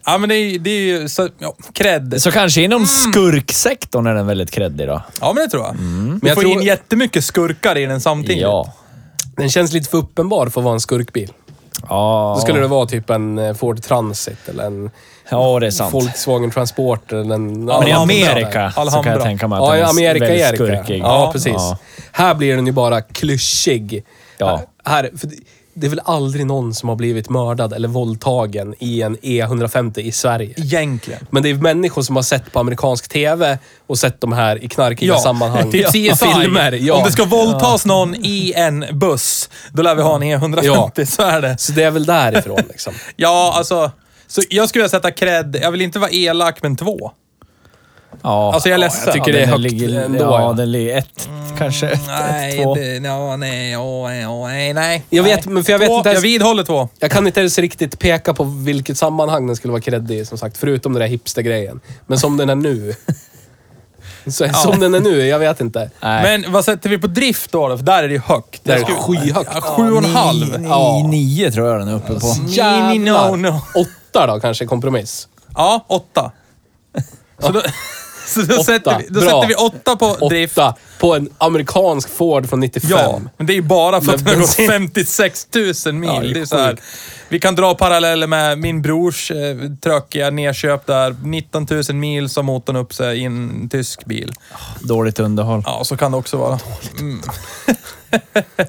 B: ja, men det är, det är ju... Så, ja, cred.
C: Så kanske
B: Mm.
C: inom skurksektorn är den väldigt creddig då?
B: Ja, men det tror jag. Men
D: Mm. Men
B: jag
D: jag
B: får
D: tror-
B: in jättemycket skurkar i den samtidigt.
C: Ja.
D: Den känns lite för uppenbar för att vara en skurkbil.
C: Ja.
D: Då skulle det vara typ en eh, Ford Transit eller en
C: Ja, det är sant.
D: Volkswagen Transporter eller en...
C: Men i
B: Alhambra.
C: Amerika så kan
B: Alhambra.
C: jag tänka mig att
D: Ja, i
C: den är
D: Amerika
C: väldigt
D: är det.
C: skurkig.
D: Ja, precis.
C: Ja.
D: Här blir den ju bara klyschig.
C: Ja.
D: Här, för det- det är väl aldrig någon som har blivit mördad eller våldtagen i en E150 i Sverige.
B: Egentligen.
D: Men det är människor som har sett på amerikansk TV och sett de här i knarkiga
B: Ja,
D: sammanhang.
B: typ CSI.
D: Filmer, ja.
B: Om det ska våldtas någon i en buss, då lär vi ha en E150.
D: Ja.
B: Så är det.
D: Så det är väl därifrån liksom.
B: Ja, alltså. Så jag skulle vilja sätta cred. Jag vill inte vara elak, men två.
C: Ja.
B: Alltså jag är ledsen. Mm,
C: Jag
D: Ja,
C: tycker det är
D: den
C: högt
D: ligger-
C: ändå.
D: ja,
C: Ja, den ligger ett, kanske. Ett,
B: Nej,
C: två.
B: det, no, nej, åh, nej, åh, nej, nej.
D: Jag vet, men för jag vet
B: två,
D: inte ens-
B: Jag vidhåller två.
D: Jag kan inte ens riktigt peka på vilket sammanhang den skulle vara kreddig i, som sagt. Förutom den där hipstergrejen. Men som den är nu. Så, Som den är nu, jag vet inte.
C: Nej.
B: Men vad sätter vi på drift då? då? För där är det ju högt.
D: Det är
B: Jag skulle-
D: skyhögt.
B: Ja, sju och en halv.
C: Nio,
D: Ja.
C: nio tror jag den är uppe på.
B: Ni- ni- no, no.
D: Åtta då kanske, kompromiss.
B: Ja, åtta. Så då, så då,
D: Åtta.
B: sätter, vi, då
D: Bra.
B: sätter vi åtta på drift.
D: Åtta på en amerikansk Ford från 95.
B: Ja, men det är ju bara för att
D: Men
B: den har gått
D: bensin-
B: 56 000 mil.
D: Ja, det är
B: det är så här.
D: sjukt.
B: Vi kan dra paralleller med min brors eh, trökiga nedköp där. 19 000 mil som motorn upp sig i en tysk bil.
C: Dåligt underhåll.
B: Ja, så kan det också vara.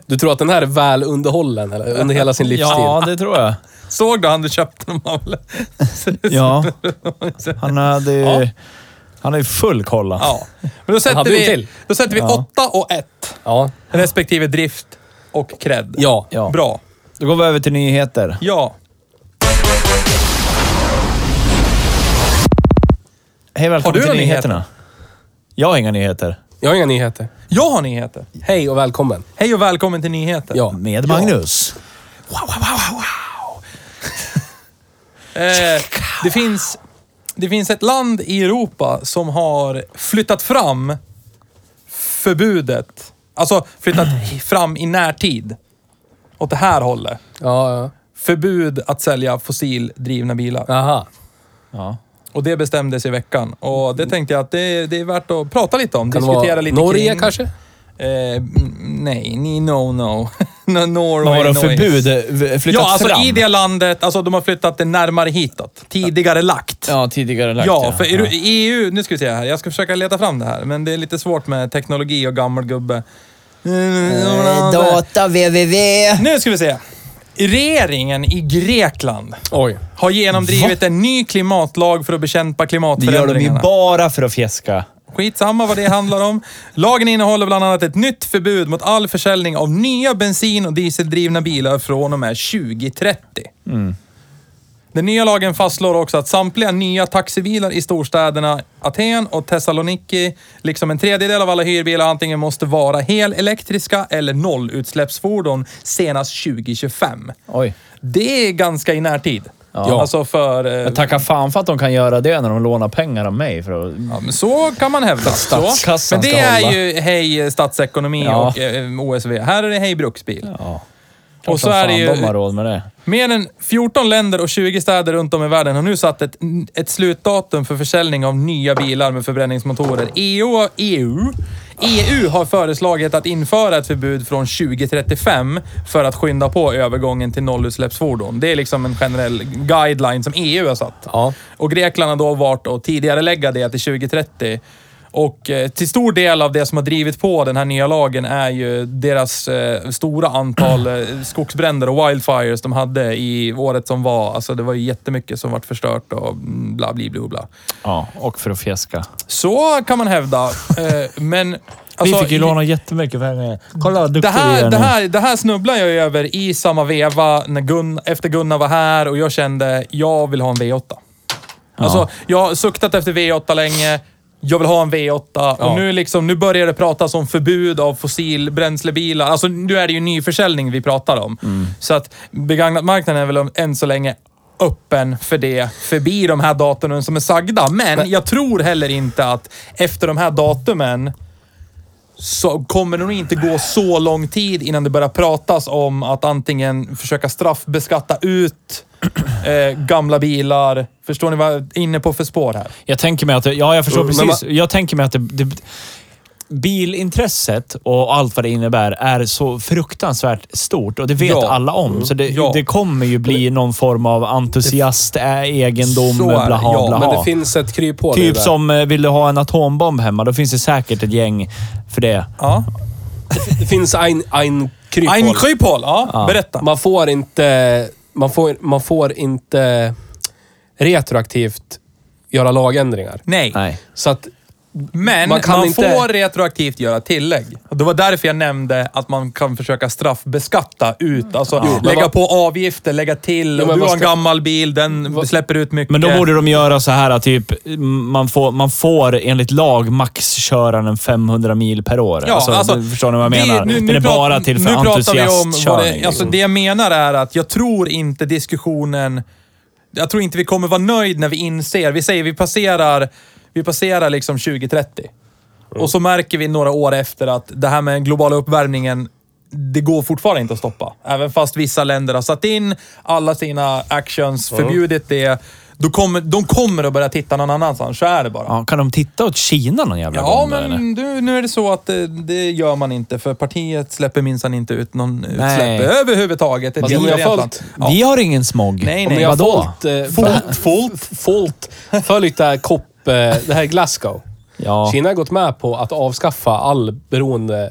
D: Du tror att den här är väl underhållen eller? under hela sin livstid?
C: Ja, det tror jag.
B: Såg du han du köpte den Malle?
C: Ja. Han hade ju... Han har ju full koll. han.
B: Ja. Men då sätter
D: Hade vi en
B: vi,
D: till?
B: då sätter vi åtta och ett.
D: Ja.
B: Respektive drift och cred.
D: Ja.
C: Ja.
B: Bra.
C: Då går vi över till nyheter.
B: Ja.
C: Hej,
B: Har du
C: välkommen till
B: några
C: nyheterna. Jag har inga nyheter.
D: Jag har inga nyheter.
B: Jag har nyheter.
D: Hej och välkommen.
B: Hej och välkommen till nyheter.
D: Ja.
C: Med Magnus.
B: Eh, det, finns, det finns ett land i Europa som har flyttat fram förbudet. Alltså flyttat fram i närtid. Åt det här hållet.
D: Ja, ja.
B: Förbud att sälja fossildrivna bilar.
D: Aha.
C: Ja.
B: Och det bestämdes i veckan. Och det tänkte jag att det, det är värt att prata lite om.
D: Kan det
B: diskutera
D: vara
B: lite
D: Norge
B: kring.
D: kanske?
B: Eh, mm, nej, ni no no. no Norway,
C: Några
B: no
C: förbud eh, flyttat
B: Ja, alltså
C: fram.
B: i det landet, alltså de har flyttat det närmare hitåt. Tidigare lagt.
C: Ja, tidigare lagt.
B: Ja, för Euro- EU, E nu ska vi se här. Jag ska försöka leta fram det här, men det är lite svårt med teknologi och gammal gubbe.
C: Eh,
B: Mm,
A: Eh, Data www.
B: Nu ska vi se. Regeringen i Grekland
D: Oj.
B: har genomdrivit en ny klimatlag för att bekämpa
C: Det gör de ju
B: klimatförändringarna.
C: bara för att fjäska.
B: Skitsamma vad det handlar om. Lagen innehåller bland annat ett nytt förbud mot all försäljning av nya bensin och dieseldrivna bilar från och med 2030.
C: Mm.
B: Den nya lagen fastslår också att samtliga nya taxibilar i storstäderna Aten och Thessaloniki, liksom en tredjedel av alla hyrbilar, antingen måste vara helelektriska eller nollutsläppsfordon senast 2025.
C: Oj.
B: Det är ganska i närtid.
C: Ja.
B: Alltså för... eh,
C: Jag tackar fan för att de kan göra det när de lånar pengar av mig. För att...
B: Ja, men så kan man hävda. Så.
C: statskassan
B: Men det
C: ska
B: är
C: hålla.
B: ju hej statsekonomi
C: Ja.
B: och eh, OSV. Här är det hej bruksbil.
C: Ja.
B: och så
C: Som
B: är det
C: fan De har
B: ju...
C: råd med det.
B: Mer än 14 länder och 20 städer runt om i världen har nu satt ett, ett slutdatum för försäljning av nya bilar med förbränningsmotorer. E EU, EU, EU E har föreslagit att införa ett förbud från 2035 för att skynda på övergången till nollutsläppsfordon. Det är liksom en generell guideline som EU har satt.
D: Ja.
B: Och Grekland har då valt att tidigare lägga det till 2030. Och eh, till stor del av det som har drivit på den här nya lagen är ju deras eh, stora antal eh, skogsbränder och wildfires de hade i året som var. Alltså det var ju jättemycket som vart förstört och mm, bla bli bla bla.
C: Ja, och för att fjäska.
B: Alltså, Så kan man hävda. Eh, men...
C: Vi
B: alltså,
C: fick ju låna jättemycket pengar. Kolla vad
B: det
C: duktig vi
B: här,
C: är
B: det,
C: nu.
B: här, det här snubblar jag ju över i samma veva när Gun, efter Gunnar var här och jag kände, jag vill ha en V8. Alltså, jag har suktat efter V8 länge. Jag vill ha en V8 och nu, liksom, nu börjar det pratas om förbud av fossilbränslebilar. Alltså, nu är det ju nyförsäljning vi pratar om. Så att begagnatmarknaden är väl än så länge öppen för det, förbi de här datumen som är sagda. Men jag tror heller inte att efter de här datumen så kommer det nog inte gå så lång tid innan det börjar pratas om att antingen försöka straffbeskatta ut eh, gamla bilar. Förstår ni vad jag är inne på för spår här?
C: Jag tänker mig att... det- Ja, jag förstår
D: Men
B: Mm,
C: precis. Jag tänker mig att det, det, bilintresset och allt vad det innebär är så fruktansvärt stort och det vet
B: Ja.
C: alla om. Så det,
B: Ja.
C: det kommer ju bli någon form av entusiast, ä- egendom,
B: Så är det,
C: blaha,
B: ja,
C: blaha.
D: Men det finns ett kryphål i
C: Typ
D: det där.
C: som, eh, vill du ha en atombomb hemma? Då finns det säkert ett gäng för det.
B: Ja.
D: Det finns ein, ein kryphål.
B: Ein kryphål! Ja, berätta.
D: Man får inte... Man får, man får inte retroaktivt göra lagändringar.
B: Nej.
C: Nej.
D: Så att
B: Men man,
D: Man kan inte-
B: får retroaktivt göra tillägg. Och det var därför jag nämnde att man kan försöka straffbeskatta ut. Alltså
D: men
B: lägga
D: vad-
B: på avgifter, lägga till.
D: Jo,
B: och
D: men
B: du
D: vad
B: har en
D: ska-
B: gammal bil, den släpper ut mycket.
C: Men då borde de göra så här, typ, m- man får, man får enligt lag max köra den 500 mil per år.
B: Ja, alltså,
C: du förstår ni vad jag
B: det-
C: menar?
B: nu- nu
C: den är
B: prat-
C: bara till liksom. för
B: nu pratar vi om vad
C: entusiastkörning.
B: det, alltså, det jag menar är att jag tror inte diskussionen... Jag tror inte vi kommer vara nöjd när vi inser... Vi säger vi passerar, vi passerar liksom 2030. Och så märker vi några år efter att det här med den globala uppvärmningen, det går fortfarande inte att stoppa. Även fast vissa länder har satt in alla sina actions, förbjudit det. Då kommer, de kommer att börja titta någon annanstans, så är det bara.
C: ja, kan de titta åt Kina någon jävla
B: Ja,
C: gång? då, eller?
B: men du, nu är det så att det, det gör man inte, för partiet släpper minsann inte ut någon
C: Nej.
B: utsläpp överhuvudtaget. Det är
D: Fast vi har
B: rent land.
D: följt-
B: Ja.
C: Vi har ingen smog.
B: Nej,
D: Om
B: nej.
D: jag har
C: vadå?
D: folt, eh, följt, folt, följt, följt det här COP, eh, det här Glasgow.
C: Ja.
D: Kina har gått med på att avskaffa all beroende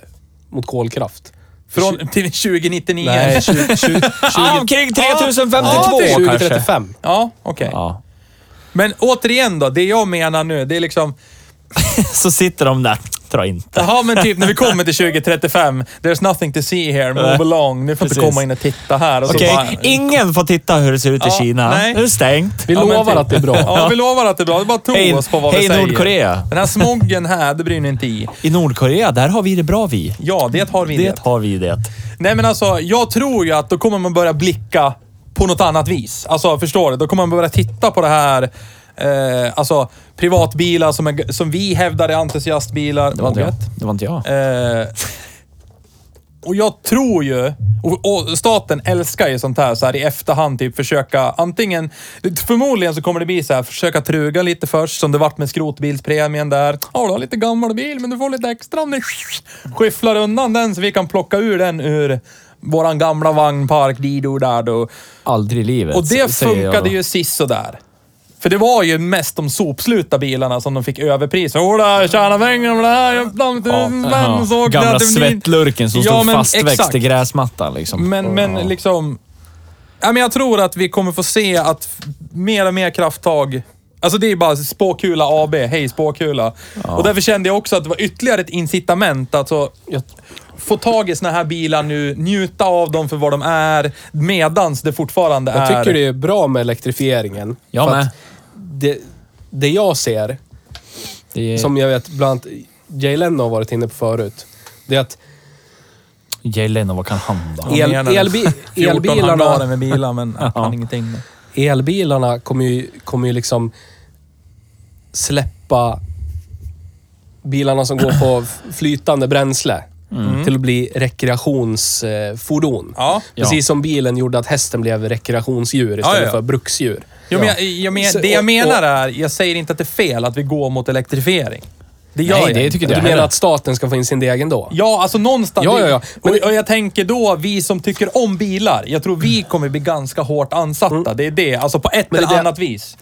D: mot kolkraft.
B: Från till 2099.
D: Nej, 20, 20, 20,
C: Ah, omkring 3052 kanske.
D: 2035.
B: Ja, okej.
C: Ja.
B: Men återigen då, det jag menar nu, det är liksom...
C: Så sitter de där. Dra inte.
B: Jaha, men typ när vi kommer till 2035, there's nothing to see here, move along. Nu får inte
C: Precis.
B: komma in och titta här. Och så
C: Okej,
B: bara-
C: ingen får titta hur det ser ut i
B: Ja,
C: Kina.
B: nej.
C: Det är stängt.
D: Vi
B: Ja, men
D: lovar
B: typ.
D: att det är bra.
B: Ja, vi lovar att det är bra. Det är bara tro
C: Hej-
B: oss på vad vi
C: hej,
B: säger.
C: Nordkorea.
B: Den här smoggen här, det bryr ni inte i.
C: I Nordkorea, där har vi det bra vi.
B: Ja, det har vi
C: Det har vi det.
B: Nej men alltså, jag tror ju att då kommer man börja blicka på något annat vis. Alltså förstår du? Då kommer man börja titta på det här. Eh, alltså privatbilar som, är, som vi hävdar är entusiastbilar.
C: Det var inte jag. Det var inte jag.
B: Eh, och jag tror ju, och, och staten älskar ju sånt här så här i efterhand, typ försöka antingen, förmodligen så kommer det bli så här, försöka truga lite först, som det vart med skrotbilspremien där. Ja, du har lite gammal bil, men du får lite extra om du skyfflar undan den så vi kan plocka ur den ur våran gamla vagnpark, dido där då.
C: Aldrig i livet.
B: Och det
C: säger jag
B: funkade
C: då.
B: ju sist så där. För det var ju mest de sopsluta bilarna som de fick överpris. Åh, tjäna pengar med det här. Jag öppnade tusen spänn, så
C: Jaha.
B: åkte
C: Gamla
B: jag till min-
C: svettlurken som
B: Ja,
C: stod
B: men
C: fastväxt
B: exakt.
C: i gräsmattan. Liksom.
B: Men, men
C: Ja.
B: liksom... Ja, men jag tror att vi kommer få se att f- mer och mer krafttag... Alltså det är bara spåkula AB. Hej spåkula. Och därför kände jag också att det var ytterligare ett incitament. Alltså, jag- få tag i såna här bilar nu, njuta av dem för vad de är, medans det fortfarande
D: Jag
B: är...
D: tycker det är bra med elektrifieringen.
C: Jag
D: För
C: med.
D: att Det, det jag ser,
C: Det är som
D: som jag vet bland annat Jay Leno har varit inne på förut, det är att
C: Jalen och vad kan han då?
D: el,
B: menar det.
D: elbi,
B: 14 hangarer
D: elbilarna,
B: med bilar, men han kan ingenting.
D: elbilarna kommer ju, kommer ju liksom släppa bilarna som går på f- flytande bränsle till att bli rekreationsfordon.
B: Ja.
D: Precis som bilen gjorde att hästen blev rekreationsdjur istället
B: Ja, ja, ja.
D: för bruksdjur.
B: Jo, men jag, jag men,
D: Så-
B: det jag
D: och-
B: menar är, jag säger inte att det är fel att vi går mot elektrifiering. Det gör
C: Nej,
B: jag
C: det
B: inte.
C: tycker inte
D: Du
C: jag
D: menar
C: heller.
D: att staten ska få in sin degen då?
B: Ja, alltså någonstans.
D: Ja, ja, ja. Men-
B: och, och jag tänker då, vi som tycker om bilar. Jag tror vi kommer bli ganska hårt ansatta. Det är det. Alltså på ett
D: Men
B: eller
D: det-
B: annat vis.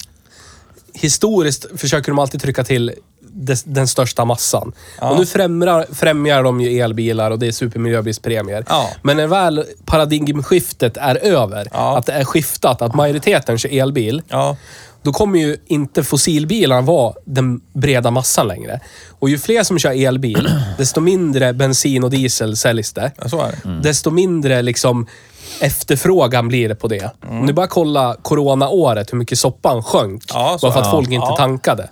D: historiskt försöker de alltid trycka till des, den största massan. Och nu främjar, främjar de ju elbilar och det är supermiljöbilspremier.
B: Ja.
D: Men när väl paradigmskiftet är över,
B: Ja.
D: att det är skiftat, att majoriteten kör elbil,
B: Ja.
D: då kommer ju inte fossilbilarna vara den breda massan längre. Och ju fler som kör elbil, desto mindre bensin och diesel säljs det. Mm.
B: Ja, Så är det. Mm.
D: Desto mindre liksom efterfrågan blir det på det.
B: Mm.
D: Om du bara kolla coronaåret, hur mycket soppan sjönk.
B: Ja, så-
D: bara för att
B: ja.
D: folk inte
B: Ja.
D: tankade.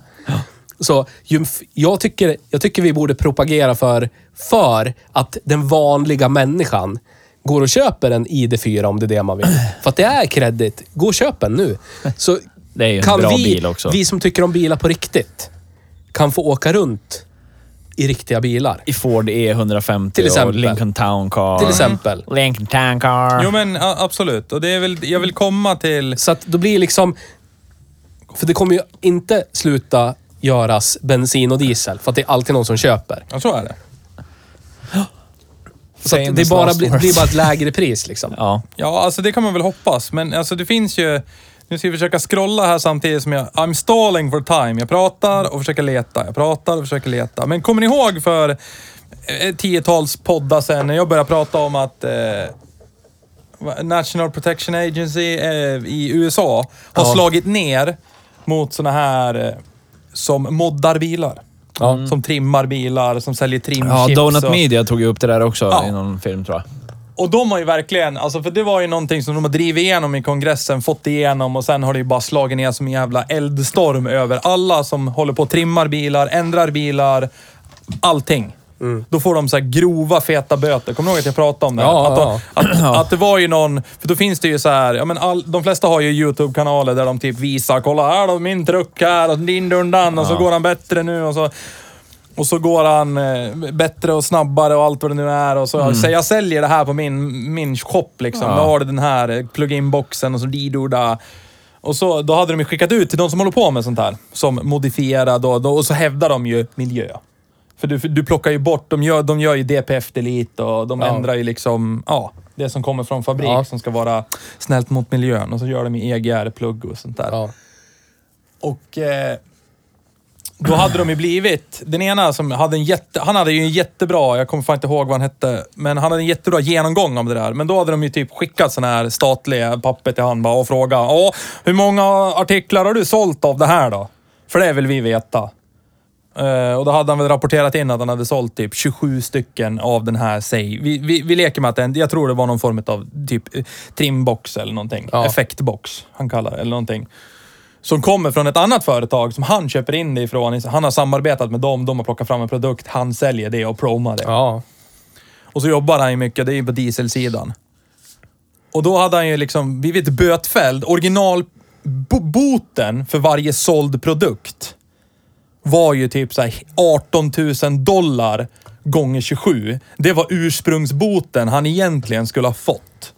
D: Så ju, f- jag, tycker, jag tycker vi borde propagera för, för att den vanliga människan går och köper en ID4 om det är det man vill. För att det är kredit. Gå och köp en nu. Så
C: Det är ju en
D: kan
C: bra
D: vi,
C: bil också.
D: vi som tycker om bilar på riktigt, kan få åka runt i riktiga bilar.
C: I Ford E150
D: Till
C: och
D: exempel.
C: Lincoln Town Car.
D: Till exempel.
C: Lincoln Town Car.
B: Jo, men a- absolut. Och det är väl, jag vill komma till...
D: Så att då blir liksom... För det kommer ju inte sluta göras bensin och diesel, för att det är alltid någon som köper.
B: Ja, så är det.
D: Så att det,
C: Famous
D: är bara,
C: last
D: bli-
C: words.
D: det är bara ett lägre pris liksom.
C: Ja.
B: Ja, alltså det kan man väl hoppas. Men alltså det finns ju... Nu ska vi försöka scrolla här samtidigt som jag... I'm stalling for time. Jag pratar och försöker leta. Jag pratar och försöker leta. Men kommer ni ihåg för ett tiotals poddar sen när jag började prata om att eh, va- National Protection Agency eh, i USA har slagit ner mot såna här eh, som moddar bilar. Som trimmar bilar, som säljer
C: Ja,
B: trimchips.
C: Donut
B: och-
C: Media tog ju upp det där också
B: Ja.
C: i någon film tror jag.
B: Och de har ju verkligen, alltså för det var ju någonting som de har drivit igenom i kongressen, fått igenom och sen har det ju bara slagit ner som en jävla eldstorm över alla som håller på och trimmar bilar, ändrar bilar, allting.
D: Mm.
B: Då får de så här grova feta böter. Kommer du ihåg att jag pratade om det? här?
D: Ja,
B: att,
D: ja,
B: Att, att det var ju någon... För då finns det ju så här, ja, men all, de flesta har ju YouTube-kanaler där de typ visar, kolla här då, min truck här och din dundan och så går han bättre nu och så... Och så går han eh, bättre och snabbare och allt vad det nu är. Och så, så jag säljer det här på min, min shop liksom. Då har du den här eh, plug-in-boxen och så didoda. Och så, då hade de ju skickat ut till de som håller på med sånt här. Som modifierad och, och så hävdar de ju miljö. För du, för du plockar ju bort, de gör, de gör ju DPF delete och de ändrar ju liksom, ja, det som kommer från fabrik
D: Ja.
B: som ska vara snällt mot miljön. Och så gör de ju EGR-plugg och sånt där.
D: Ja.
B: Och eh, då hade de ju blivit... Den ena som hade en jätte... Han hade ju en jättebra, jag kommer fan inte ihåg vad han hette, men han hade en jättebra genomgång om det där. Men då hade de ju typ skickat sådana här statliga papper till han bara och frågat ja, hur många artiklar har du sålt av det här då? För det vill vi veta. Eh, och då hade han väl rapporterat in att han hade sålt typ 27 stycken av den här, säg, vi, vi, vi leker med att den, jag tror det var någon form av typ eh, trimbox eller någonting.
D: Ja.
B: Effektbox, han kallar det, eller någonting som kommer från ett annat företag som han köper in det ifrån. Han har samarbetat med dem, de har plockat fram en produkt, han säljer det och promar det.
D: Ja.
B: Och så jobbar han ju mycket, det är ju på dieselsidan. Och då hade han ju liksom blivit bötfälld. Originalboten för varje såld produkt var ju typ så här 18 000 dollar gånger 27. Det var ursprungsboten han egentligen skulle ha fått.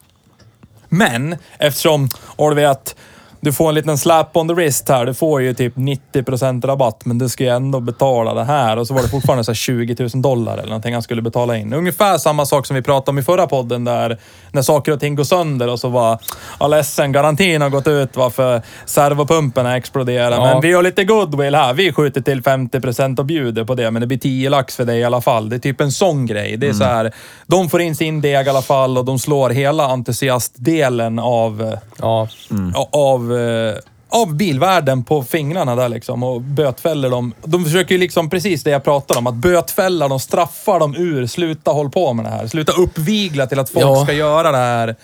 B: Men eftersom, och du vet, du får en liten slap on the wrist här. Du får ju typ 90% rabatt, men du ska ju ändå betala det här. Och så var det fortfarande så här 20 000 dollar eller någonting han skulle betala in. Ungefär samma sak som vi pratade om i förra podden där, när saker och ting går sönder och så var, ja ledsen, garantin har gått ut va, för servopumpen exploderar. Men vi har lite goodwill här. Vi skjuter till 50% och bjuder på det, men det blir 10 lax för dig i alla fall. Det är typ en sån grej. Det är så här, de får in sin deg i alla fall och de slår hela entusiastdelen av eh,
D: ja.
B: a- av, eh, av bilvärlden på fingrarna där liksom och bötfäller dem. De försöker ju liksom precis det jag pratade om, att bötfälla dem, straffa dem ur, sluta hålla på med det här. Sluta uppvigla till att folk
D: Ja.
B: ska göra det här.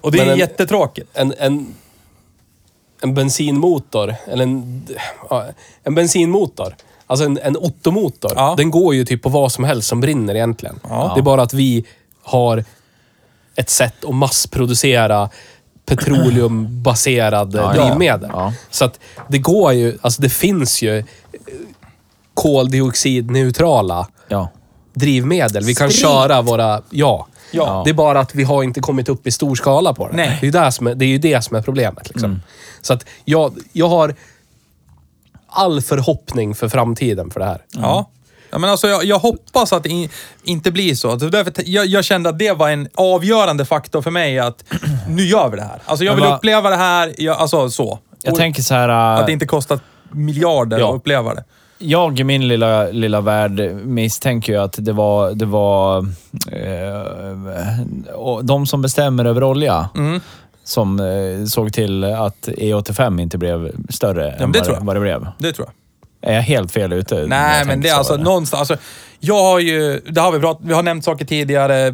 B: Och det
D: Men
B: är
D: en-
B: jättetråkigt.
D: en, en, en bensinmotor, eller en, ja, en bensinmotor, alltså en, en Otto-motor,
B: Ja.
D: den går ju typ på vad som helst som brinner egentligen. Det är bara att vi har ett sätt att massproducera petroleumbaserade
C: ja.
D: drivmedel.
C: Ja.
D: Så att det går ju, alltså det finns ju eh, koldioxidneutrala
C: Ja.
D: drivmedel. Vi kan köra våra... Ja.
B: Ja.
D: Det är bara att vi har inte kommit upp i stor skala på det.
B: Nej. Mm.
D: Det, är ju där som är, det är ju det som är problemet. Liksom. Så att jag, jag har all förhoppning för framtiden för det här.
B: Ja. ja men alltså, jag, jag hoppas att det in, inte blir så. Alltså, därför, t- jag, jag kände att det var en avgörande faktor för mig att nu gör vi det här. Alltså jag
C: Men
B: vill
C: vad-
B: uppleva det här, jag, alltså så.
C: Jag
B: Och
C: tänker så här...
B: Att det inte kostar miljarder
D: Ja.
B: att uppleva det.
C: jag i min lilla, lilla värld misstänker ju att det var, det var eh, och de som bestämmer över olja
B: Mm.
C: som eh, såg till att E85 inte blev större än
B: det
C: vad,
B: tror jag.
C: vad det blev.
B: Det tror jag.
C: Är jag helt fel ute? när
B: Nej, men
C: jag tänker
B: det är
C: så,
B: alltså
C: eller?
B: någonstans. Alltså, jag har ju, det har vi pratat, vi har nämnt saker tidigare,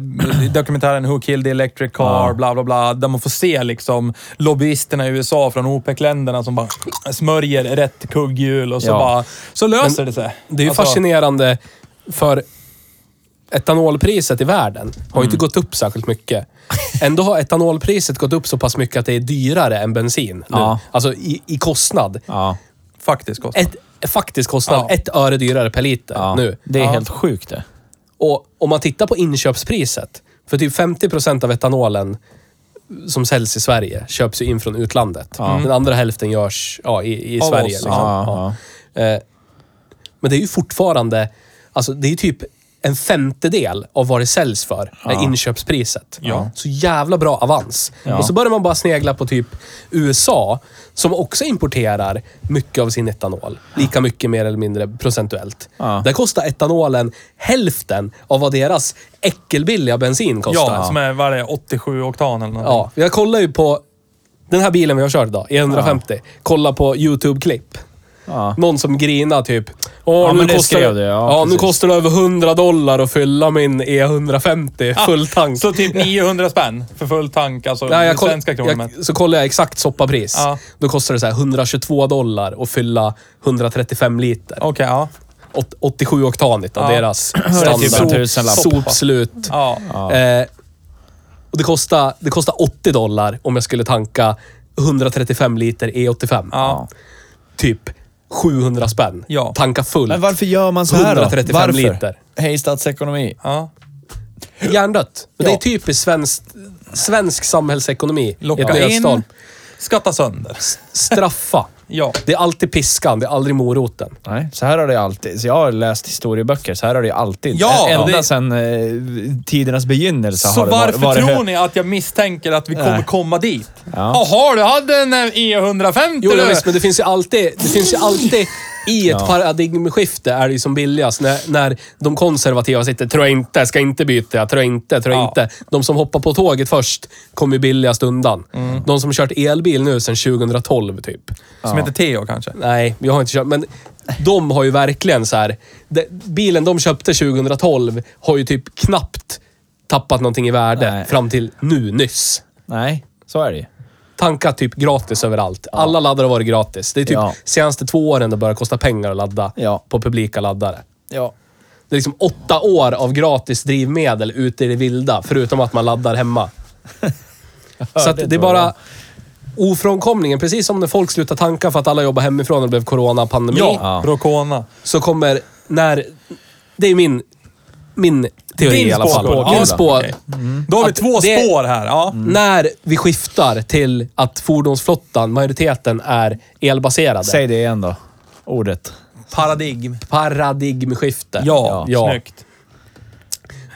B: i dokumentären Who Killed the Electric Car, bla bla bla, där man får se liksom lobbyisterna i USA från OPEC-länderna som bara smörjer rätt kugghjul och så
C: Ja.
B: bara, så löser
D: Men
B: det sig.
D: Det är ju
B: Alltså,
D: fascinerande för etanolpriset i världen har ju inte
B: Mm.
D: gått upp särskilt mycket. Ändå har etanolpriset gått upp så pass mycket att det är dyrare än bensin. Nu.
C: Ja.
D: Alltså i, i kostnad.
C: Ja,
B: Faktiskt kostnad.
D: Ett, faktisk kostnad.
B: Ja.
D: Ett öre dyrare per liter
C: ja.
D: nu.
C: det är helt sjukt det.
D: Och om man tittar på inköpspriset, för typ 50 procent av etanolen som säljs i Sverige köps ju in från utlandet. Den andra hälften görs ja, i, i
B: Av
D: Sverige.
B: oss.
D: Liksom.
C: Ja,
D: Ja. Eh, Men det är ju fortfarande, alltså det är ju typ en femtedel av vad det säljs för, är inköpspriset. Så jävla bra avans. Och så börjar man bara snegla på typ USA, som också importerar mycket av sin etanol. Lika mycket mer eller mindre procentuellt.
C: Ja.
D: Där kostar etanolen hälften av vad deras äckelbilliga bensin kostar.
B: Ja, som är, vad är det, 87 oktan eller något.
D: Ja, jag E kollar ju på den här bilen vi har kört idag, E150. Kolla på YouTube-klipp.
C: Ja.
D: Någon som grinar typ. Åh,
C: Ja,
D: nu
C: men det
D: kostar
C: skrev du, ja,
D: ja nu
C: precis.
D: kostar det över 100 dollar att fylla min E150 full tank.
B: Så typ 900 spänn för full tank, alltså
D: Ja, jag koll,
B: svenska kronor mätt.
D: jag, så kollar jag exakt soppapris.
B: Ja.
D: Då kostar det så här 122 dollar att fylla 135 liter.
B: Okej, ja.
D: Åt- 87 oktanigt av
B: Ja.
D: deras
C: är typ en
D: standard.
C: tusenlapp.
D: Sopslut.
B: ja.
D: Eh, och det kostar, det kostar 80 dollar om jag skulle tanka 135 liter E85.
B: Ja.
D: Typ 700 spänn.
B: Ja.
D: Tanka fullt.
A: Men varför gör man så här då?
D: 135
A: varför?
D: liter.
C: Hej statsekonomi.
B: ja.
D: Hjärndött. Men Det
C: Ja.
D: är typiskt svensk, svensk samhällsekonomi i ett
B: Locka
D: nötskal.
B: in, skatta sönder.
D: Straffa.
B: Ja.
D: Det är alltid piskan, det är aldrig moroten.
C: Nej, så här har det alltid. Så jag har läst historieböcker, så här har det alltid.
B: Ja,
C: Ä- Ända
B: det-
C: sedan eh, tidernas begynnelse
B: Så
C: har det
B: varför
C: varit...
B: tror ni att jag misstänker att vi kommer
C: Nej.
B: komma dit?
C: Ja.
B: Jaha, du hade en eh, E150
D: Jo,
B: du.
D: ja, visst, men det finns ju alltid, det finns ju alltid i ett paradigmskifte är det ju som billigast när, när de konservativa sitter, tror jag inte, ska inte byta, tror jag inte, tror jag
B: Ja.
D: inte. De som hoppar på tåget först kommer ju billigast undan. De som kört elbil nu sedan 2012 typ.
B: Som heter Theo kanske.
D: Nej, jag har inte köpt, men de har ju verkligen så här. De, bilen de köpte 2012 har ju typ knappt tappat någonting i värde
C: Nej.
D: fram till nu nyss
C: Nej, så är det ju.
D: tanka typ gratis överallt. Alla laddare har varit gratis. Det är typ
C: Ja.
D: senaste två åren det börjar kosta pengar att ladda
C: Ja.
D: på publika laddare.
C: Ja.
D: Det är liksom åtta år av gratis drivmedel ute i det vilda, förutom att man laddar hemma. Så att
C: det
D: det är
C: tror
D: bara
C: jag.
D: ofrånkomligen. Precis som när folk slutar tanka för att alla jobbar hemifrån och det blev coronapandemi.
B: Ja,
C: Ja.
B: Rokona.
D: Så kommer när... Det är min, min teori
B: Din
D: i alla fall.
B: spårkula.
D: Min
B: Ja,
D: spår. Mm.
B: okej. Mm. Då har vi
D: Att
B: två
D: det-
B: spår här. Ja.
D: När vi skiftar till att fordonsflottan, majoriteten, är elbaserade.
C: Säg det igen då. Ordet.
B: Paradigm.
D: paradigmskifte.
B: Ja,
D: ja.
B: snyggt.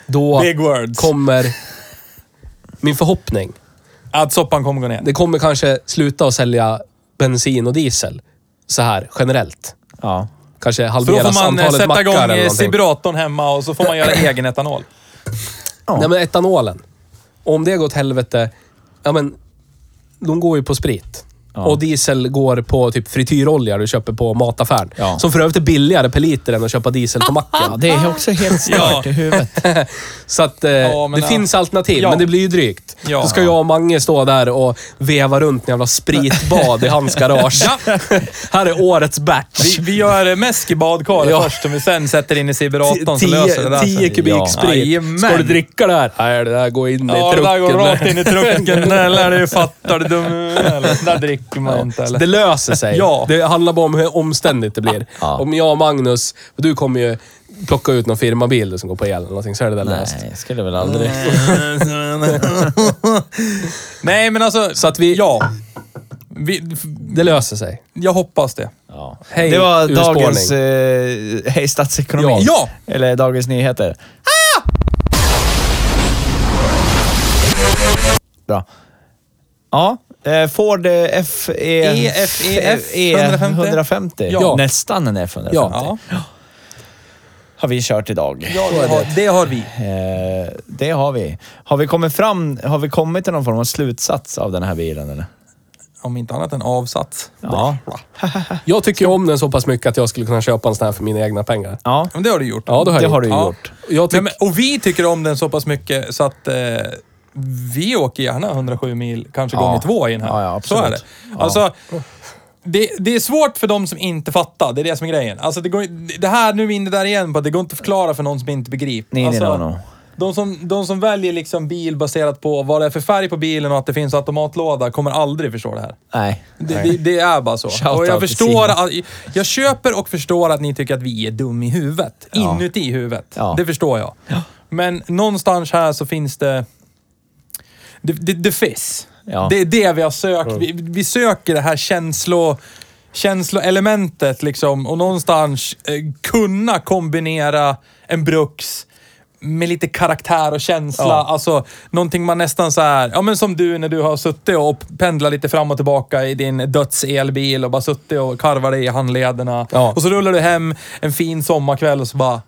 D: Då
B: Big words.
D: kommer min förhoppning.
B: Att soppan kommer gå ner.
D: Det kommer kanske sluta att sälja bensin och diesel så här generellt.
C: Ja.
D: Kanske
B: Så då
D: halveras
B: får man eh,
D: antalet
B: sätta
D: mackar
B: igång
D: eller
B: eh,
D: någonting.
B: sibiratorn hemma och så får man göra egen etanol.
D: Nej, men etanolen. Om det går åt helvete, ja men, de går ju på sprit.
C: Ja.
D: Och diesel går på typ frityrolja du köper på mataffären.
C: Ja.
D: Som för övrigt är billigare per liter än att köpa diesel på macken.
C: ja. Det är också helt stört
B: Ja.
C: i huvudet.
D: Så att eh,
B: Ja, men
D: det
B: ja.
D: finns alternativ,
B: Ja.
D: men det blir ju drygt.
B: Ja.
D: Då ska jag och Mange stå där och veva runt en jävla spritbad i hans garage. Här är årets batch.
B: Vi, vi gör eh, mäsk i badkaret
D: Ja.
B: först som vi sen sätter in i
D: Ti-
B: sibiratorn så löser det där
D: Tio,
B: sig.
D: tio kubik
C: Ja.
D: sprit.
B: Jajamän.
D: Ska du dricka det här? Nej, det där går in
B: Ja,
D: i
B: det där går
D: trucken.
B: rakt in i trucken. Eller du fattar du dum eller? Där dricker man inte eller?
D: Det löser sig.
B: Ja.
D: Det handlar bara om hur omständigt det blir.
C: Ja.
D: Om jag och Magnus, du kommer ju plocka ut någon firmabil du som går på el eller någonting, så är det där löst.
C: Nej, skulle väl aldrig...
B: Nej, men alltså...
D: Så att vi...
B: Ja. Vi,
D: Det löser sig.
B: jag hoppas det.
C: Ja.
D: Hej,
C: det var
D: urspårning.
C: dagens... Eh, hej statsekonomi.
D: Ja.
B: Ja!
C: Eller Dagens Nyheter. Ah! Bra. Ja, eh, Ford eh, FE... E
B: EFEF
C: 150. 150.
B: Ja.
C: Nästan en F150.
B: Ja.
C: Har vi kört idag.
B: Ja, det, har, det har vi.
C: Eh, det har vi. Har vi, kommit fram, har vi kommit till någon form av slutsats av den här bilen eller?
B: Om inte annat en avsats.
C: Ja.
D: Jag tycker ju om den så pass mycket att jag skulle kunna köpa en sån här för mina egna pengar.
C: Ja,
B: Men det har du gjort.
D: Ja, det har,
C: det
D: jag
C: har du
D: gjort.
C: ju
B: Ja.
C: gjort.
D: Jag tycker...
B: Nej, men, och vi tycker om den så pass mycket så att eh, vi åker gärna 107 mil, kanske gånger två i den här.
C: Ja, ja, absolut.
B: Så är det. Alltså, det, det är svårt för de som inte fattar. Det är det som är grejen. Alltså, det, går, det här, nu är vi inne där igen på att det går inte att förklara för någon som inte begriper.
C: Nej, nej,
B: alltså,
C: no, no.
B: De som, de som väljer liksom bil baserat på vad det är för färg på bilen och att det finns automatlåda kommer aldrig förstå det här.
C: Nej.
B: Det, det, det är bara så.
C: Shout
B: och jag
C: out till
B: förstår
C: Simon.
B: att, Jag köper och förstår att ni tycker att vi är dum i huvudet.
C: Ja.
B: Inuti huvudet.
C: Ja.
B: Det förstår jag. Men någonstans här så finns det... Det, det, det finns.
C: Ja.
B: Det är det vi har sökt. Vi, vi söker det här känslo, känsloelementet liksom. Och någonstans eh, kunna kombinera en bruks med lite karaktär och känsla. Alltså, någonting man nästan så här, ja men som du när du har suttit och pendlat lite fram och tillbaka i din dödselbil och bara suttit och karvat dig i handlederna.
D: Ja.
B: Och så rullar du hem en fin sommarkväll och så bara,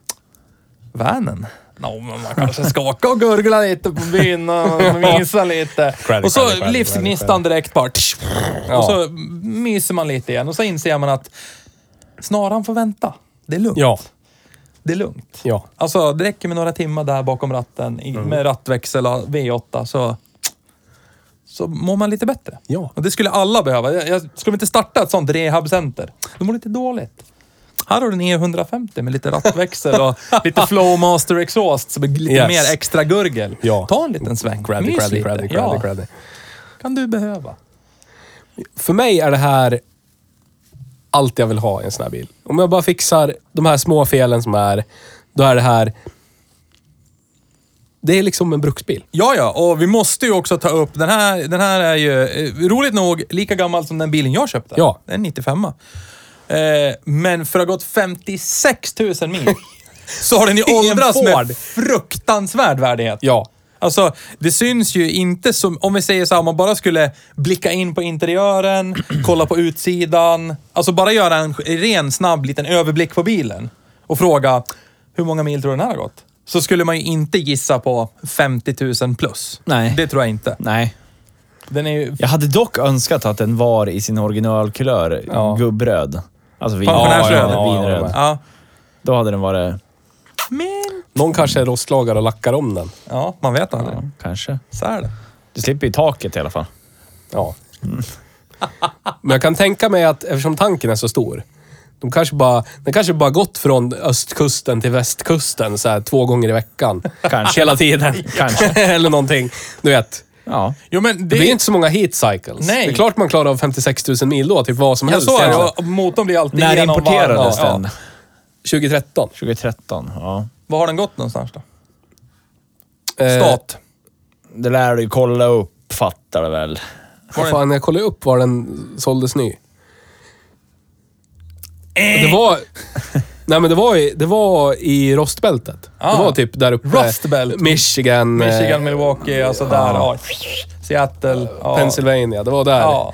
B: vanen. No, men man kanske ska åka och gurgla lite på byn och mysa lite.
D: Credit,
B: och så
D: credit, credit,
B: livsgnistan direkt bara. tsch, Och så myser man lite igen och så inser man att Snaran får vänta. Det är lugnt.
D: Ja.
B: Det är lugnt.
D: Ja.
B: Alltså, det räcker med några timmar där bakom ratten
D: Mm.
B: i, med rattväxel och V8 så, så mår man lite bättre.
D: Ja.
B: Och det skulle alla behöva. Jag, jag skulle inte starta ett sånt rehabcenter. De mår lite dåligt. Här har du en E150 med lite rattväxel och lite Flowmaster Exhaust som är lite
D: Yes.
B: mer extra gurgel.
D: Ja.
B: Ta en liten sväng.
D: Craddy,
B: Mys
D: craddy,
B: lite.
D: craddy,
B: ja.
D: craddy, craddy.
B: kan du behöva.
D: För mig är det här allt jag vill ha i en sån här bil. Om jag bara fixar de här små felen som är, då är det här... Det är liksom en bruksbil.
B: Ja, ja, och vi måste ju också ta upp, den här, den här är ju eh, roligt nog lika gammal som den bilen jag köpte.
D: Ja.
B: Den är 95. Eh, men för att ha gått 56 000 mil så har den ju
D: är en
B: åldrats
D: Ford.
B: med fruktansvärd värdighet.
D: Ja.
B: Alltså, det syns ju inte som, om vi säger så här, om man bara skulle blicka in på interiören, kolla på utsidan. Alltså bara göra en ren snabb liten överblick på bilen och fråga hur många mil tror du den här har gått? Så skulle man ju inte gissa på 50 000 plus.
H: Nej.
B: Det tror jag inte.
H: Nej.
B: Den är ju
C: Jag hade dock önskat att den var i sin originalkulör, gubbröd. Alltså vin,
B: Pensionärsröd.
C: Ja, vinröd.
B: Ja.
C: Då hade den varit...
B: Men...
D: Någon kanske rostlagar och lackar om den.
B: Ja, man vet aldrig.
C: Ja, kanske.
B: Så är det.
C: Du slipper ju taket i alla fall.
D: Ja. Men jag kan tänka mig att eftersom tanken är så stor. De kanske bara, den kanske bara gått från östkusten till västkusten så här, två gånger i veckan.
C: Kanske.
D: Hela tiden.
C: Kanske.
D: Eller någonting. Du vet.
C: Ja.
B: Jo, men
D: Det
B: det...
D: blir inte så många heat cycles.
B: Nej.
D: Det är klart man klarar av 56 000 mil då, typ vad som
B: jag
D: helst.
B: sa det,
D: egentligen.
B: och motorn blir alltid
C: När
B: igenom varm.
C: importerades
B: Ja,
C: den?
B: Ja.
D: 2013.
C: 2013. Ja.
B: Var har den gått någonstans då?
D: Eh,
B: Stat.
C: Det lär du ju kolla upp, fattar du väl?
D: Vad fan, jag kollade upp var den såldes ny.
B: Eh.
D: Det var... Nej men det var i, det var i rostbältet.
B: Ah.
D: Det var typ där uppe.
B: Rust Belt.
D: Michigan. eh,
B: Michigan, Milwaukee, alltså där. Ja. Seattle. Ja.
D: Pennsylvania. Det var där
B: Ja.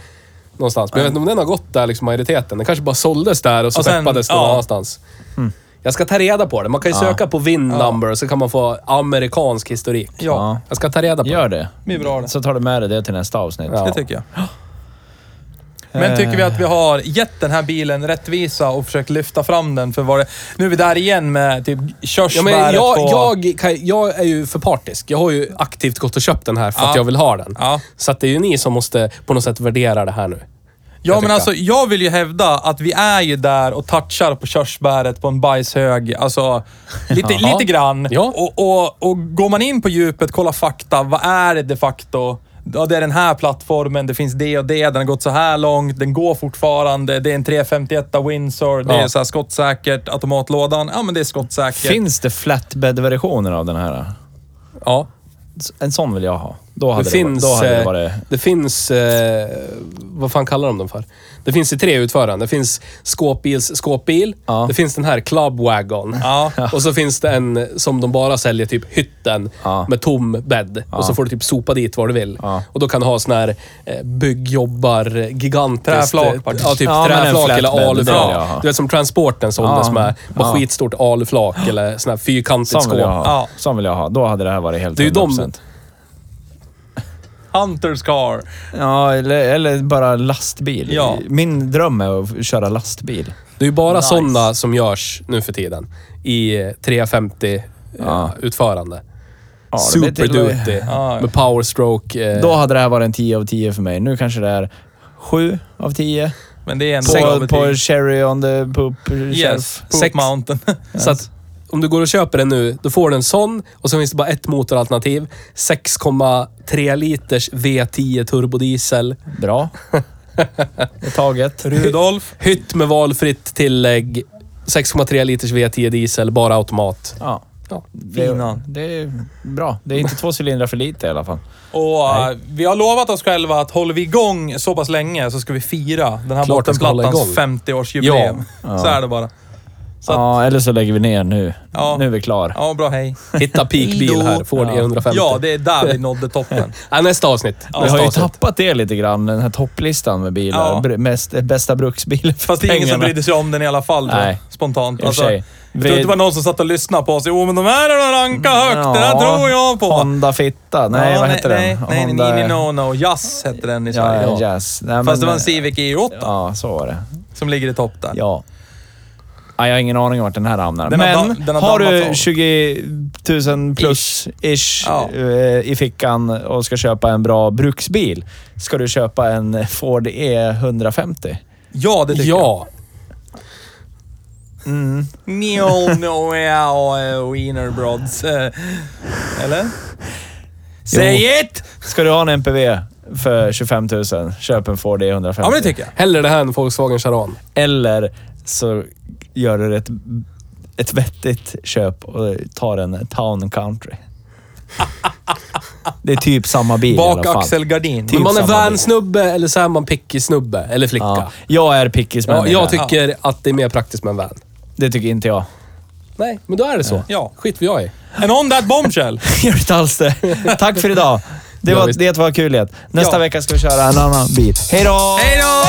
D: någonstans. Men jag vet inte om den har gått där, liksom majoriteten. Den kanske bara såldes där och så
B: Och sen-
D: skeppades den
B: ja. Mm.
D: någon annanstans. Jag ska ta reda på det. Man kan ju söka på VIN number och så kan man få amerikansk historik.
B: Ja,
D: Jag ska ta reda på
C: Gör det.
B: det är bra det.
C: Så tar du med dig det till nästa avsnitt.
D: Ja.
B: Det tycker jag. Men tycker vi att vi har gett den här bilen rättvisa och försökt lyfta fram den för vad det... Nu är vi där igen med typ
D: Ja,
B: körsbäret
D: men jag,
B: på...
D: jag, kan, jag är ju för partisk. Jag har ju aktivt gått och köpt den här för att
B: Ja.
D: jag vill ha den.
B: Ja.
D: Så att det är ju ni som måste på något sätt värdera det här nu.
B: Ja,
D: jag
B: men
D: tycka.
B: alltså jag vill ju hävda att vi är ju där och touchar på körsbäret på en bajshög. Alltså, lite,
D: Jaha.
B: lite grann.
D: Ja.
B: Och, och, och går man in på djupet, kollar fakta. Vad är det de facto? Ja, det är den här plattformen, det finns det och det, den har gått så här långt, den går fortfarande, det är en 351 Windsor, det
D: Ja.
B: är så här skottsäkert, automatlådan, ja men det är skottsäkert.
C: Finns det flatbed-versioner av den här?
D: Ja.
C: En sån vill jag ha. Då
D: Det
C: hade det,
D: finns,
C: varit, då hade det
D: eh,
C: varit...
D: det finns... Eh, vad fan kallar de dem för? Det finns i tre utföranden. Det finns skåpbils skåpbil.
C: Ja.
D: Det finns den här Club Wagon.
B: Ja.
D: Och så finns det en som de bara säljer, typ hytten,
C: Ja.
D: med tom bädd. Och så får du typ sopa dit vad du vill.
C: Ja.
D: Och då kan du ha sån här eh, byggjobbar, eh, gigantiskt...
B: Träflak,
D: eh,
B: bara.
D: Ja, typ
C: Ja, men en
D: träflak eller
C: flatbed, det vill
D: aluflak.
C: jag ha.
D: Du vet som Transporten såldes
C: Ja.
D: med. Bara
C: Ja.
D: skitstort aluflak eller sån här fyrkantigt
C: Sån vill jag ha.
D: skåp.
B: Ja.
C: Sån vill jag ha. Då hade det här varit helt
D: Det är ju de-
C: 100%.
B: Hunters car.
C: Ja, eller, eller bara lastbil.
B: Ja.
C: Min dröm är att köra lastbil.
D: Det är ju bara
B: Nice.
D: sådana som görs nu för tiden i eh, 350
C: Ja.
D: eh, utförande.
C: Ja, det blir
D: Super
C: till och med-
D: Duty
B: Ja, ja.
D: med powerstroke. Eh,
C: Då hade det här varit en 10 av 10 för mig. Nu kanske det är 7 av 10.
B: Men det är ändå...
C: På, på Cherry on the poop shelf.
B: yes, Poop
D: Sex.
B: Mountain.
D: så att om du går och köper den nu, då får du en sån och så finns det bara ett motoralternativ. 6,3 liters V10 turbodiesel.
C: Bra. Det är taget.
B: Rudolf.
D: Hytt med valfritt tillägg. 6,3 liters V10 diesel, bara automat.
C: Ja.
D: Ja.
C: Det,
B: Finan.
C: det är bra. Det är inte två cylindrar för lite i alla fall.
B: Och eh, vi har lovat oss själva att håller vi igång så pass länge så ska vi fira den här
D: Klart vi ska hålla
B: bottenplattans
D: igång.
B: 50-årsjubileum. Så är det bara. Så att-
C: Ja, eller så lägger vi ner nu.
B: Ja.
C: Nu är vi klar.
B: Ja, bra. Hej.
D: Hitta peakbil här, Ford E
C: Ja.
D: E150.
B: Ja, det är där vi nådde toppen.
D: ja, Äh, nästa avsnitt.
C: Vi
D: nästa
C: har ju
D: avsnitt.
C: tappat det lite grann, den här topplistan med bilar.
B: Ja.
C: Br- Mest, eh, bästa bruksbilen för
B: Fast det är ingen som
C: pengarna.
B: brydde sig om den i alla fall. Nej.
C: Nej.
B: Spontant.
C: och för
B: Alltså,
C: sig.
B: jag tror inte det var någon som satt och lyssnade på oss. Jo, men de här har rankat högt. Det där
C: Mm, Ja.
B: tror jag på.
C: Honda Fitta. Nej,
B: Ja,
C: vad heter
B: nej,
C: den?
B: Nej, nej,
C: Honda...
B: nej, nej, no, no. Jazz hette den i Sverige.
C: Ja,
B: Ja,
C: jazz. Nej,
B: E
C: men-
B: Fast det var en Civic E8
C: Ja, så var det.
B: som ligger i topp där.
C: Ja. Ja, jag har ingen aning om vart den här hamnar.
B: Den har
C: Men
B: da- den har
C: har
B: dammats
C: du
B: av.
C: 20 000 plus ish,
B: Ja.
C: eh, i fickan och ska köpa en bra bruksbil, ska du köpa en Ford E E150?
B: Ja, det tycker
D: Ja.
B: jag. Neil Mm. Noel Wienerbrods. eh, Eller? Say it!
C: Ska du ha en MPV för 25 000, köp en Ford E E150.
B: Ja, men det tycker jag.
D: Hellre det här än Volkswagen Charan.
C: Eller så gör du ett, ett vettigt köp och tar en Town Country. Det är typ samma bil i
B: Bak
C: alla fall.
B: axelgardin.
D: Men man är
C: samma bil.
D: vansnubbe eller så är man picky snubbe eller flicka.
C: Ja.
D: Ja.
C: Jag är pickismänniska.
D: jag tycker att det är mer praktiskt med en van.
C: Det tycker inte jag.
D: Nej, men då är det så.
B: Ja.
D: Skit vad jag i.
B: And on that bombshell.
C: Gör inte alls det. Tack för idag. Det
D: Ja,
C: var,
D: visst.
C: det var kul. igen. Nästa
B: Ja.
C: vecka ska vi köra en annan bil. Hej då!
B: Hej då!